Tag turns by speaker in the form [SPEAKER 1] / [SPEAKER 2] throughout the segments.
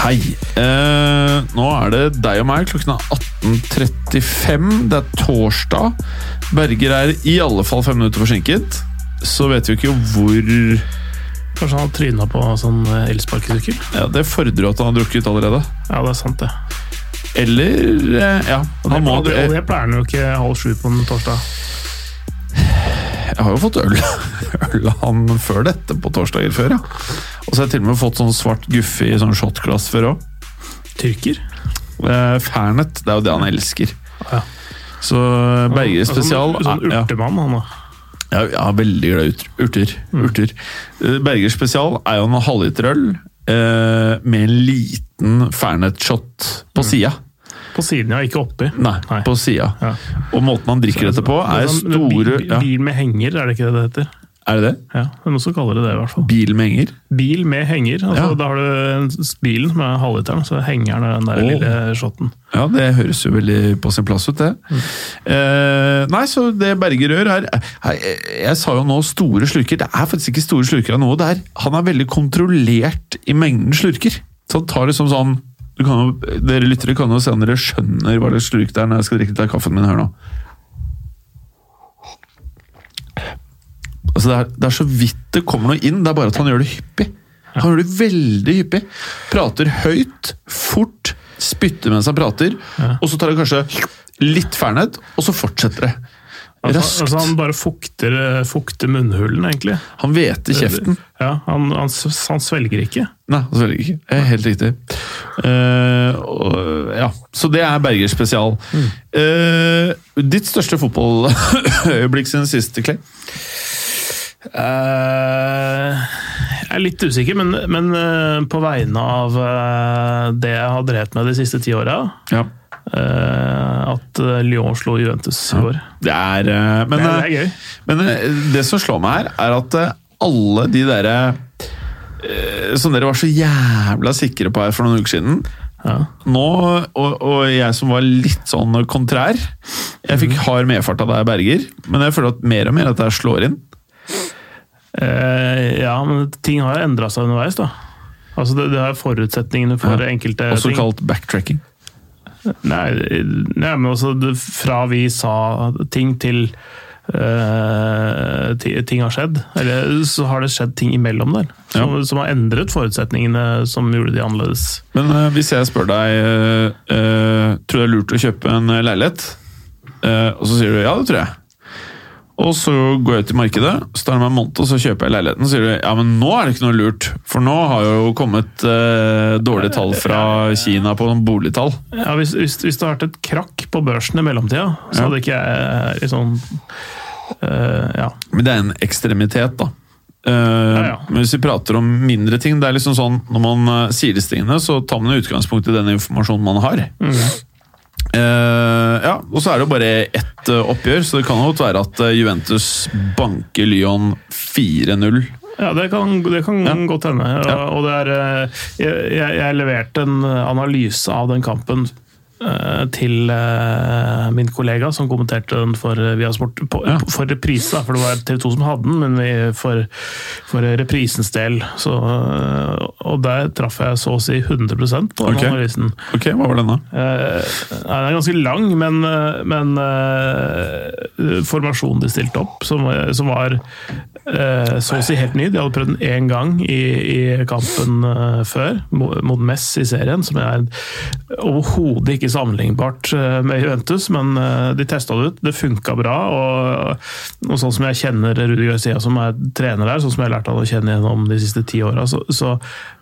[SPEAKER 1] Hei. Eh, nå er det deg og meg. Klokken er 18.35. Det er torsdag. Berger er i alle fall fem minutter forsinket. Så vet vi jo ikke hvor
[SPEAKER 2] Kanskje han har tryna på sånn eh, elsparkesykkel?
[SPEAKER 1] ja, Det fordrer jo at han har drukket allerede.
[SPEAKER 2] Ja, det er sant, det.
[SPEAKER 1] Eller eh, Ja,
[SPEAKER 2] Og det,
[SPEAKER 1] han må
[SPEAKER 2] og det, og det pleier han jo ikke halv sju på en torsdag.
[SPEAKER 1] Jeg har jo fått øl, øl av han før dette, på torsdager før, ja. Og så har jeg til og med fått sånn svart guffe i sånn shotglass før òg.
[SPEAKER 2] Tyrker?
[SPEAKER 1] Eh, Fernet, det er jo det han elsker.
[SPEAKER 2] Ja.
[SPEAKER 1] Så eh, Berger
[SPEAKER 2] Altså,
[SPEAKER 1] spesial
[SPEAKER 2] Sånn, sånn
[SPEAKER 1] ja.
[SPEAKER 2] urtemann, han da.
[SPEAKER 1] Ja, jeg er veldig glad i ut- urter.
[SPEAKER 2] Mm.
[SPEAKER 1] urter. Eh, Berger spesial er jo en halvliterøl eh, med en liten Fernet-shot på sida.
[SPEAKER 2] På siden, ja. Ikke oppi.
[SPEAKER 1] Nei,
[SPEAKER 2] Mm. Nei.
[SPEAKER 1] på sida.
[SPEAKER 2] Ja.
[SPEAKER 1] Og måten han drikker dette på, er
[SPEAKER 2] sånn- det
[SPEAKER 1] store
[SPEAKER 2] bil,
[SPEAKER 1] ja,
[SPEAKER 2] bil med henger, er det ikke det det heter?
[SPEAKER 1] Er det det?
[SPEAKER 2] Ja, det er Noen som kaller det det, i hvert fall.
[SPEAKER 1] Bil med henger?
[SPEAKER 2] Bil med henger. altså
[SPEAKER 1] Ja.
[SPEAKER 2] Da har du en- bilen som er halvliteren, så hengeren er den der
[SPEAKER 1] Åh.
[SPEAKER 2] lille shotten.
[SPEAKER 1] Ja, det høres jo veldig på sin plass ut, det. Eh, nei, så det Berger gjør her her- Jeg sa jo nå store slurker. Det er faktisk ikke store slurker av noe. Det er, han er veldig kontrollert i mengden slurker. Så han tar liksom sånn du kan jo, Dere lyttere kan jo se om dere skjønner hva det slurk det er når jeg skal drikke litt av kaffen min her nå. Altså det, er, det er så vidt det kommer noe inn, det er bare at han gjør det hyppig. Han gjør det veldig hyppig. Prater høyt, fort, spytter mens han prater, og så tar han kanskje litt fernet, og så fortsetter det.
[SPEAKER 2] Altså, altså
[SPEAKER 1] Raskt.
[SPEAKER 2] Han bare fukter, eh, fukter munnhulen, egentlig.
[SPEAKER 1] Han hveter kjeften.
[SPEAKER 2] Ja, han, han, s- han svelger ikke.
[SPEAKER 1] Nei, selvfølgelig ikke. Eh, Helt riktig. Eh, og, ja. Så det er Berger spesial.
[SPEAKER 2] Mm.
[SPEAKER 1] Eh, ditt største fotballøyeblikk siden sist, Clay?
[SPEAKER 2] Eh, jeg er litt usikker, men, men eh, på vegne av eh, det jeg har drevet med de siste ti åra
[SPEAKER 1] Ja.
[SPEAKER 2] At eh, Lyon slo Juventus i år.
[SPEAKER 1] Det er eh, Men
[SPEAKER 2] Det, er-
[SPEAKER 1] eh,
[SPEAKER 2] det er gøy.
[SPEAKER 1] Men eh, det som slår meg her, er at eh, alle de derre eh, Som dere var så jævla sikre på her for noen uker siden.
[SPEAKER 2] Ja.
[SPEAKER 1] Nå, og, og jeg som var litt sånn kontrær Jeg fikk hard medfart av deg, Berger, men jeg føler at mer og mer at det her slår inn.
[SPEAKER 2] Eh, ja, men ting har jo endra seg underveis, da. Altså, det, det er forutsetningene for
[SPEAKER 1] Ja.
[SPEAKER 2] enkelte
[SPEAKER 1] Også
[SPEAKER 2] ting.
[SPEAKER 1] kalt backtracking.
[SPEAKER 2] Nei, nei, men altså det, fra vi sa ting til eh, ti- ting har skjedd, eller så har det skjedd ting imellom der som, som har endret forutsetningene som gjorde de annerledes.
[SPEAKER 1] Men eh, hvis jeg spør deg eh, eh, Tror du det er lurt å kjøpe en eh, leilighet? Eh, og så sier du ja, det tror jeg. Og så går jeg ut i markedet, så tar det meg en måned, og så kjøper jeg leiligheten. Så sier du ja, men nå er det ikke noe lurt, for nå har jo kommet eh, dårlige tall fra Kina på sånn boligtall.
[SPEAKER 2] Ja, hvis, hvis, hvis det har vært et krakk på børsen i mellomtida, så
[SPEAKER 1] Ja.
[SPEAKER 2] hadde ikke jeg liksom eh, Ja.
[SPEAKER 1] Men det er en ekstremitet, da. Eh,
[SPEAKER 2] ja.
[SPEAKER 1] Men hvis vi prater om mindre ting, det er liksom sånn når man eh, sier disse tingene, så tar man utgangspunkt i den informasjonen man har. Eh, ja, og så er det jo bare ett eh, oppgjør, så det kan jo godt være at eh, Juventus banker Lyon 4-0.
[SPEAKER 2] Ja, det kan, det kan godt hende. Og, og det er, eh, jeg, jeg- jeg leverte en analyse av den kampen eh, til eh, min kollega som kommenterte den for eh, via Sport på,
[SPEAKER 1] Ja.
[SPEAKER 2] for reprise. da, For det var TV 2 som hadde den, men vi, for, for reprisens del. Så, eh, og der traff jeg så å si 100 på
[SPEAKER 1] Ok.
[SPEAKER 2] analysen.
[SPEAKER 1] Ok, hva var den da?
[SPEAKER 2] Eh, nei, den er ganske lang, men, eh, men eh, formasjonen de stilte opp, som, eh, som var eh, så å si helt ny De hadde prøvd den én gang i, i kampen eh, før, mo- mot Mess i serien, som er overhodet ikke sammenlignbart eh, med Juventus, men eh, de testa det ut. Det funka bra. Og, og sånn som jeg kjenner Rudi Garcia, som er trener der, sånn som jeg har lært han å kjenne gjennom de siste ti åra, så, så,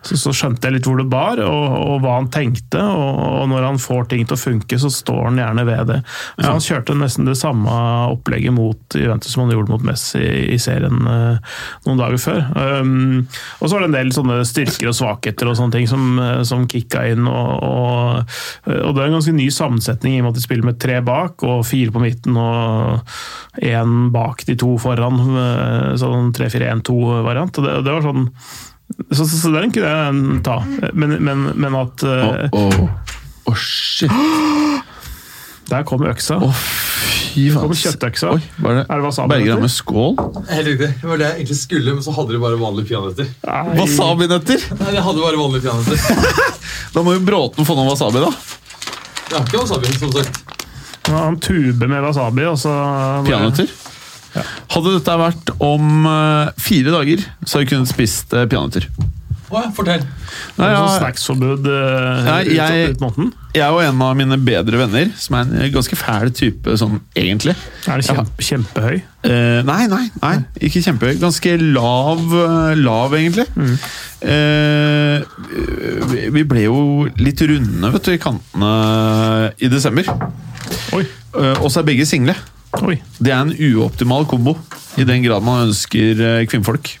[SPEAKER 2] så, så skjønte jeg litt hvor det bar, og, og hva han tenkte. Og, og når han får ting til å funke, så står han gjerne ved det. Så Han kjørte nesten det samme opplegget mot Juventus som han gjorde mot Messi i serien eh, noen dager før. Um, og så var det en del sånne styrker og svakheter og sånne ting som, eh, som kicka inn, og, og, og det er en ganske ny sammensetning i og med at de spiller med tre bak og fire på midten og én bak de to foran. eh, Sånn 3-4-1-2-variant. Og det, det var sånn så, så, så den kunne jeg ta, men, men, men at
[SPEAKER 1] Å,
[SPEAKER 2] eh,
[SPEAKER 1] å. Å, shit!
[SPEAKER 2] Der kom øksa.
[SPEAKER 1] Å, fy faen.
[SPEAKER 2] Kommer kjøttøksa.
[SPEAKER 1] Oi, hva er det?
[SPEAKER 2] Er det wasabi
[SPEAKER 1] Berger
[SPEAKER 2] dette?
[SPEAKER 1] har med skål.
[SPEAKER 3] Helt riktig. Det var det jeg egentlig skulle, men så hadde de bare vanlige peanøtter.
[SPEAKER 2] Nei.
[SPEAKER 1] Wasabinøtter!
[SPEAKER 3] Nei, de hadde bare vanlige peanøtter.
[SPEAKER 1] Da må jo Bråten få noe wasabi, da.
[SPEAKER 3] Jeg har ikke wasabi, som sagt.
[SPEAKER 2] Ja, Han tuber med wasabi, og så
[SPEAKER 1] Peanøtter. Hadde dette vært om eh, fire dager, så hadde jeg kunnet spist eh, peanøtter.
[SPEAKER 3] Å ja, fortell.
[SPEAKER 1] Nei,
[SPEAKER 2] Sånn
[SPEAKER 1] ja,
[SPEAKER 2] snacksforbud
[SPEAKER 1] Nei,
[SPEAKER 2] eh,
[SPEAKER 1] jeg-
[SPEAKER 2] ut, ut måneden.
[SPEAKER 1] jeg og en av mine bedre venner, som er en ganske fæl type sånn egentlig
[SPEAKER 2] Er det kjempe, kjempehøy?
[SPEAKER 1] Eh, Nei, nei, nei, ikke kjempehøy. Ganske lav, eh, lav egentlig. Eh, vi- vi ble jo litt runde vet du, i kantene eh, i desember.
[SPEAKER 2] Oi.
[SPEAKER 1] Eh, og så er begge single.
[SPEAKER 2] Oi.
[SPEAKER 1] Det er en uoptimal kombo, i den grad man ønsker eh, kvinnfolk.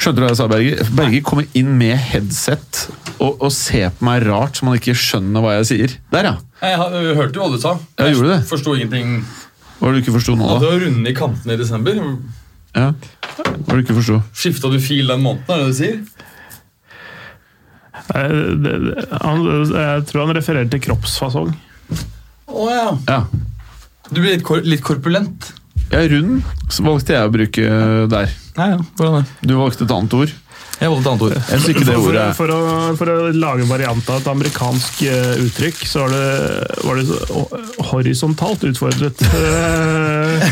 [SPEAKER 1] Skjønte du hva jeg sa, Berger? Berger kommer inn med headset og, og ser på meg rart, så man ikke skjønner hva jeg sier. Der, ja!
[SPEAKER 3] Jeg, har- jeg hørte jo hva du sa.
[SPEAKER 1] Ja, gjorde du det?
[SPEAKER 3] Forsto ingenting.
[SPEAKER 1] Hva var det du ikke forsto nå,
[SPEAKER 3] Hadde
[SPEAKER 1] da?
[SPEAKER 3] jo runde i kantene i desember.
[SPEAKER 1] Ja. Hva var det du ikke forsto?
[SPEAKER 3] Skifta du fil den måneden, er det det du sier?
[SPEAKER 2] Eh, det- det- Han, jeg tror han refererer til kroppsfasong.
[SPEAKER 3] Å ja.
[SPEAKER 1] Ja.
[SPEAKER 3] Du blir litt, kor litt korpulent.
[SPEAKER 1] ja, rund så valgte jeg å bruke eh, der.
[SPEAKER 3] Nei, ja. Hvordan det?
[SPEAKER 1] Du valgte et annet ord.
[SPEAKER 3] Jeg valgte et annet ord.
[SPEAKER 1] Jeg syns ikke det
[SPEAKER 2] For,
[SPEAKER 1] ordet
[SPEAKER 2] for, å, for å lage en variant av et amerikansk eh, uttrykk, så var det, var det så, ho- horisontalt utfordret. Eh,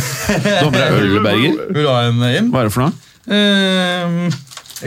[SPEAKER 1] Du har med deg øl, Berger.
[SPEAKER 3] Vil du ha en eh, Jim?
[SPEAKER 1] Hva er det for noe?
[SPEAKER 3] Eh,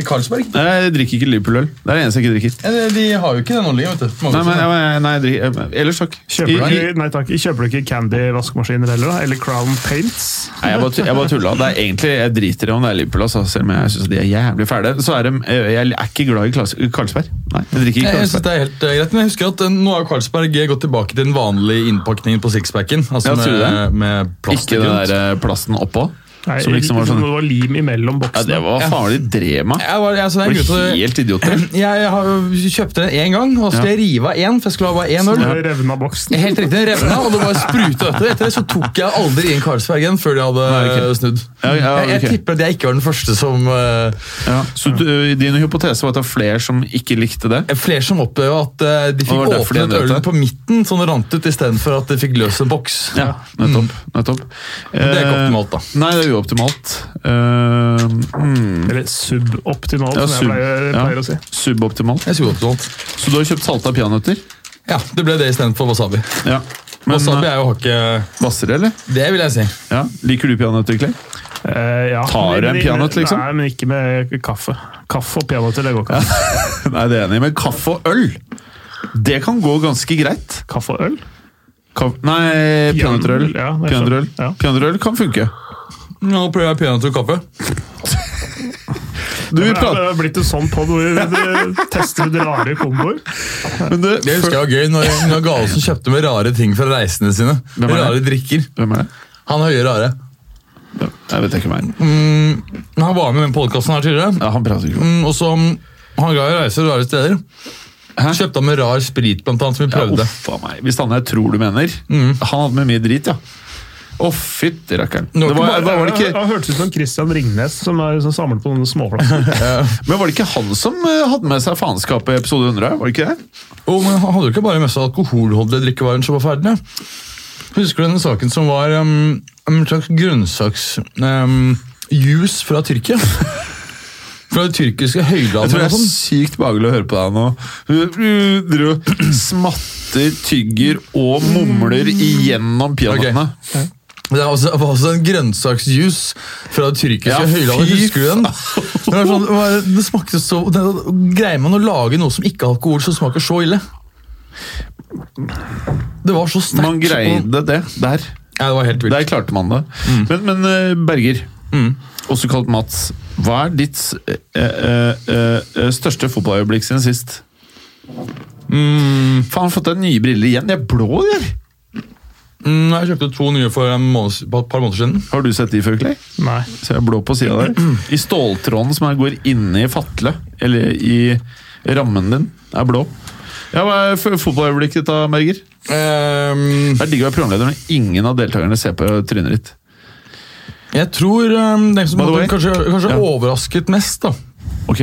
[SPEAKER 3] Carlsberg?
[SPEAKER 1] Nei, Jeg drikker ikke Liverpool-øl. Det er det eneste jeg ikke drikker.
[SPEAKER 3] Eh, De har jo ikke den oljen, vet du. Mange
[SPEAKER 1] Nei, men,
[SPEAKER 3] som-
[SPEAKER 1] nei, nei, jeg drikker, ellers takk. I-
[SPEAKER 2] Kjøper du,
[SPEAKER 1] i-
[SPEAKER 2] ikke- nei takk, kjøper du ikke Candy-vaskemaskiner heller? da? Eller Crown Paints?
[SPEAKER 1] Nei, jeg bare, tu- jeg bare tulla. Det er egentlig, jeg driter i om det er Liverpool, altså, selv om jeg syns de er jævlig fæle. Så er de, eh, jeg er ikke glad i Klas- Carlsberg. Nei, jeg drikker ikke
[SPEAKER 3] Jeg, jeg synes
[SPEAKER 1] Carlsberg.
[SPEAKER 3] det er helt eh, greit, men jeg husker at eh, nå har Carlsberg gått tilbake til den vanlige innpakningen på sixpacken. Altså
[SPEAKER 1] Ja, tror du
[SPEAKER 3] med, med plast
[SPEAKER 1] Ikke
[SPEAKER 3] og
[SPEAKER 1] den
[SPEAKER 3] grønt.
[SPEAKER 1] der eh, plasten oppå,
[SPEAKER 2] Nei,
[SPEAKER 1] som liksom var sånn
[SPEAKER 2] Det var lim imellom
[SPEAKER 1] Ja,
[SPEAKER 2] boksene.
[SPEAKER 1] det var faen hva de drev med.
[SPEAKER 3] Jeg, var, altså, det er en
[SPEAKER 1] Det
[SPEAKER 3] grunn til
[SPEAKER 1] var
[SPEAKER 3] at-
[SPEAKER 1] helt idioter.
[SPEAKER 3] jeg, har jo- kjøpte den én gang, og så skulle jeg rive av én, for jeg skulle ha bare én
[SPEAKER 1] Sånn,
[SPEAKER 3] øl.
[SPEAKER 2] Det revna boksen.
[SPEAKER 3] Helt riktig, den revna, og det bare spruta etter. Etter det så tok jeg aldri inn Carlsberg igjen før de hadde
[SPEAKER 1] ok.
[SPEAKER 3] eh, snudd.
[SPEAKER 1] Ja, ja,
[SPEAKER 3] Jeg, jeg
[SPEAKER 1] ok.
[SPEAKER 3] tipper at jeg ikke var den første som eh,
[SPEAKER 1] Ja. Så du, eh, din hypotese var at det er flere som ikke likte det?
[SPEAKER 3] Flere som opplevde at eh, de
[SPEAKER 1] Og
[SPEAKER 3] fikk
[SPEAKER 1] var det derfor de
[SPEAKER 3] åpnet
[SPEAKER 1] endret
[SPEAKER 3] ølen
[SPEAKER 1] det?
[SPEAKER 3] på midten, så den rant ut, istedenfor at de fikk løs en boks.
[SPEAKER 1] Ja, nettopp. nettopp.
[SPEAKER 3] Det er ikke
[SPEAKER 1] Eh,
[SPEAKER 3] optimalt, da.
[SPEAKER 1] Nei, det er uoptimalt. Eh, mm,
[SPEAKER 2] Eller suboptimal,
[SPEAKER 1] ja,
[SPEAKER 2] som sånn jeg pleier,
[SPEAKER 1] ja,
[SPEAKER 2] pleier å si.
[SPEAKER 1] suboptimalt.
[SPEAKER 3] Jeg skulle opptatt.
[SPEAKER 1] Så du har kjøpt salta peanøtter?
[SPEAKER 3] Ja, det ble det istedenfor wasabi.
[SPEAKER 1] Ja. Men,
[SPEAKER 3] Wasabi
[SPEAKER 1] eh,
[SPEAKER 3] er jo hakket
[SPEAKER 1] Vassere, eller?
[SPEAKER 3] Det vil jeg si.
[SPEAKER 1] Ja. Liker du peanøtter, Clay?
[SPEAKER 2] Eh, ja.
[SPEAKER 1] Tar du en
[SPEAKER 2] Men-
[SPEAKER 1] peanøtt, liksom?
[SPEAKER 2] Nei, men ikke med kaffe. Kaffe og peanøtter, det går ikke. an.
[SPEAKER 1] Nei, det er jeg enig i. Men kaffe og øl, det kan gå ganske greit.
[SPEAKER 2] Kaffe og øl?
[SPEAKER 1] Ka nei, peanøtterøl.
[SPEAKER 2] Ja, det er
[SPEAKER 1] Peanøtterøl
[SPEAKER 2] sant. Ja.
[SPEAKER 1] Peanøtterøl kan funke.
[SPEAKER 3] Nå prøver jeg peanøtter og kaffe.
[SPEAKER 1] Du, vi
[SPEAKER 2] Det er-
[SPEAKER 1] prater
[SPEAKER 2] det har blitt en sånn podd hvor vi vi tester ut rare komboer.
[SPEAKER 1] men du,
[SPEAKER 3] Det husker jeg var gøy når, når Galesen kjøpte med rare ting fra reisene sine.
[SPEAKER 1] Hvem er det?
[SPEAKER 3] Rare drikker.
[SPEAKER 1] Hvem er det?
[SPEAKER 3] Han høye rare.
[SPEAKER 1] Jeg vet ikke hvem det er.
[SPEAKER 3] Men Han var med i den podkasten her tidligere.
[SPEAKER 1] Ja, Han prater ikke om
[SPEAKER 3] Mm, Og så mm, Han ga jo reiser rare steder.
[SPEAKER 1] Hæ?
[SPEAKER 3] Kjøpte han med rar sprit, blant annet, som vi
[SPEAKER 1] Ja,
[SPEAKER 3] prøvde. Mm.
[SPEAKER 1] uff a meg. Hvis han jeg tror du mener. Han hadde med mye drit, ja. Å, fytti rakkeren.
[SPEAKER 3] Det var
[SPEAKER 1] Det var,
[SPEAKER 3] ikke
[SPEAKER 1] var det
[SPEAKER 2] Det
[SPEAKER 1] ikke,
[SPEAKER 2] hørtes ut som Christian Ringnes som, er, som samler på noen småflasker.
[SPEAKER 1] men var det ikke han som eh, hadde med seg faenskapet i episode 100? Var det ikke det?
[SPEAKER 3] Jo, men Han hadde jo ikke bare med seg alkoholholdige drikkevarer som var ferdige. Husker du denne saken som var um, en slags grønnsaksjuice fra Tyrkia? Fra det tyrkiske
[SPEAKER 1] Jeg tror det
[SPEAKER 3] høylandet? sånn. eller
[SPEAKER 1] er
[SPEAKER 3] noe sånt.
[SPEAKER 1] sykt behagelig å høre på deg nå. Du driver og smatter, tygger og mumler igjennom peanøttene.
[SPEAKER 3] Det er også- var også en grønnsaksjuice fra det tyrkiske
[SPEAKER 1] Ja,
[SPEAKER 3] høylandet.
[SPEAKER 1] fy
[SPEAKER 3] Husker du den? Det, var sånn, det, var, det smakte så det, sånn, Greier man å lage noe som ikke er alkohol, som smaker så ille? Det var så sterkt.
[SPEAKER 1] Man greide det der.
[SPEAKER 3] Ja, det var helt vilt.
[SPEAKER 1] Der klarte man det. Men, men eh, Berger, også kalt Mats, hva er ditt eh, eh, eh, eh, største fotballøyeblikk siden sist? Faen, jeg har fått deg nye briller igjen. De er blå, de her!
[SPEAKER 3] Mm, Jeg kjøpte to nye for en måned, et par måneder siden.
[SPEAKER 1] Har du sett de før, Clay?
[SPEAKER 2] Nei.
[SPEAKER 1] Så jeg er blå på sida der. I ståltråden som her går inni fatlet, eller i rammen din, er blå. Ja, Hva er f- fotballøyeblikket ditt da, Berger?
[SPEAKER 3] Ehm,
[SPEAKER 1] Det er digg å være programleder når ingen av deltakerne ser på trynet ditt.
[SPEAKER 3] jeg tror ehm, den som
[SPEAKER 1] By the
[SPEAKER 3] hadde
[SPEAKER 1] way.
[SPEAKER 3] kanskje, kanskje
[SPEAKER 1] Ja.
[SPEAKER 3] overrasket mest, da
[SPEAKER 1] Ok?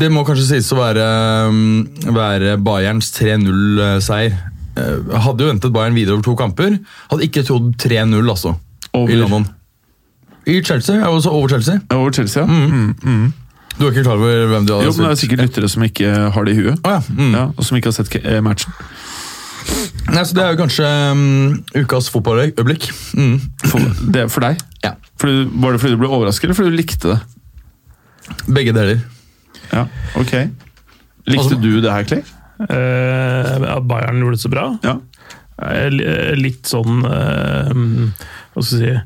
[SPEAKER 3] Det må kanskje sies å være, um, være Bayerns 3-0-seier. Eh, Hadde jo ventet Bayern videre over to kamper. Hadde ikke trodd 3-0, altså.
[SPEAKER 1] Over.
[SPEAKER 3] I London. I Chelsea. Jeg var også over Chelsea.
[SPEAKER 1] Ja, Over Chelsea, ja. Mm.
[SPEAKER 3] Du er ikke klar over hvem du hadde
[SPEAKER 1] Jo, men det er sikkert lyttere som ikke har det i huet.
[SPEAKER 3] Å ja. Mm.
[SPEAKER 1] Ja, og som ikke har sett ke- eh, matchen.
[SPEAKER 3] Nei, så det er jo kanskje um, ukas fotballøyeblikk. Mm.
[SPEAKER 1] For, det er for deg.
[SPEAKER 3] Ja.
[SPEAKER 1] Fordi, var det fordi du ble overrasket, eller fordi du likte det?
[SPEAKER 3] Begge deler.
[SPEAKER 1] Ja, ok. Likte
[SPEAKER 3] Altså-
[SPEAKER 1] du det her, Clay?
[SPEAKER 2] Eh, at Bayern gjorde det så bra.
[SPEAKER 1] Ja.
[SPEAKER 2] Eh, li- eh, Litt sånn eh, Hva skal jeg si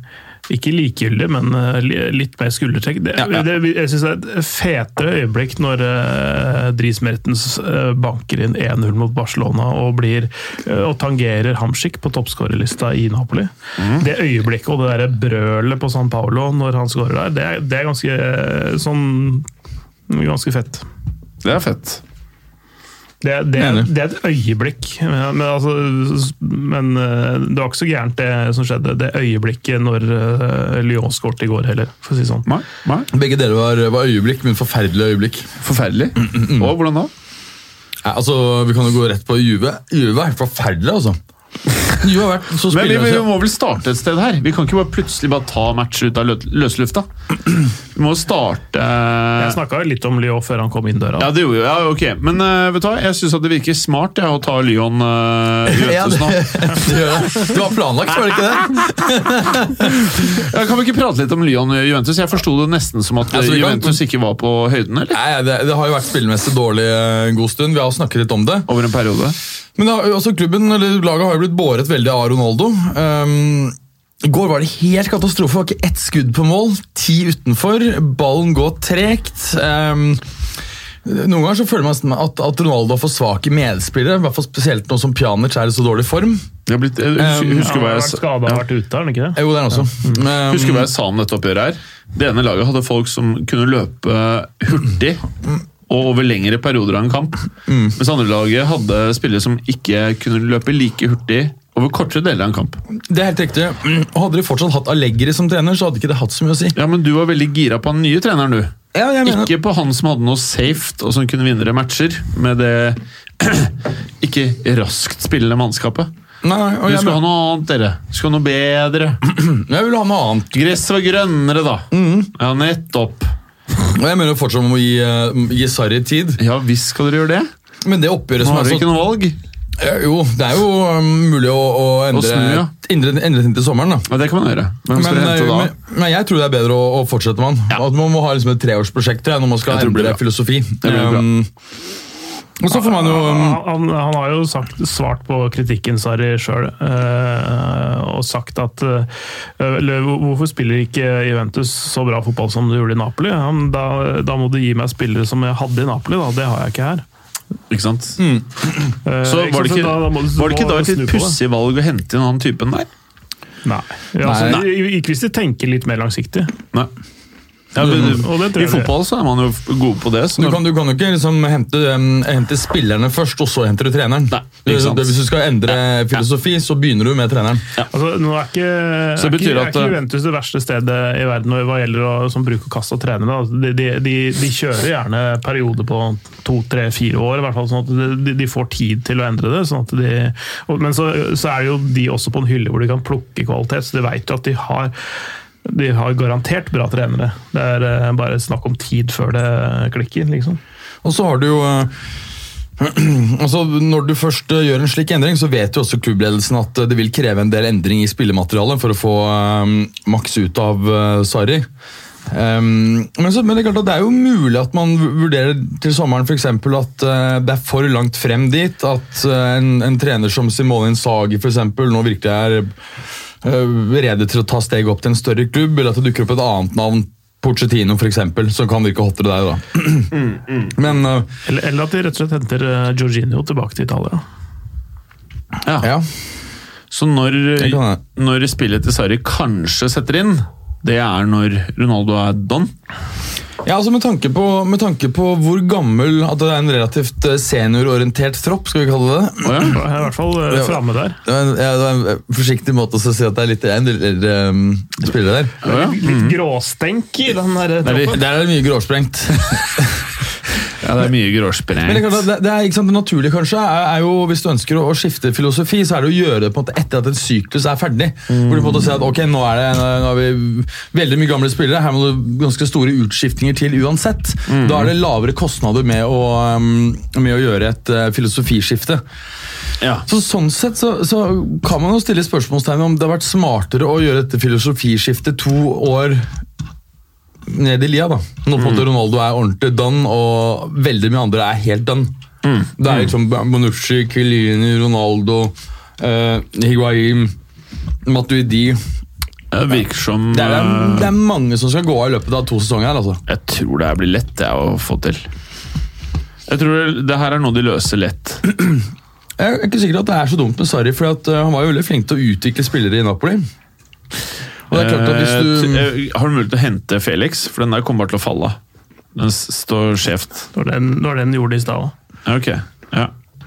[SPEAKER 2] Ikke likegyldig, men eh, li- litt mer skuldertrekk. Det,
[SPEAKER 1] Ja, ja.
[SPEAKER 2] det, jeg syns det er et fete øyeblikk når eh, Dries Mertens eh, banker inn 1-0 mot Barcelona og, blir, eh, og tangerer Hamsik på toppskårerlista i Napoli.
[SPEAKER 1] Mm.
[SPEAKER 2] Det øyeblikket og det derre brølet på San Paolo når han skårer der, det, er- det er ganske eh, sånn Ganske fett.
[SPEAKER 1] Det er fett.
[SPEAKER 2] Det, det,
[SPEAKER 3] Enig.
[SPEAKER 2] det er et øyeblikk, men, men, altså, s- men eh, det var ikke så gærent det som skjedde. Det øyeblikket når eh, Lyon skåret i går heller, for å si det sånn.
[SPEAKER 1] Nei, nei.
[SPEAKER 3] Begge deler var, var øyeblikk, men forferdelige øyeblikk.
[SPEAKER 1] Forferdelig. Og hvordan da?
[SPEAKER 3] Nei, altså, Vi kan jo gå rett på Juve. Juve er forferdelig, altså. Juve har vært så
[SPEAKER 1] Men vi, vi
[SPEAKER 3] spillerløse.
[SPEAKER 1] må vel starte et sted her? Vi kan ikke bare plutselig bare ta matcher ut av lø- løslufta. Vi må starte
[SPEAKER 2] Jeg snakka litt om Lyon før han kom inn døra.
[SPEAKER 1] Ja, det gjorde vi. Ja, ok. Men eh, vet du hva? jeg syns det virker smart jeg, å ta Lyon eh,
[SPEAKER 3] Ja,
[SPEAKER 1] Juventus
[SPEAKER 3] det,
[SPEAKER 1] nå.
[SPEAKER 3] det, gjør jeg. det var planlagt, var det ikke det?
[SPEAKER 1] Ja, kan vi ikke prate litt om Lyon eh, Juventus? Jeg forsto det nesten som at eh,
[SPEAKER 3] Altså, vi kan-
[SPEAKER 1] Juventus ikke var på høyden, eller?
[SPEAKER 3] Nei, det, det har jo vært spillemessig dårlig eh, en god stund. Vi har snakket litt om det.
[SPEAKER 1] Over en periode.
[SPEAKER 3] Men det har, altså, klubben, eller laget har jo blitt båret veldig av Ronaldo. Ehm, I går var det helt katastrofe. Det var ikke ett skudd på mål. Ti utenfor. Ballen går tregt. Ehm, noen ganger så føler man nesten at, at Ronaldo er for svak i medspillere. i hvert fall Spesielt nå som Pjanic er i så dårlig form.
[SPEAKER 1] Jeg har blitt, jeg husker,
[SPEAKER 2] Han
[SPEAKER 1] husker, hva
[SPEAKER 2] Um, har
[SPEAKER 1] jeg,
[SPEAKER 2] vært
[SPEAKER 1] sa-
[SPEAKER 2] skada og vært ute, har han ikke det?
[SPEAKER 3] Eh, Jo, det er han også. Ehm,
[SPEAKER 1] husker hva jeg sa om dette oppgjøret her. Det ene laget hadde folk som kunne løpe hurtig. Og over lengre perioder av en kamp. Mens andre laget hadde spillere som ikke kunne løpe like hurtig over kortere deler av en kamp.
[SPEAKER 3] det er helt riktig. Og Hadde de fortsatt hatt Allegri som trener, så hadde ikke det hatt så mye å si.
[SPEAKER 1] Ja, men du var veldig gira på den nye treneren, du.
[SPEAKER 3] Ja, jeg mener-
[SPEAKER 1] Ikke på han som hadde noe safe og som kunne vinne matcher med det ikke raskt spillende mannskapet.
[SPEAKER 3] Nei, nei, og
[SPEAKER 1] Du
[SPEAKER 3] jeg,
[SPEAKER 1] skulle
[SPEAKER 3] men-
[SPEAKER 1] ha noe annet, dere. Du skulle ha noe bedre.
[SPEAKER 3] jeg vil ha noe annet.
[SPEAKER 1] Gresset var grønnere, da.
[SPEAKER 3] Mm.
[SPEAKER 1] Ja, nettopp.
[SPEAKER 3] Og jeg mener jo fortsatt om å gi, eh, gi Sarri tid,
[SPEAKER 1] Ja visst skal dere gjøre det.
[SPEAKER 3] men det oppgjøret
[SPEAKER 1] Nå
[SPEAKER 3] som
[SPEAKER 1] har
[SPEAKER 3] er
[SPEAKER 1] dere
[SPEAKER 3] så
[SPEAKER 1] ikke noe valg.
[SPEAKER 3] Ja, Jo, det er jo um, mulig å, å endre,
[SPEAKER 1] snu, ja.
[SPEAKER 3] endre, endre ting til sommeren, da.
[SPEAKER 1] Ja, det kan man gjøre. Hvem skal
[SPEAKER 3] Men, eh,
[SPEAKER 1] dere hente da?
[SPEAKER 3] men, men jeg tror det er bedre å, å fortsette med han. At man må ha liksom et treårsprosjekt tror jeg, når man skal
[SPEAKER 1] Jeg tror det blir
[SPEAKER 3] endre
[SPEAKER 1] bra.
[SPEAKER 3] filosofi.
[SPEAKER 1] blir bra.
[SPEAKER 3] Um, og så får man jo um,
[SPEAKER 2] Han, han, han har jo sagt, svart på kritikken Sarri sjøl, og sagt at eh, eller, hvor- Hvorfor spiller ikke Juventus så bra fotball som du gjorde i Napoli? Han, da, da må du gi meg spillere som jeg hadde i Napoli, da. Det har jeg ikke her.
[SPEAKER 1] Ikke sant?
[SPEAKER 2] Eh,
[SPEAKER 1] Så var det
[SPEAKER 2] sant?
[SPEAKER 1] ikke,
[SPEAKER 2] Da- da må du-
[SPEAKER 1] var det ikke
[SPEAKER 2] må
[SPEAKER 1] da
[SPEAKER 2] du
[SPEAKER 1] et
[SPEAKER 2] snu
[SPEAKER 1] litt
[SPEAKER 2] på det.
[SPEAKER 1] pussig valg å hente inn han typen der?
[SPEAKER 2] Nei. Ja, altså,
[SPEAKER 3] Nei.
[SPEAKER 2] i- i- Ikke hvis de tenker litt mer langsiktig.
[SPEAKER 1] Nei. Ja, men,
[SPEAKER 2] Mm. Og
[SPEAKER 1] I
[SPEAKER 2] det tror jeg det-
[SPEAKER 1] fotball så er man jo gode på det. Så
[SPEAKER 3] du kan, du kan jo ikke liksom hente, um, hente spillerne først, og så henter du treneren.
[SPEAKER 1] Nei, ikke sant.
[SPEAKER 3] Det- det- Hvis du skal endre filosofi, så begynner du med treneren.
[SPEAKER 2] Altså, nå er ikke,
[SPEAKER 1] Så
[SPEAKER 2] er
[SPEAKER 1] det betyr
[SPEAKER 2] ikke, er
[SPEAKER 1] at- eh,
[SPEAKER 2] ikke Juventus det verste stedet i verden hva gjelder å, som bruk og kast av trenere. da. Altså, De, de, de, de kjører gjerne perioder på to, tre, fire år, i hvert fall, sånn at de, de får tid til å endre det. Sånn at de, og, men så, så er det jo de også på en hylle hvor de kan plukke kvalitet, så de vet jo at de har de har garantert bra trenere. Det er eh, bare snakk om tid før det klikker. liksom.
[SPEAKER 3] Og så har du jo eh, altså Når du først eh, gjør en slik endring, så vet jo også klubbledelsen at eh, det vil kreve en del endring i spillematerialet for å få eh, maks ut av eh, Sarri. Ehm, men, så, men det er klart at det er jo mulig at man vu- vurderer til sommeren for eksempel at eh, det er for langt frem dit. At eh, en, en trener som Simone Insagi for eksempel, nå virkelig er eh, rede til å ta steget opp til en større klubb, eller at det dukker opp et annet navn, Porcetino f.eks., som kan virke hottere der. da. Men eh,
[SPEAKER 2] Eller, eller at de rett og slett henter eh, Jorginho tilbake til Italia.
[SPEAKER 1] Ja.
[SPEAKER 3] Ja.
[SPEAKER 1] Så når,
[SPEAKER 3] Det kan jeg.
[SPEAKER 1] når spillet til Sarri kanskje setter inn, det er når Ronaldo er done.
[SPEAKER 3] Ja, altså med tanke, på, med tanke på hvor gammel At det er en relativt eh, seniororientert tropp, skal vi kalle det.
[SPEAKER 1] Å, ja.
[SPEAKER 2] Jeg er i hvert fall eh,
[SPEAKER 3] Ja.
[SPEAKER 2] framme der.
[SPEAKER 3] Det var en, ja, det var en eh, forsiktig måte å si at det er litt det er en del eldre eh, spillere der.
[SPEAKER 1] Å, ja.
[SPEAKER 2] Litt gråstenk i den der eh,
[SPEAKER 1] er vi-
[SPEAKER 2] troppen.
[SPEAKER 3] Der er det mye gråsprengt.
[SPEAKER 1] ja, det er mye
[SPEAKER 3] Men det, er
[SPEAKER 1] gråsprengt.
[SPEAKER 3] klart at det, det, er, ikke sant, det naturlige kanskje er, er jo, hvis du ønsker å, å skifte filosofi, så er det å gjøre det på en måte etter at en syklus er ferdig. Hvor du på en måte ser at ok, nå er det nå har vi veldig mye gamle spillere, her må det ganske store utskiftninger til uansett. Da er det lavere kostnader med å, um, med å gjøre et eh, filosofiskifte.
[SPEAKER 1] Ja.
[SPEAKER 3] Så Sånn sett så, så kan man jo stille spørsmålstegn om det har vært smartere å gjøre dette filosofiskiftet to år ned i lia, da.
[SPEAKER 1] Mm.
[SPEAKER 3] Nå på en måte Ronaldo er ordentlig done, og veldig mye andre er helt done.
[SPEAKER 1] Mm.
[SPEAKER 3] Det er liksom Bonucci, Kyliani, Ronaldo, eh, Higuain, Matuidi
[SPEAKER 1] Det virker som
[SPEAKER 3] det er,
[SPEAKER 1] eh,
[SPEAKER 3] det er mange som skal gå av i løpet av to sesonger her, altså.
[SPEAKER 1] Jeg tror det her blir lett det å få til. Jeg tror det, det her er noe de løser lett.
[SPEAKER 3] Jeg er ikke sikker at det er så dumt med Sarri, for at, eh, han var jo veldig flink til å utvikle spillere i Napoli. Og det er klart at hvis du...
[SPEAKER 1] Eh, t- eh, Har du mulighet til å hente Felix? For den der kommer bare til å falle av. Den s- står skjevt.
[SPEAKER 2] Det var den, det var den gjorde i stad òg.
[SPEAKER 1] Ja, Ok, ja.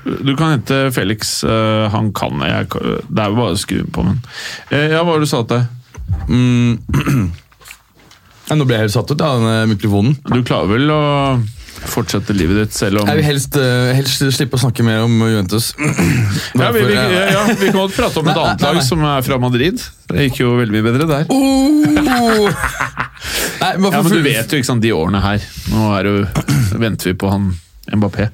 [SPEAKER 1] Du kan hente Felix. eh, Han kan jeg, kan- Det er jo bare å skru på, men Eh, Ja, hva var det du sa til?
[SPEAKER 3] Mm. Ja, nå ble jeg helt satt ut av denne mikrofonen.
[SPEAKER 1] Du klarer vel å fortsette livet ditt selv om
[SPEAKER 3] Jeg vil helst, eh, helst slippe å snakke mer om Juventus.
[SPEAKER 1] ja, vi, vi,
[SPEAKER 3] Derfor,
[SPEAKER 1] ja,
[SPEAKER 3] eh,
[SPEAKER 1] ja, vi kan godt prate om et
[SPEAKER 3] Nei,
[SPEAKER 1] annet
[SPEAKER 3] nei, nei.
[SPEAKER 1] lag som er fra Madrid. Det gikk jo veldig mye bedre der.
[SPEAKER 3] Oh! Nei, men
[SPEAKER 1] Ja,
[SPEAKER 3] for-
[SPEAKER 1] men du vet jo ikke sant, de årene her. Nå er jo, venter vi på han Mbappé.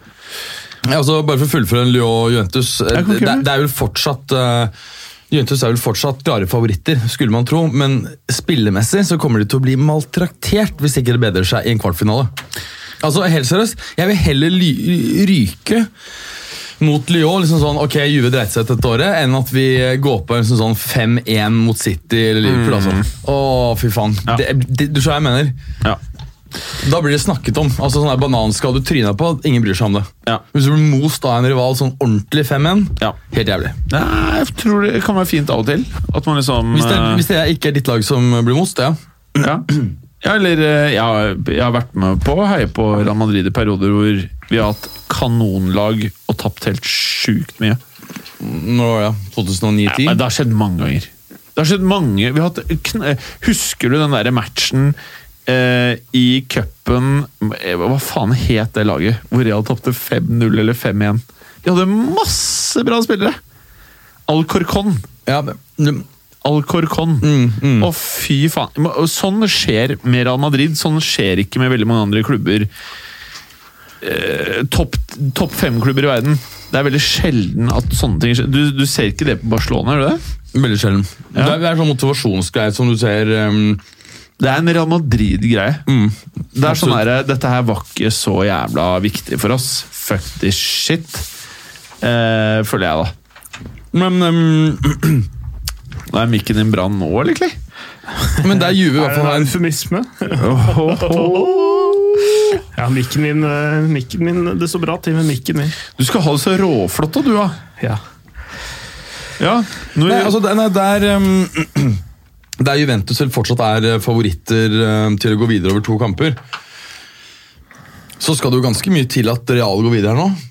[SPEAKER 3] Ja, altså, bare for å fullføre en Lyon-Juventus eh,
[SPEAKER 1] Jeg kan ikke
[SPEAKER 3] det,
[SPEAKER 1] gjøre det.
[SPEAKER 3] det er vel fortsatt eh, Juventus er vel fortsatt klare favoritter, skulle man tro. Men spillemessig så kommer de til å bli maltraktert hvis ikke det bedrer seg i en kvartfinale. Altså, helt seriøst, jeg vil heller ly ryke mot Lyon, liksom sånn, ok, Juve dreit seg ut dette året, enn at vi går på en sånn 5-1 mot City eller Liverpool. altså. Å, fy faen.
[SPEAKER 1] Mm. Ja.
[SPEAKER 3] Det, det, du skjønner hva jeg mener?
[SPEAKER 1] Ja.
[SPEAKER 3] Da blir det snakket om. Altså sånn der Bananskall du tryna på, ingen bryr seg om det.
[SPEAKER 1] Ja.
[SPEAKER 3] Hvis du blir most av en rival sånn ordentlig 5-1,
[SPEAKER 1] Ja.
[SPEAKER 3] helt jævlig.
[SPEAKER 1] Nei, jeg tror det kan være fint av og til. At man liksom
[SPEAKER 3] Hvis det,
[SPEAKER 1] eh,
[SPEAKER 3] hvis det ikke er ditt lag som blir most, ja.
[SPEAKER 1] ja. ja, eller eh, jeg har, jeg har vært med på å heie på Real Madrid i perioder hvor vi har hatt kanonlag og tapt helt sjukt mye.
[SPEAKER 3] Når var det?
[SPEAKER 1] Nei,
[SPEAKER 3] 2009-10?
[SPEAKER 1] det har skjedd mange ganger. Det har skjedd mange vi har hatt kn eh, Husker du den derre matchen eh, i cupen eh, Hva faen het det laget? Hvor Real tapte 5-0 eller 5-1. De hadde masse bra spillere! Alcorcon.
[SPEAKER 3] Ja, men- mm, du-
[SPEAKER 1] Alcorcon. Å, fy faen. Ma- og Sånn skjer med Real Madrid. Sånn skjer ikke med veldig mange andre klubber. Eh, Topp topp fem-klubber i verden. Det er veldig sjelden at sånne ting skjer. Du, du ser ikke det på Barcelona, gjør du det?
[SPEAKER 3] veldig sjelden.
[SPEAKER 1] Ja.
[SPEAKER 3] Det, er, det er sånn motivasjonsgreie som du ser um,
[SPEAKER 1] Det er en Real Madrid-greie. Det er sånn
[SPEAKER 3] Absolutt.
[SPEAKER 1] her, Dette her var ikke så jævla viktig for oss. Fuck this shit. Eh, føler jeg, da.
[SPEAKER 3] men, um,
[SPEAKER 1] Da er mikken din brann nå, eller? egentlig?
[SPEAKER 3] men der Juve i hvert fall har en
[SPEAKER 2] eufemisme? Ja, mikken min, eh, mikken min Det står bra til med mikken min.
[SPEAKER 1] Du skal ha det så råflott, da, du, da.
[SPEAKER 2] Ja.
[SPEAKER 1] Ja. Nå,
[SPEAKER 3] Nei, altså, det- nei, der, um, der Juventus selv fortsatt er eh, favoritter eh, til å gå videre over to kamper, så skal det jo ganske mye til at Real går videre her nå.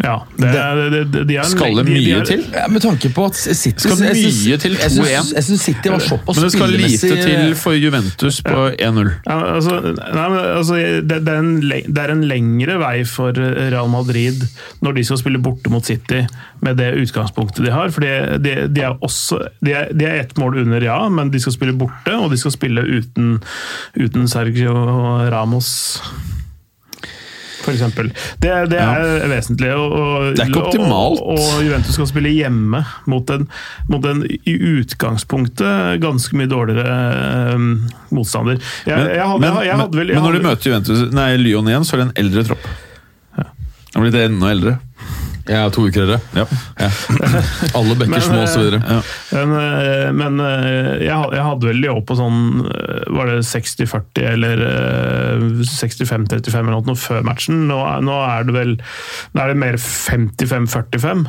[SPEAKER 2] ja det, det, det, de er en-
[SPEAKER 1] Skal det
[SPEAKER 2] de- de
[SPEAKER 1] mye
[SPEAKER 2] er-
[SPEAKER 1] til?
[SPEAKER 3] Ja, med tanke på at City
[SPEAKER 1] Skal
[SPEAKER 3] jeg synes-
[SPEAKER 1] mye til
[SPEAKER 3] jeg synes-
[SPEAKER 1] 2-1.
[SPEAKER 3] Jeg syns City var såpass
[SPEAKER 1] Men det skal lite
[SPEAKER 3] spillemessig-
[SPEAKER 1] til for Juventus på 1-0.
[SPEAKER 2] Ja, altså, nei, men, altså, det, det, er en, le- det er en lengre vei for eh, Real Madrid når de skal spille borte mot City, med det utgangspunktet de har. For de, de, de er også de er, de er ett mål under, ja, men de skal spille borte, og de skal spille uten, uten Sergio Ramos. For eksempel. det, det er vesentlig. Og, og,
[SPEAKER 1] Det er ikke optimalt.
[SPEAKER 2] Og, og Juventus skal spille hjemme mot en, mot en i utgangspunktet ganske mye dårligere eh, motstander. Jeg, jeg, hadde,
[SPEAKER 1] men,
[SPEAKER 2] jeg, jeg hadde vel
[SPEAKER 1] men
[SPEAKER 2] jeg
[SPEAKER 1] når de
[SPEAKER 2] hadde,
[SPEAKER 1] møter Juventus, nei, Lyon igjen, så er det en eldre tropp. Da blir det enda eldre.
[SPEAKER 3] Jeg er to uker eldre.
[SPEAKER 1] Ja.
[SPEAKER 3] Alle bekker
[SPEAKER 2] Men,
[SPEAKER 3] små, og så videre.
[SPEAKER 1] Ja.
[SPEAKER 2] men, eh, men eh, jeg, hadde- jeg hadde vel de opp på sånn eh, Var det 60-40 eller eh, eh, 65-35 eller noe sånt før matchen. Nå er, nå er det vel nå er det mer 55-45.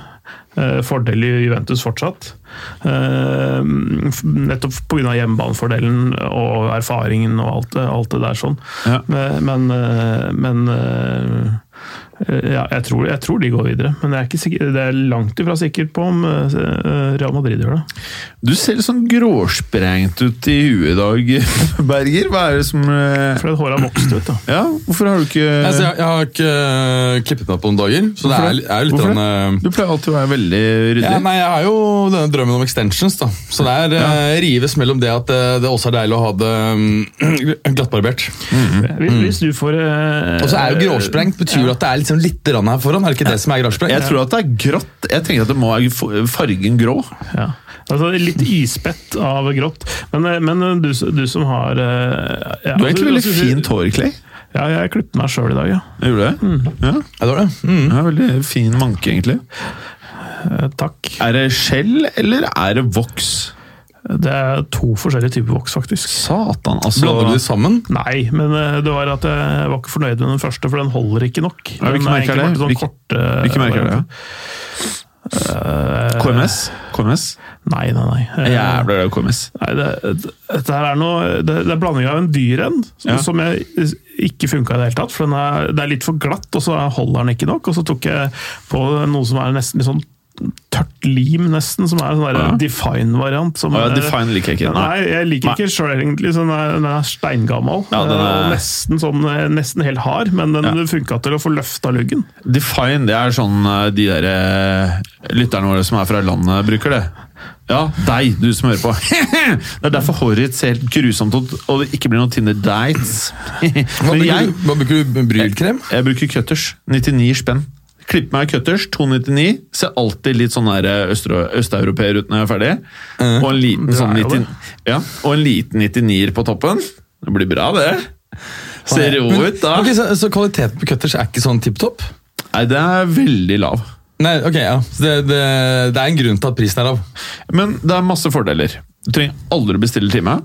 [SPEAKER 2] Eh, Fordel i Juventus fortsatt. Eh, f- Nettopp pga. hjemmebanefordelen og erfaringen og alt, det- alt det der sånn.
[SPEAKER 1] Ja.
[SPEAKER 2] Men, men, eh, men eh, ja, jeg, tror, jeg tror de går videre, men jeg er ikke sikker, det er langt ifra sikkert på om eh, Real Madrid gjør det.
[SPEAKER 1] Du ser litt sånn gråsprengt ut i huet i dag, Berger. Hva er det som eh,
[SPEAKER 2] Fordi håret har vokst ut. da.
[SPEAKER 1] Ja, hvorfor har du
[SPEAKER 3] Altså,
[SPEAKER 1] ikke
[SPEAKER 3] jeg, jeg har ikke eh, klippet meg på noen dager, så det
[SPEAKER 1] Hvorfor
[SPEAKER 3] er,
[SPEAKER 1] det?
[SPEAKER 3] er jo litt
[SPEAKER 1] Hvorfor
[SPEAKER 3] grann, eh,
[SPEAKER 1] Du pleier alltid å være veldig
[SPEAKER 3] ja,
[SPEAKER 1] ryddig.
[SPEAKER 3] Nei, jeg har jo denne drømmen om extensions, da. Så det er eh, rives mellom det at eh, det også er deilig å ha det mm, glattbarbert.
[SPEAKER 2] Hvis, hvis du får eh,
[SPEAKER 3] Og så er jo gråsprengt betyr jo at det er liksom litt grann her foran. Er det ikke det som er
[SPEAKER 1] Jeg
[SPEAKER 3] gråsprengt?
[SPEAKER 1] tror at det er grått. Jeg tenker at det må være f- fargen grå.
[SPEAKER 2] Ja. Altså, litt ispett av grått. Men, eh, men eh, du, s- du som har eh, ja,
[SPEAKER 1] Du har egentlig veldig
[SPEAKER 2] altså,
[SPEAKER 1] fint hår, Clay.
[SPEAKER 2] Ja, jeg klipper meg sjøl i dag, ja.
[SPEAKER 1] Gjorde du det? Ja,
[SPEAKER 3] Ja, det var det. Mm.
[SPEAKER 1] det er veldig fin manke, egentlig.
[SPEAKER 2] Eh, Takk.
[SPEAKER 1] Er det skjell, eller er det voks?
[SPEAKER 2] Det er to forskjellige typer voks, faktisk.
[SPEAKER 1] Satan, altså.
[SPEAKER 3] Blander du de sammen?
[SPEAKER 2] Nei, men eh, det var at jeg var ikke fornøyd med den første, for den holder ikke nok.
[SPEAKER 1] Ja, hvilke
[SPEAKER 2] Den er
[SPEAKER 1] merker er
[SPEAKER 2] egentlig
[SPEAKER 1] det?
[SPEAKER 2] bare sånn
[SPEAKER 1] Hvilke-
[SPEAKER 2] kort, eh,
[SPEAKER 1] Hvilke merker er det?
[SPEAKER 2] eh,
[SPEAKER 1] KMS? KMS?
[SPEAKER 2] Nei, nei, nei. Eh,
[SPEAKER 1] Jævla glad i KMS.
[SPEAKER 2] Nei, det, det- dette her er noe Det, det er blanding av en dyr en, som,
[SPEAKER 1] Ja.
[SPEAKER 2] som jeg ikke funka i det hele tatt. For den er, det er litt for glatt, og så holder den ikke nok. Og så tok jeg på noe som er nesten litt sånn tørt lim, nesten, som er en sånn der
[SPEAKER 1] Ja.
[SPEAKER 2] Define-variant. som
[SPEAKER 1] Å ja,
[SPEAKER 2] er-
[SPEAKER 1] Define liker jeg ikke. Nei.
[SPEAKER 2] Nei, jeg liker ikke sjøl egentlig. så Den er, den er steingammal.
[SPEAKER 1] Ja, den er-
[SPEAKER 2] og nesten, sånn, nesten helt hard, men den
[SPEAKER 1] Ja.
[SPEAKER 2] funka til å få løfta luggen.
[SPEAKER 1] Define, det er sånn eh, de der eh, lytterne våre som er fra landet, bruker det. Ja, deg, du som hører på. Det er derfor håret ditt ser helt grusomt ut, og det ikke blir noen Tinder dates.
[SPEAKER 3] Hva
[SPEAKER 1] Men
[SPEAKER 3] bruker
[SPEAKER 1] jeg,
[SPEAKER 3] du? Hva bruker du? Brylkrem?
[SPEAKER 1] jeg bruker cutters. 99 spenn. Klipp meg cutters, 299. Ser alltid litt sånn der, eh, østre- østeuropeer ut når jeg er ferdig. Og en liten
[SPEAKER 2] Det
[SPEAKER 1] sånn
[SPEAKER 2] er jo
[SPEAKER 1] 90, ja, og en liten 99-er på toppen. Det blir bra, det. Ser jo
[SPEAKER 3] Men-
[SPEAKER 1] ut, da.
[SPEAKER 3] ok, så, så kvaliteten på cutters er ikke sånn tipp topp?
[SPEAKER 1] Nei, det er veldig lav.
[SPEAKER 3] Nei, ok, ja. Så det, det, det er en grunn til at prisen er lav.
[SPEAKER 1] Men det er masse fordeler. Du trenger aldri bestille time.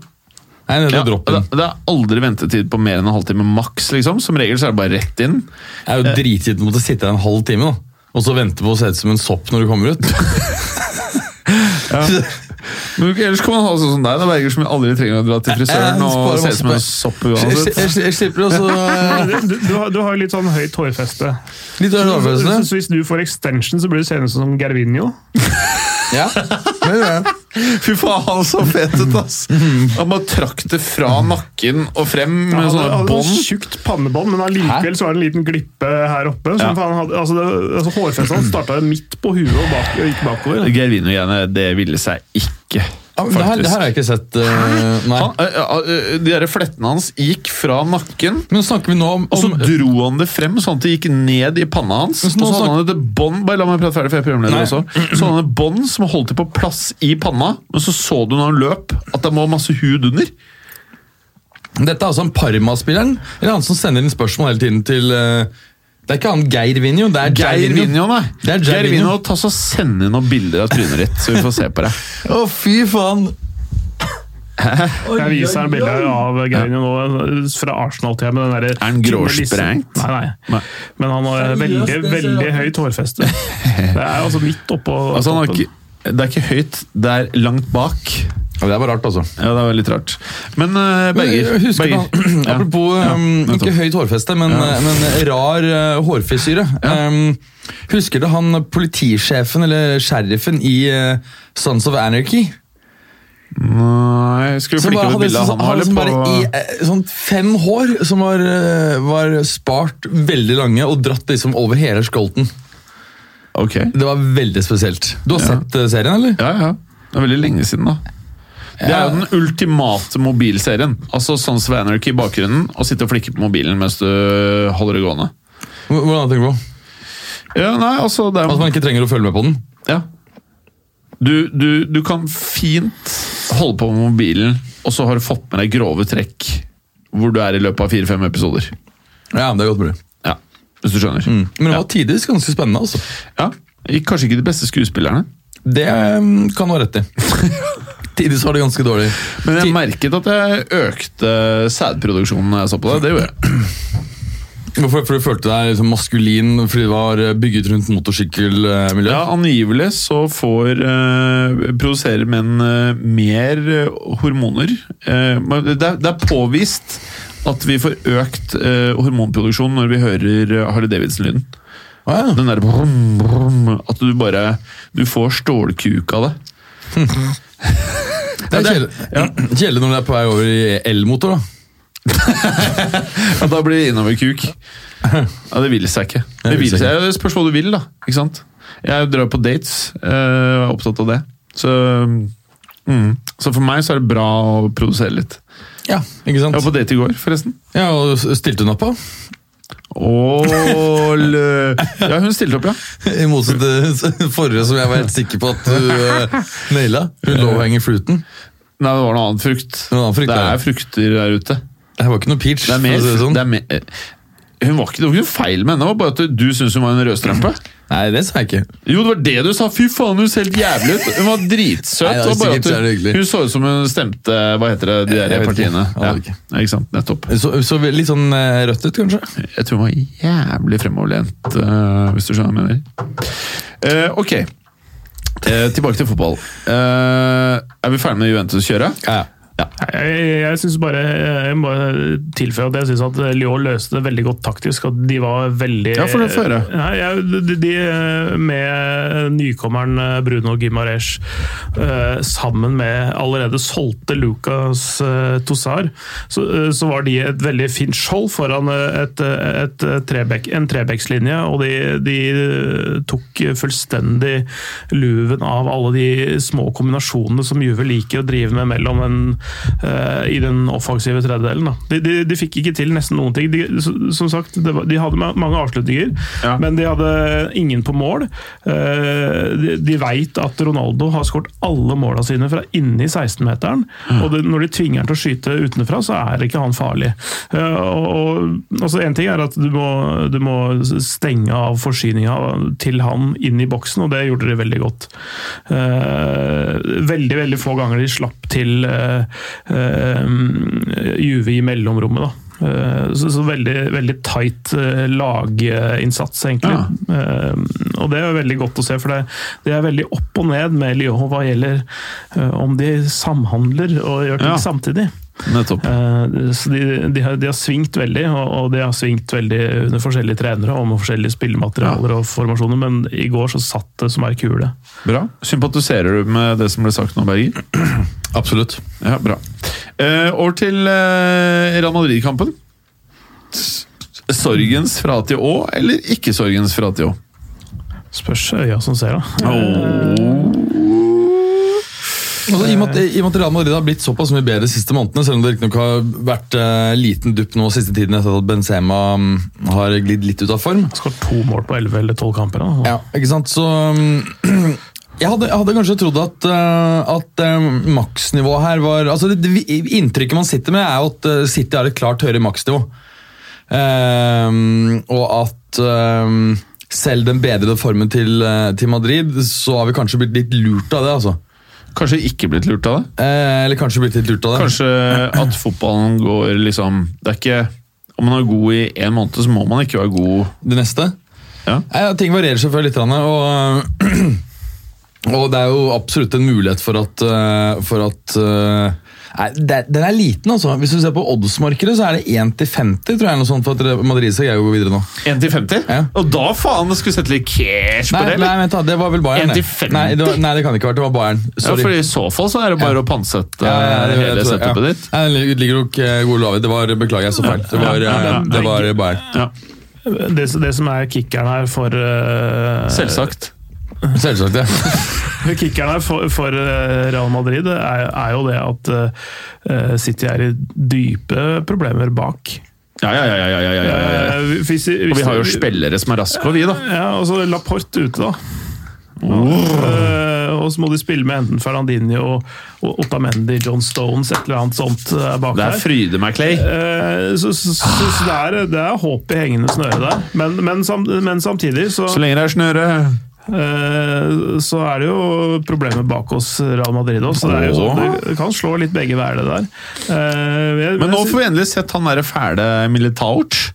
[SPEAKER 3] Nei, det er
[SPEAKER 1] Ja,
[SPEAKER 3] droppen.
[SPEAKER 1] det, det er aldri ventetid på mer enn en halvtime maks. liksom. Som regel så er det bare rett inn.
[SPEAKER 3] Jeg er jo dritgitt mot å sitte her en halv time da. og så vente på å se ut som en sopp når du kommer ut.
[SPEAKER 1] Men Ellers kan man ha sånn som deg, det er Berger, som aldri trenger å dra til frisøren
[SPEAKER 3] Jeg sparer
[SPEAKER 1] og se ut som en
[SPEAKER 3] masse
[SPEAKER 1] sopp
[SPEAKER 3] Jeg, jeg,
[SPEAKER 1] uansett.
[SPEAKER 3] jeg, jeg slipper også eh,
[SPEAKER 2] Du, du, har- du har jo litt sånn høyt hårfeste.
[SPEAKER 3] litt av
[SPEAKER 2] Så, så,
[SPEAKER 3] overfølelsene.
[SPEAKER 2] så hvis du får extension, så blir du senest som Gervinho.
[SPEAKER 3] Ja. Men, ja.
[SPEAKER 1] Fy faen, han så fet ut, ass! Han bare trakk det fra nakken og frem
[SPEAKER 2] Ja,
[SPEAKER 1] med
[SPEAKER 2] altså Han hadde,
[SPEAKER 1] sånne
[SPEAKER 2] hadde
[SPEAKER 1] bånd.
[SPEAKER 2] tjukt pannebånd, men allikevel så var det en liten glippe her oppe.
[SPEAKER 1] Ja.
[SPEAKER 2] Som han hadde, altså det, altså hårfestet hans starta midt på huet og, bak, og gikk bakover.
[SPEAKER 1] Gervino-greiene, det ville seg ikke,
[SPEAKER 3] Ja, men det, her, det her har jeg ikke sett. eh, nei.
[SPEAKER 1] Han, ø, ø, ø, eh, de der flettene hans gikk fra nakken,
[SPEAKER 3] Men snakker vi nå om,
[SPEAKER 1] og så
[SPEAKER 3] om
[SPEAKER 1] dro han det frem sånn at det gikk ned i panna hans. Og
[SPEAKER 3] Men så nå
[SPEAKER 1] så hadde
[SPEAKER 3] snak-
[SPEAKER 1] han et bånd Bare la meg prate ferdig, for jeg er programleder
[SPEAKER 3] Nei.
[SPEAKER 1] også. Så hadde han et bånd som holdt det på plass i panna, men så så du når han løp, at det var masse hud under.
[SPEAKER 3] Dette er altså han Parma-spilleren, eller han som sender inn spørsmål hele tiden til eh, Det er ikke han Geir Vinjo, det er
[SPEAKER 1] Geir Vinjo, nei.
[SPEAKER 3] Det er Geir
[SPEAKER 1] Geir
[SPEAKER 3] Vinjo.
[SPEAKER 1] Vinjo, ta så Send inn noen bilder av trynet ditt, så vi får se på det.
[SPEAKER 3] Å, fy faen!
[SPEAKER 2] Jeg viser en bilde av Gervinho nå fra Arsenal-tida med den derre
[SPEAKER 1] Er han gråsprengt?
[SPEAKER 2] Nei,
[SPEAKER 1] Nei.
[SPEAKER 2] nei. Men han har veldig, veldig høyt hårfeste. Det er altså midt oppå
[SPEAKER 1] Altså, han har
[SPEAKER 2] toppen.
[SPEAKER 1] ikke, det er ikke høyt, det er langt bak.
[SPEAKER 3] Ja, det er bare rart, altså.
[SPEAKER 1] Ja, det var litt rart. Men ø, Berger,
[SPEAKER 3] Men, eh, husker
[SPEAKER 1] Berger.
[SPEAKER 3] du da- Apropos um,
[SPEAKER 1] nettopp.
[SPEAKER 3] ikke høyt hårfeste, men, eh, men rar uh, hårfrisyre. Um, husker du han politisjefen, eller sheriffen, i eh, Sons of Anarchy?
[SPEAKER 1] Nei, skal vi
[SPEAKER 3] Som
[SPEAKER 1] flikke
[SPEAKER 3] bare
[SPEAKER 1] opp et
[SPEAKER 3] hadde, sånn-
[SPEAKER 1] bilde av han nå,
[SPEAKER 3] hadde
[SPEAKER 1] eller?
[SPEAKER 3] som
[SPEAKER 1] På,
[SPEAKER 3] bare i, eh, sånn fem hår som var, eh, var spart veldig lange og dratt liksom over hele skolten.
[SPEAKER 1] Ok.
[SPEAKER 3] Det var veldig spesielt. Du har sett eh, serien, eller?
[SPEAKER 1] Ja, ja. Det er veldig lenge siden, da. Det er jo den ultimate mobilserien. Altså sånn som Anarchy i bakgrunnen, og sitte og flikke på mobilen mens du holder det gående.
[SPEAKER 3] H- Hvordan tenker du på?
[SPEAKER 1] Ja, nei, altså det er
[SPEAKER 3] At man ikke trenger å følge med på den?
[SPEAKER 1] ja. du, du, du kan fint holde på med mobilen, og så har du fått med deg grove trekk hvor du er i løpet av fire-fem episoder.
[SPEAKER 3] Ja, det er godt mulig.
[SPEAKER 1] Ja, Hvis du skjønner.
[SPEAKER 3] Mm. Men det
[SPEAKER 1] ja.
[SPEAKER 3] var tidvis ganske spennende, altså.
[SPEAKER 1] Ja. Kanskje ikke de beste skuespillerne.
[SPEAKER 3] ehm, Det eh, kan du ha rett i. Tidvis var det ganske dårlig.
[SPEAKER 1] Men jeg merket at jeg økte sædproduksjonen når jeg så på det. Det gjorde jeg.
[SPEAKER 3] Hvorfor for du følte deg liksom maskulin fordi det var eh, bygget rundt motorsykkelmiljøet?
[SPEAKER 1] Ja, Angivelig så får eh, produserer menn eh, mer eh, hormoner. Eh, men det, er, det er påvist at vi får økt eh, hormonproduksjon når vi hører eh, Harley Davidson-lyden.
[SPEAKER 3] Ah, ja.
[SPEAKER 1] Den der brum, brum, At du bare Du får stålkuk av det.
[SPEAKER 3] Det er kjedelig Kjedelig når det er på vei over i elmotor. da.
[SPEAKER 1] Ja, Da blir det innoverkuk. Ja, det vil seg ikke. Det, vil seg. det spørs hva du vil, da. Ikke sant? Jeg drar på dates, eh, og er opptatt av det. Så, mm. så for meg så er det bra å produsere litt.
[SPEAKER 3] Ja, ikke
[SPEAKER 1] Jeg var
[SPEAKER 3] sant?
[SPEAKER 1] på date i går, forresten.
[SPEAKER 3] Ja, og Stilte hun opp, da?
[SPEAKER 1] Åh, lø- ja, hun stilte opp, ja.
[SPEAKER 3] I motsetning til forrige, som jeg var helt sikker på at du uh, naila. Hun lå og henger fluten.
[SPEAKER 1] Nei, det var noe annet frukt.
[SPEAKER 3] Noe annet frukt,
[SPEAKER 1] det
[SPEAKER 3] ja.
[SPEAKER 1] er frukter der ute.
[SPEAKER 3] Det her var ikke noe peach.
[SPEAKER 1] Det er mer,
[SPEAKER 3] for å si det sånn.
[SPEAKER 1] det er mer eh, hun var ikke, det var ikke noe feil med henne, det var bare at du syntes hun var en rødstrømpe.
[SPEAKER 3] Nei, det sa jeg ikke.
[SPEAKER 1] Jo, det var det du sa! Fy faen, hun ser helt jævlig ut! Hun var dritsøt.
[SPEAKER 3] Nei, det var
[SPEAKER 1] og bare at
[SPEAKER 3] sikkert så er det
[SPEAKER 1] hun,
[SPEAKER 3] hyggelig.
[SPEAKER 1] hun så ut som hun stemte Hva heter det, de
[SPEAKER 3] Jeg
[SPEAKER 1] der
[SPEAKER 3] vet ikke.
[SPEAKER 1] partiene?
[SPEAKER 3] Jeg aner ikke.
[SPEAKER 1] Ja, ikke sant, nettopp.
[SPEAKER 3] Så, så litt sånn eh, rødt ut, kanskje?
[SPEAKER 1] Jeg tror hun var jævlig fremoverlent, eh, hvis du skjønner hva jeg mener. Eh, ok, Eh, tilbake til fotball. Eh, er vi ferdig med Juventus-kjøret?
[SPEAKER 3] Ja.
[SPEAKER 2] Jeg, jeg, jeg synes bare, jeg må tilføye at jeg synes at Lyon løste det veldig godt taktisk. At de var veldig
[SPEAKER 1] Ja, for det får jeg.
[SPEAKER 2] Nei, jeg, de, de, Med nykommeren eh, Bruno Gimares sammen med allerede solgte Lucas Tossar, så, eh, så var de et veldig fint skjold foran eh, et, et, trebek, en trebekslinje. Og de, de eh, tok fullstendig luven av alle de små kombinasjonene som Juve liker å drive med mellom en, eh, i den offensive tredjedelen. Da. De, de, de fikk ikke til nesten noen ting. De, som sagt, det var, de hadde ma- mange avslutninger,
[SPEAKER 1] Ja.
[SPEAKER 2] men de hadde ingen på mål. Eh, de de veit at Ronaldo har skåret alle måla sine fra inni 16-meteren. Og det, når de tvinger han til å skyte utenfra, så er ikke han farlig. Eh, og, og, altså en ting er at du må, du må stenge av forsyninga til han inn i boksen, og det gjorde de veldig godt. Eh, veldig veldig få ganger de slapp til eh, eh, Juve i mellomrommet. da. Eh, Så, så veldig, veldig tight eh, laginnsats, egentlig. Eh, Og det er veldig godt å se, for det, det er veldig opp og ned med Lyon hva gjelder eh, om de samhandler og gjør ting
[SPEAKER 1] Ja.
[SPEAKER 2] samtidig.
[SPEAKER 1] Nettopp.
[SPEAKER 2] Eh, Så de, de, har, de har svingt veldig, og, og de har svingt veldig under forskjellige trenere og med forskjellige spillematerialer og formasjoner, men i går så satt det som ei kule.
[SPEAKER 1] Bra. Sympatiserer du med det som ble sagt nå, Berger?
[SPEAKER 3] Absolutt.
[SPEAKER 1] Ja, bra. Eh, over til eh, Real Madrid-kampen. S- Sorgens fra til å, eller ikke sorgens fra til å?
[SPEAKER 2] Spørs øya som ser, da.
[SPEAKER 3] Altså, i, og med at, I og med at Real Madrid har blitt såpass mye bedre de siste månedene, selv om det riktignok har vært eh, liten dupp nå siste tiden etter at Benzema mm, har glidd litt ut av form,
[SPEAKER 2] Skåret to mål på 11 eller 12 kamper. Da.
[SPEAKER 3] Ja, ikke sant? Så um, jeg hadde, jeg hadde kanskje trodd at, uh, at um, maksnivået her var altså det, det Inntrykket man sitter med, er jo at uh, City har et klart høyere maksnivå. Um, og at um, selv den bedrede formen til, uh, til Madrid, så har vi kanskje blitt litt lurt av det. altså.
[SPEAKER 1] Kanskje ikke blitt lurt av det?
[SPEAKER 3] Eh, eller kanskje blitt litt lurt av det.
[SPEAKER 1] Kanskje at fotballen går liksom Det er ikke Om man er god i én måned, så må man ikke være god
[SPEAKER 3] Det neste?
[SPEAKER 1] Ja.
[SPEAKER 3] Nei, ja, ting varierer selvfølgelig litt. grann, Og, og det er jo absolutt en mulighet for at, eh, for at eh, Nei, det- den er liten, altså. Hvis du ser på oddsmarkedet, så er det 1 til 50 tror jeg, noe sånt, for at Madrid skal greie å gå videre nå.
[SPEAKER 1] 1 til 50?
[SPEAKER 3] Ja.
[SPEAKER 1] Og da faen, det skulle sette litt cash på
[SPEAKER 3] Nei,
[SPEAKER 1] det?
[SPEAKER 3] nei, vent da, det var vel Bayern.
[SPEAKER 1] 1 til
[SPEAKER 3] det.
[SPEAKER 1] 50?
[SPEAKER 3] Nei, det var, nei, det kan det ikke ha vært. Det var Bayern.
[SPEAKER 1] ja,
[SPEAKER 3] Sorry.
[SPEAKER 1] for I så fall så er det bare å pantsette
[SPEAKER 3] Ja, ja, det- jeg
[SPEAKER 1] hele
[SPEAKER 3] tror-
[SPEAKER 1] setupet
[SPEAKER 3] ja.
[SPEAKER 1] ditt.
[SPEAKER 3] Nei, Det ligger jo ikke god lov i. Det var, beklager, jeg så feil. Det var,
[SPEAKER 2] ja,
[SPEAKER 3] eh, det var Bayern.
[SPEAKER 1] Ja,
[SPEAKER 2] Det, det som er kickeren her for eh,
[SPEAKER 1] Selvsagt.
[SPEAKER 3] Selvsagt, ja.
[SPEAKER 2] Kickeren her for, for eh, Real Madrid er, er jo det at eh, City er i dype problemer bak.
[SPEAKER 1] Ja, ja, ja. ja, ja, ja, ja, ja.
[SPEAKER 2] Eh, hvis- hvis-
[SPEAKER 1] Og vi har jo spillere som er raske, og vi, da.
[SPEAKER 2] Ja, og så Laporte ute, da. Eh, og så må de spille med enten Fernandinho og, og Otamendi, John Stones, et eller annet sånt eh, bak
[SPEAKER 1] Det er
[SPEAKER 2] der.
[SPEAKER 1] fryde meg, Clay.
[SPEAKER 2] Eh, Så, så, så, så det, er, det er håp i hengende snøre der, men, men, sam, men samtidig så
[SPEAKER 1] Så lenge det er snøre.
[SPEAKER 2] eh, så er det jo problemer bak oss Real Madrid også. så Det, er jo sånn, at det kan slå litt begge veier, det der. Eh, jeg-
[SPEAKER 1] Men nå
[SPEAKER 2] jeg-
[SPEAKER 1] får vi endelig sett han derre fæle Militauch.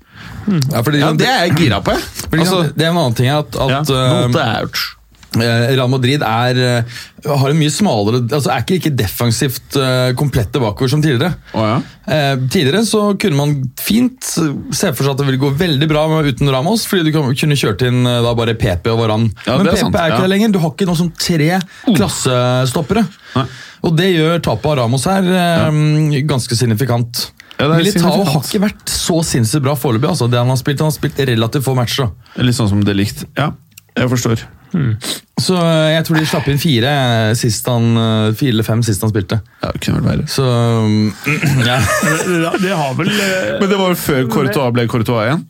[SPEAKER 3] Ja, fordi,
[SPEAKER 1] Ja,
[SPEAKER 3] sånn-
[SPEAKER 1] det er jeg gira på, jeg.
[SPEAKER 3] fordi, sånn-
[SPEAKER 1] Altså,
[SPEAKER 3] det er en annen ting at,
[SPEAKER 1] ja.
[SPEAKER 3] at eh,
[SPEAKER 1] Militauch.
[SPEAKER 3] Eh, Real Madrid er, eh, har en mye smalere altså Er ikke like defensivt eh, komplette bakover som tidligere.
[SPEAKER 1] Å ja.
[SPEAKER 3] Eh, tidligere så kunne man fint se for seg at det ville gå veldig bra med- uten Ramos, fordi du kan- kunne kjørt inn eh, da bare PP og Varan.
[SPEAKER 1] Ja,
[SPEAKER 3] Men
[SPEAKER 1] det er
[SPEAKER 3] PP
[SPEAKER 1] sant,
[SPEAKER 3] er ikke
[SPEAKER 1] ja. Oh.
[SPEAKER 3] det lenger. Du har ikke noe som tre klassestoppere.
[SPEAKER 1] Nei.
[SPEAKER 3] Og det gjør tapet av Ramos her eh, ganske signifikant.
[SPEAKER 1] Ja, det er
[SPEAKER 3] Militao
[SPEAKER 1] signifikant.
[SPEAKER 3] har ikke vært så sinnssykt bra foreløpig. Altså. Det han har spilt, han har spilt relativt få matcher. da.
[SPEAKER 1] Litt sånn som det likt. Ja, jeg forstår.
[SPEAKER 3] Så eh, jeg tror de slapp inn fire eh, sist han, eh, fire eller fem sist han spilte.
[SPEAKER 1] Ja, det kunne vel være.
[SPEAKER 3] Så mm, ja.
[SPEAKER 2] det, det har vel eh,
[SPEAKER 1] Men det var jo før Courtois ble Courtois igjen.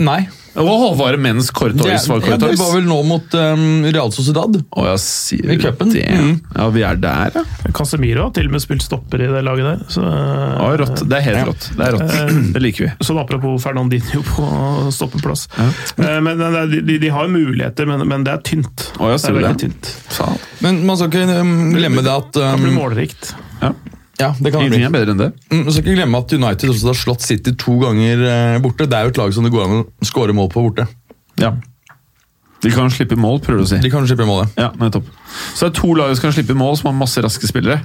[SPEAKER 3] Nei.
[SPEAKER 1] Og var det mens
[SPEAKER 3] Det,
[SPEAKER 1] Courtois var
[SPEAKER 3] ja, det
[SPEAKER 1] Courtois?
[SPEAKER 3] var vel nå mot um, Real Sociedad.
[SPEAKER 1] Å ja, sier
[SPEAKER 3] I
[SPEAKER 1] du
[SPEAKER 3] cupen.
[SPEAKER 1] det?
[SPEAKER 3] Mm.
[SPEAKER 1] Ja, vi er der, ja.
[SPEAKER 2] Casemiro har til og med spilt stopper i det laget der. Så, eh.
[SPEAKER 1] Å, rått. Det er helt rått. Det er rått.
[SPEAKER 3] Eh,
[SPEAKER 1] Det liker vi.
[SPEAKER 2] Sånn apropos Fernandinho på stoppeplass. Eh, Men det er- de, de, de har muligheter, men, men det er tynt.
[SPEAKER 1] Å, jeg
[SPEAKER 2] det
[SPEAKER 1] ser
[SPEAKER 2] er
[SPEAKER 1] det.
[SPEAKER 2] veldig tynt.
[SPEAKER 1] Faen.
[SPEAKER 3] Men man skal ikke um, glemme det at
[SPEAKER 2] Det
[SPEAKER 1] Mm.
[SPEAKER 2] blir
[SPEAKER 3] um,
[SPEAKER 2] målrikt.
[SPEAKER 1] Ja.
[SPEAKER 3] ja, det kan det bli.
[SPEAKER 1] Ingenting er bedre enn det.
[SPEAKER 3] Mm, Man skal ikke glemme at United også har slått City to ganger eh, borte. Det er jo et lag som det går an å skåre mål på borte.
[SPEAKER 1] Ja. De kan slippe mål, prøver du å si.
[SPEAKER 3] De kan slippe målet.
[SPEAKER 1] Ja, nettopp. Så det er to lag som kan slippe mål, som har masse raske spillere.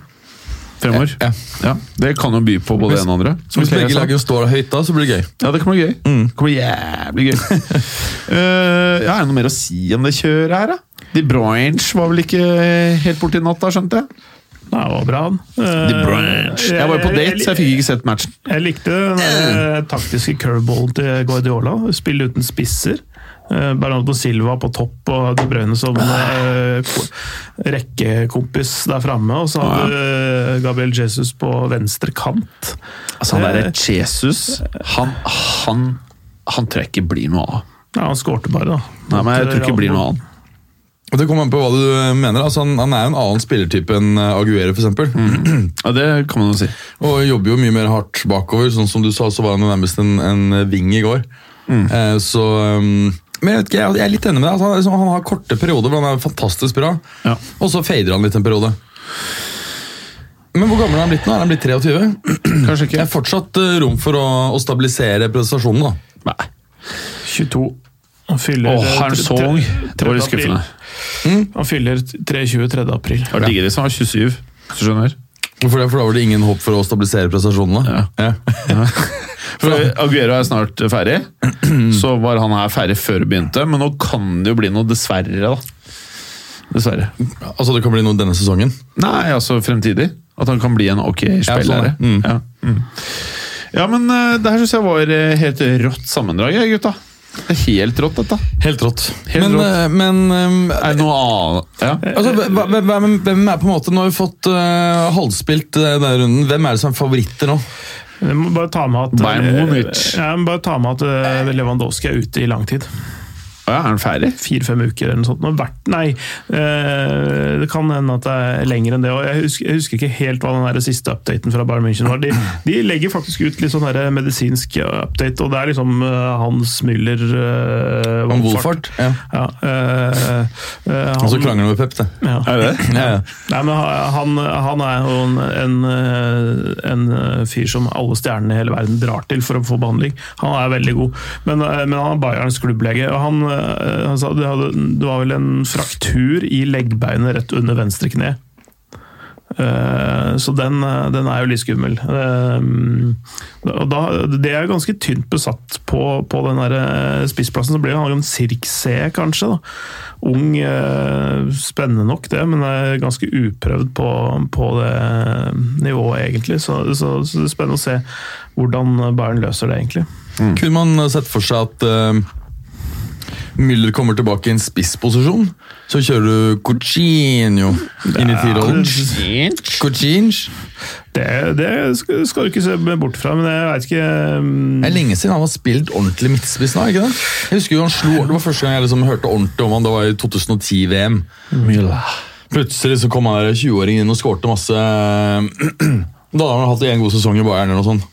[SPEAKER 1] Fremover.
[SPEAKER 3] Ja.
[SPEAKER 1] Ja, Det kan jo by på både det ene og andre. Som
[SPEAKER 3] Hvis
[SPEAKER 1] Clear
[SPEAKER 3] begge
[SPEAKER 1] sa.
[SPEAKER 3] lagene står høyt da, så blir det gøy.
[SPEAKER 1] Ja, det kan bli gøy. Det kan bli jævlig gøy. Eh, ja, er det noe mer å si om det kjøret her, da? De Bruyne var vel ikke helt borte i natt, da, skjønte jeg?
[SPEAKER 2] Nei, det var bra, han. Eh,
[SPEAKER 1] De Bruyne. Jeg var jo på date, så jeg fikk ikke sett matchen.
[SPEAKER 2] Jeg likte den der, eh, taktiske curveballen til Guardiola. Spille uten spisser. Eh, Bernardo Silva på topp og De Bruyne som
[SPEAKER 1] Ah.
[SPEAKER 2] eh, ko- rekkekompis der framme. Og så
[SPEAKER 1] Ah.
[SPEAKER 2] hadde eh, Gabriel Jesus på venstre kant.
[SPEAKER 1] Altså, han derre Jesus Han, han, han tror jeg ikke blir noe av.
[SPEAKER 2] Ja, han skårte bare, da. eh,
[SPEAKER 1] Nei, men jeg tror ikke det blir noe av han.
[SPEAKER 3] Og Det kommer an på hva du eh, mener. Altså, han, han er jo en annen spillertype enn eh, Aguero, f.eks.
[SPEAKER 1] Ja, det kan man jo si.
[SPEAKER 3] Og jobber jo mye mer hardt bakover. Sånn som du sa, så var han jo nærmest en, en ving i går.
[SPEAKER 1] Mm.
[SPEAKER 3] Eh, så um, Men jeg vet ikke, jeg jeg er litt enig med deg. Altså, han, er liksom, han har korte perioder hvor han er fantastisk bra,
[SPEAKER 1] Ja.
[SPEAKER 3] og så fader han litt en periode. Men hvor gammel er han blitt nå? Er han blitt 23?
[SPEAKER 1] Kanskje
[SPEAKER 3] Det
[SPEAKER 1] ikke.
[SPEAKER 3] er fortsatt eh, rom for å, å stabilisere prestasjonen, da.
[SPEAKER 1] Nei.
[SPEAKER 2] 22. Han fyller
[SPEAKER 1] Åh, er han så ung? Det var litt skuffende.
[SPEAKER 2] Han fyller 23. 3. april.
[SPEAKER 1] Det var diggere hvis han var 27, hvis du skjønner.
[SPEAKER 3] For, det, for da var det ingen håp for å stabilisere prestasjonene. Ja.
[SPEAKER 1] For Aguero er snart ferdig. Så var han her ferdig før det begynte, men nå kan det jo bli noe dessverre, da. Dessverre.
[SPEAKER 3] Altså, det kan bli noe denne sesongen.
[SPEAKER 1] Nei, altså fremtidig. At han kan bli en ok
[SPEAKER 3] Ja, sånn
[SPEAKER 1] spiller.
[SPEAKER 3] er det. Mm.
[SPEAKER 1] Ja, mm. ja, men eh, det her syns jeg var eh, helt rått sammendrag, jeg, gutta. Det er helt rått, dette.
[SPEAKER 3] Helt rått.
[SPEAKER 1] Helt
[SPEAKER 3] men
[SPEAKER 1] rått.
[SPEAKER 3] eh, men eh,
[SPEAKER 1] Er det noe annet ja.
[SPEAKER 3] Altså, hva- hva- hvem, hvem er på en måte Nå har vi fått eh, halvspilt eh, denne runden. Hvem er det som er favoritter nå?
[SPEAKER 2] Jeg må bare ta med at, eh,
[SPEAKER 1] Bayern Munich.
[SPEAKER 2] Ja, jeg må bare ta med at eh, Lewandowski er ute i lang tid.
[SPEAKER 1] ja, Er han ferdig?
[SPEAKER 2] Fire-fem uker eller noe sånt. Nå hvert- nei, eh, det kan hende at det er lenger enn det. Og jeg, husker, jeg husker ikke helt hva den der siste updaten fra Bayern München var. De, de legger faktisk ut litt sånn der medisinsk update, og det er liksom eh, Hans Müller eh,
[SPEAKER 3] Om Wolfart? Ja.
[SPEAKER 2] Ja, eh, eh,
[SPEAKER 3] Og så
[SPEAKER 2] han-
[SPEAKER 3] krangler han med Pep, det.
[SPEAKER 2] ja.
[SPEAKER 1] Er det det?
[SPEAKER 3] Ja, ja.
[SPEAKER 2] Nei, men han, han er jo en, en, eh, en eh, fyr som alle stjernene i hele verden drar til for å få behandling. Han er veldig god, men, eh, men han er Bayerns klubblege. og Han, eh, han sa det, hadde, det var vel en fraktur i leggbeinet rett under venstre kne. Eh, Så den, eh, den er jo litt skummel. Eh, Og da, det er ganske tynt besatt på, på den der eh, spissplassen. Så blir han en Sirk C, kanskje. da. Ung, eh, spennende nok det, men er ganske uprøvd på, på det eh, nivået, egentlig. Så, så, så det er spennende å se hvordan Bayern løser det, egentlig.
[SPEAKER 1] Mm.
[SPEAKER 3] Kunne man sett for seg at eh, Müller kommer tilbake i en spissposisjon? Så kjører du Cocinio inn i Tirol. Cocinch?
[SPEAKER 2] Det, det skal skal du ikke se bort fra, men jeg veit ikke mm,
[SPEAKER 3] Det er lenge siden han har spilt ordentlig midtspiss nå. ikke det? Jeg husker jo han slo, Det var første gang jeg liksom hørte ordentlig om han, det var i 2010-VM. Plutselig så kom han der 20-åringen inn og skårte masse Da hadde han hatt en god sesong i Bayern eller noe sånt.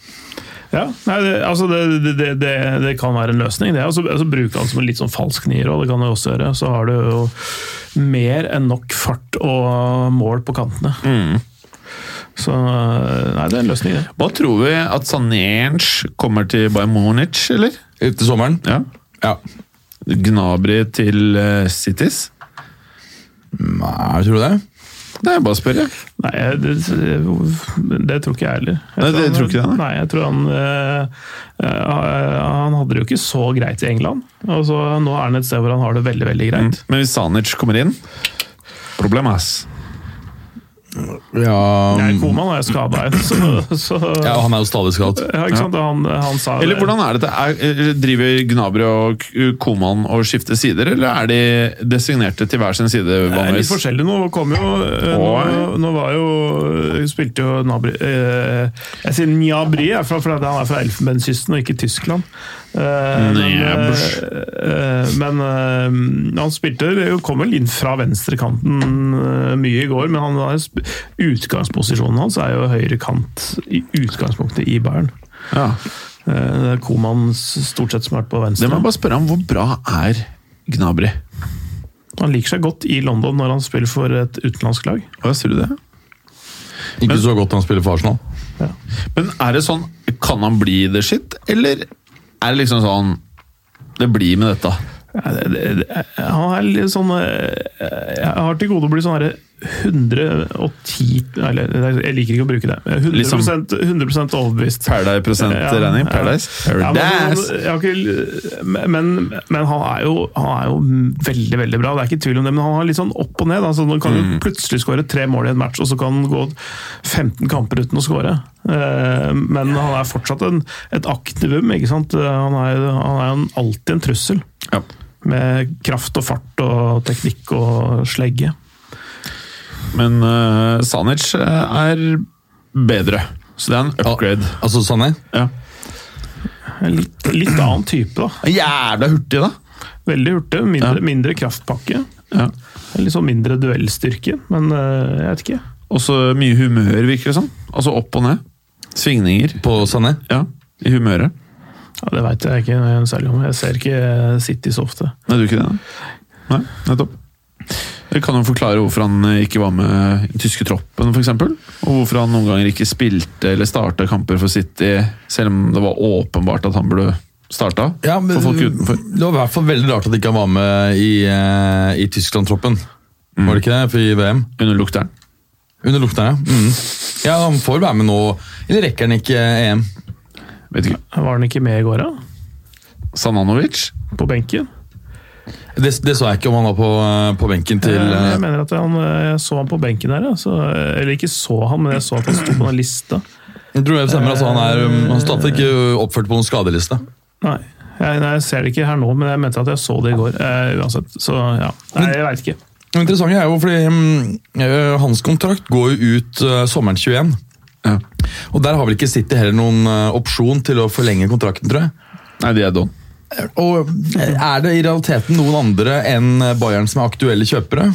[SPEAKER 2] Ja, nei, det, altså det, det, det, det, det kan være en løsning. Det, altså, altså bruke han som en litt sånn falsk nier, og det kan du også gjøre. Så har du jo mer enn nok fart og mål på kantene. Så Mm. eh, nei, det er en løsning, det.
[SPEAKER 1] Hva tror vi at Sanenc kommer til Bayern Munich, eller?
[SPEAKER 3] Til sommeren?
[SPEAKER 1] Ja.
[SPEAKER 3] Ja.
[SPEAKER 1] Gnabry til eh, Cities?
[SPEAKER 3] Nei, tror du det?
[SPEAKER 1] Det er bare å spørre.
[SPEAKER 2] Nei, jeg- det, det, det tror ikke jeg heller. Jeg
[SPEAKER 1] Nei, det
[SPEAKER 2] han-
[SPEAKER 1] tror ikke jeg, nei.
[SPEAKER 2] Nei, jeg tror han eh, eh, Han hadde det jo ikke så greit i England. Og så Nå er han et sted hvor han har det veldig veldig greit.
[SPEAKER 1] Mm. Men hvis Sanic kommer inn Problem, ass.
[SPEAKER 3] Ja,
[SPEAKER 2] Jeg er i koma og jeg er skada igjen, så, så
[SPEAKER 3] ja
[SPEAKER 2] Mm. ja.
[SPEAKER 3] han er jo stadig skadet.
[SPEAKER 2] ikke sant? Han, han sa
[SPEAKER 1] Eller hvordan er dette? Er, er- driver Gnabry og K- Koman og skifter sider, eller er de designerte til hver sin side?
[SPEAKER 2] det er litt
[SPEAKER 1] vanligvis?
[SPEAKER 2] forskjellig nå. Kom jo, eh, nå,
[SPEAKER 1] Oi.
[SPEAKER 2] nå var jo Spilte jo Nabri eh, Jeg sier Njabri, jeg, for, for han er fra Elfenbenskysten og ikke Tyskland. Eh, men
[SPEAKER 1] Njabrs.
[SPEAKER 2] eh, eh, men eh, han spilte jo- kom vel inn fra venstrekanten eh, mye i går, men han har sp- utgangsposisjonen hans er jo høyre kant i utgangspunktet i Bayern.
[SPEAKER 1] Ja.
[SPEAKER 2] Eh, det er Koman stort sett som har vært på
[SPEAKER 1] Det
[SPEAKER 2] venstre.
[SPEAKER 1] må jeg bare spørre om. Hvor bra er Gnabry?
[SPEAKER 2] Han liker seg godt i London når han spiller for et utenlandsk lag.
[SPEAKER 1] Hva sier du det?
[SPEAKER 3] Ikke så godt han spiller for Arsenal.
[SPEAKER 1] Men er det sånn Kan han bli the shit, eller er det liksom sånn Det blir med dette.
[SPEAKER 2] Ja, det- det- det- Han er litt sånn eh, Jeg har til gode å bli sånn herre 110 Eller jeg liker ikke å bruke det.
[SPEAKER 1] Liksom-
[SPEAKER 2] 100, 100 overbevist.
[SPEAKER 1] Paradise-prosentregning? Paradise?
[SPEAKER 2] Ja, men,
[SPEAKER 1] Paradise.
[SPEAKER 2] sånn- jeg har ikke, men, men han, er jo, han er jo veldig veldig bra, det er ikke tvil om det. Men han har litt sånn opp og ned. Altså, han kan
[SPEAKER 1] Mm.
[SPEAKER 2] jo plutselig skåre tre mål i en match, og så kan han gå 15 kamper uten å skåre. Eh, Men han er fortsatt en, et aktivum. ikke sant? Eh, Han er, jo- han er jo en- alltid en trussel.
[SPEAKER 1] Ja.
[SPEAKER 2] Med kraft og fart og teknikk og slegge.
[SPEAKER 1] Men eh, Sanic eh, er bedre, så det er en upgrade.
[SPEAKER 3] Altså, Sané?
[SPEAKER 1] Ja.
[SPEAKER 2] En Litt, litt annen type, da.
[SPEAKER 1] Jævla hurtig, da!
[SPEAKER 2] Veldig hurtig. Mindre, mindre kraftpakke.
[SPEAKER 1] Ja.
[SPEAKER 2] Litt sånn mindre duellstyrke, men eh, jeg vet ikke.
[SPEAKER 1] Også mye humør, virker det som. Altså opp og ned. Svingninger.
[SPEAKER 3] På Sané?
[SPEAKER 1] Ja, i humøret.
[SPEAKER 2] Ja, Det veit jeg ikke noe særlig om. Jeg ser ikke City så ofte.
[SPEAKER 1] Nei, du ikke det? da? Nei, nettopp. Det kan jo forklare hvorfor han eh, ikke var med i den tyske troppen, f.eks. Og hvorfor han noen ganger ikke spilte eller starta kamper for City, selv om det var åpenbart at han burde starta
[SPEAKER 3] Ja, men
[SPEAKER 1] for folk utenfor.
[SPEAKER 3] Det var i hvert fall veldig rart at ikke han var med i, eh, i Tyskland-troppen. Var det ikke det? For I VM.
[SPEAKER 1] Under lukteren.
[SPEAKER 3] Under lukten, ja. Mm. Ja, han får være med nå. Eller rekker han ikke E EM?
[SPEAKER 1] Vet ikke.
[SPEAKER 2] Var han ikke med i går, da?
[SPEAKER 1] Sananovic?
[SPEAKER 2] På benken?
[SPEAKER 3] Det, det så jeg ikke om han var på, eh, på benken til
[SPEAKER 2] jeg, jeg
[SPEAKER 3] eh,
[SPEAKER 2] mener at han, jeg så han på benken der. ja, Så, eh, eller ikke så han, men jeg så at han sto på den lista.
[SPEAKER 3] Jeg tror det stemmer. Altså, han er um, han startet ikke oppført på noen skadeliste.
[SPEAKER 2] Nei. Jeg, nei, jeg ser det ikke her nå, men jeg mente at jeg så det i går. Eh, uansett, så ja. Nei, jeg veit ikke.
[SPEAKER 3] Det interessante er jo fordi mm, eh, hans kontrakt går jo ut eh, sommeren 21.
[SPEAKER 1] Ja.
[SPEAKER 3] Og der har vel ikke City heller noen eh, opsjon til å forlenge kontrakten, tror jeg.
[SPEAKER 1] Nei, de er don.
[SPEAKER 3] Og eh, er det i realiteten noen andre enn Bayern som er aktuelle kjøpere?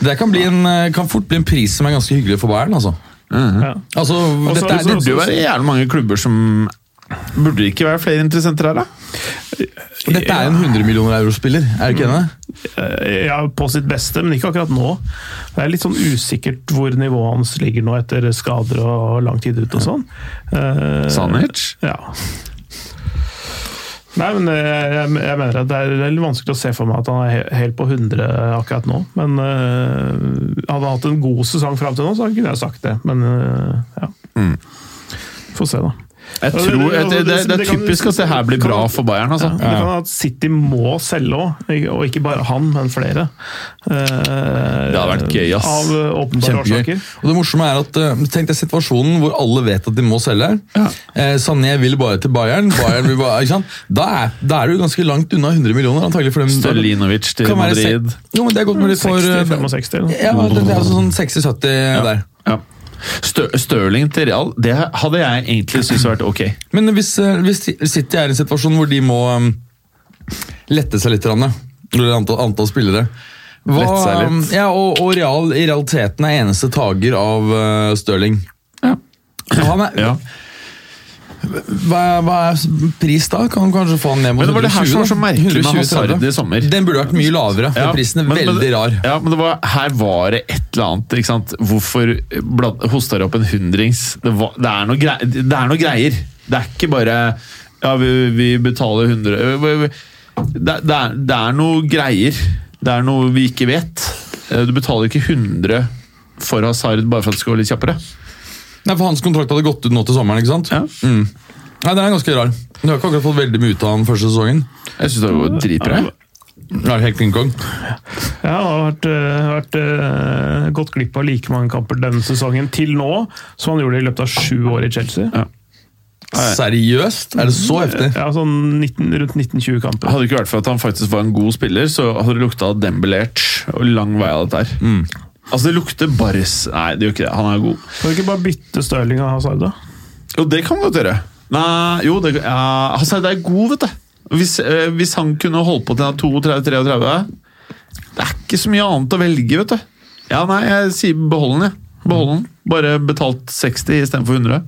[SPEAKER 3] Det kan, bli en, eh, kan fort bli en pris som er ganske hyggelig for Bayern, altså.
[SPEAKER 2] Ja.
[SPEAKER 3] Altså,
[SPEAKER 2] så-
[SPEAKER 3] dette
[SPEAKER 2] så-
[SPEAKER 3] er,
[SPEAKER 1] Det burde jo være jævlig mange klubber som Burde det ikke være flere interessenter her, da?
[SPEAKER 3] dette er en 100 millioner euro-spiller, er du ikke enig?
[SPEAKER 2] Eh, ja, på sitt beste, men ikke akkurat nå. Det er litt sånn usikkert hvor nivået hans ligger nå etter skader og lang tid ute og sånn. Eh,
[SPEAKER 1] Sanic?
[SPEAKER 2] Ja. Nei, men eh, jeg, jeg mener at det er veldig vanskelig å se for meg at han er he- helt på 100 akkurat nå. Men eh, hadde han hatt en god sesong fram til nå, så kunne jeg sagt det. Men eh, ja. Får se, da.
[SPEAKER 1] Jeg tror, jeg, det, det, det er typisk at det her blir bra for Bayern, altså.
[SPEAKER 2] Det kan være at City må selge òg, og ikke bare han, men flere. det
[SPEAKER 1] hadde vært gøy, ass.
[SPEAKER 2] Av eh, åpenbare
[SPEAKER 3] Kjempegøy.
[SPEAKER 2] årsaker.
[SPEAKER 3] Og det morsomme er at, eh, Tenk deg situasjonen hvor alle vet at de må selge. Eh, Sané vil bare til Bayern. Bayern vil bare, ikke sant? Da, er, da er du ganske langt unna 100 millioner. antagelig for dem.
[SPEAKER 1] Stølinovic til
[SPEAKER 3] Kan være se-
[SPEAKER 1] Madrid.
[SPEAKER 3] Jo, men Det er godt mulig for eh,
[SPEAKER 2] 60-65 eller noe.
[SPEAKER 3] Ja, det, det er altså sånn 60-70 der.
[SPEAKER 1] Ja. Stø Stirling til Real, det hadde jeg egentlig syntes vært ok.
[SPEAKER 3] Men hvis, eh, hvis City er i en situasjon hvor de må um, lette seg litt, grann, eller antall, antall spillere hva,
[SPEAKER 1] Lette seg litt.
[SPEAKER 3] Ja, og, og Real i realiteten er eneste tager av eh, Stirling.
[SPEAKER 1] Ja.
[SPEAKER 3] Han er,
[SPEAKER 1] Ja.
[SPEAKER 3] Hva, hva er pris da? Kan du kanskje få den ned mot
[SPEAKER 1] Men det var det her som var så merkelig med Hazard i sommer.
[SPEAKER 3] Den burde vært mye lavere. for Prisen er
[SPEAKER 1] men-
[SPEAKER 3] veldig rar.
[SPEAKER 1] Ja, men det var, her var det et eller annet. Ikke sant? Hvorfor bland, hosta de opp en hundrings? Det, var, det, er noe grei, det er noe greier. Det er ikke bare Ja, vi, vi betaler 100 det, det, er, det er noe greier. Det er noe vi ikke vet. Eh, Du betaler ikke 100 for Hazard bare for at det skal gå litt kjappere.
[SPEAKER 3] Nei, for Hans kontrakt hadde gått ut nå til sommeren. ikke sant?
[SPEAKER 1] Ja.
[SPEAKER 3] Mm. Nei, Den er ganske rar. Du har ikke akkurat fått veldig mye ut av den første sesongen.
[SPEAKER 1] Jeg syns det var dritbra. jeg.
[SPEAKER 3] Ja, helt King Kong.
[SPEAKER 2] Ja, det har vært, øh, vært øh, gått glipp av like mange kamper denne sesongen til nå som han gjorde i løpet av sju år i Chelsea.
[SPEAKER 1] Ja.
[SPEAKER 3] Seriøst? Er det så heftig?
[SPEAKER 2] Ja, sånn 19, Rundt 19-20 kamper.
[SPEAKER 1] Hadde det ikke vært for at han faktisk var en god spiller, så hadde det lukta dembelert og lang vei av dette her.
[SPEAKER 3] Mm.
[SPEAKER 1] Altså, det lukter Barres Nei, det gjør ikke det. Han er god.
[SPEAKER 2] Kan du ikke bare bytte Stirling og Hazard, da?
[SPEAKER 1] Jo, det kan vi godt gjøre. Nei, jo, det, ja, Hazard er god, vet du. Hvis, eh, hvis han kunne holdt på til han er 32-33 Det er ikke så mye annet å velge, vet du. Ja, nei, jeg sier behold den, jeg. Behold den. Bare betalt 60 istedenfor 100.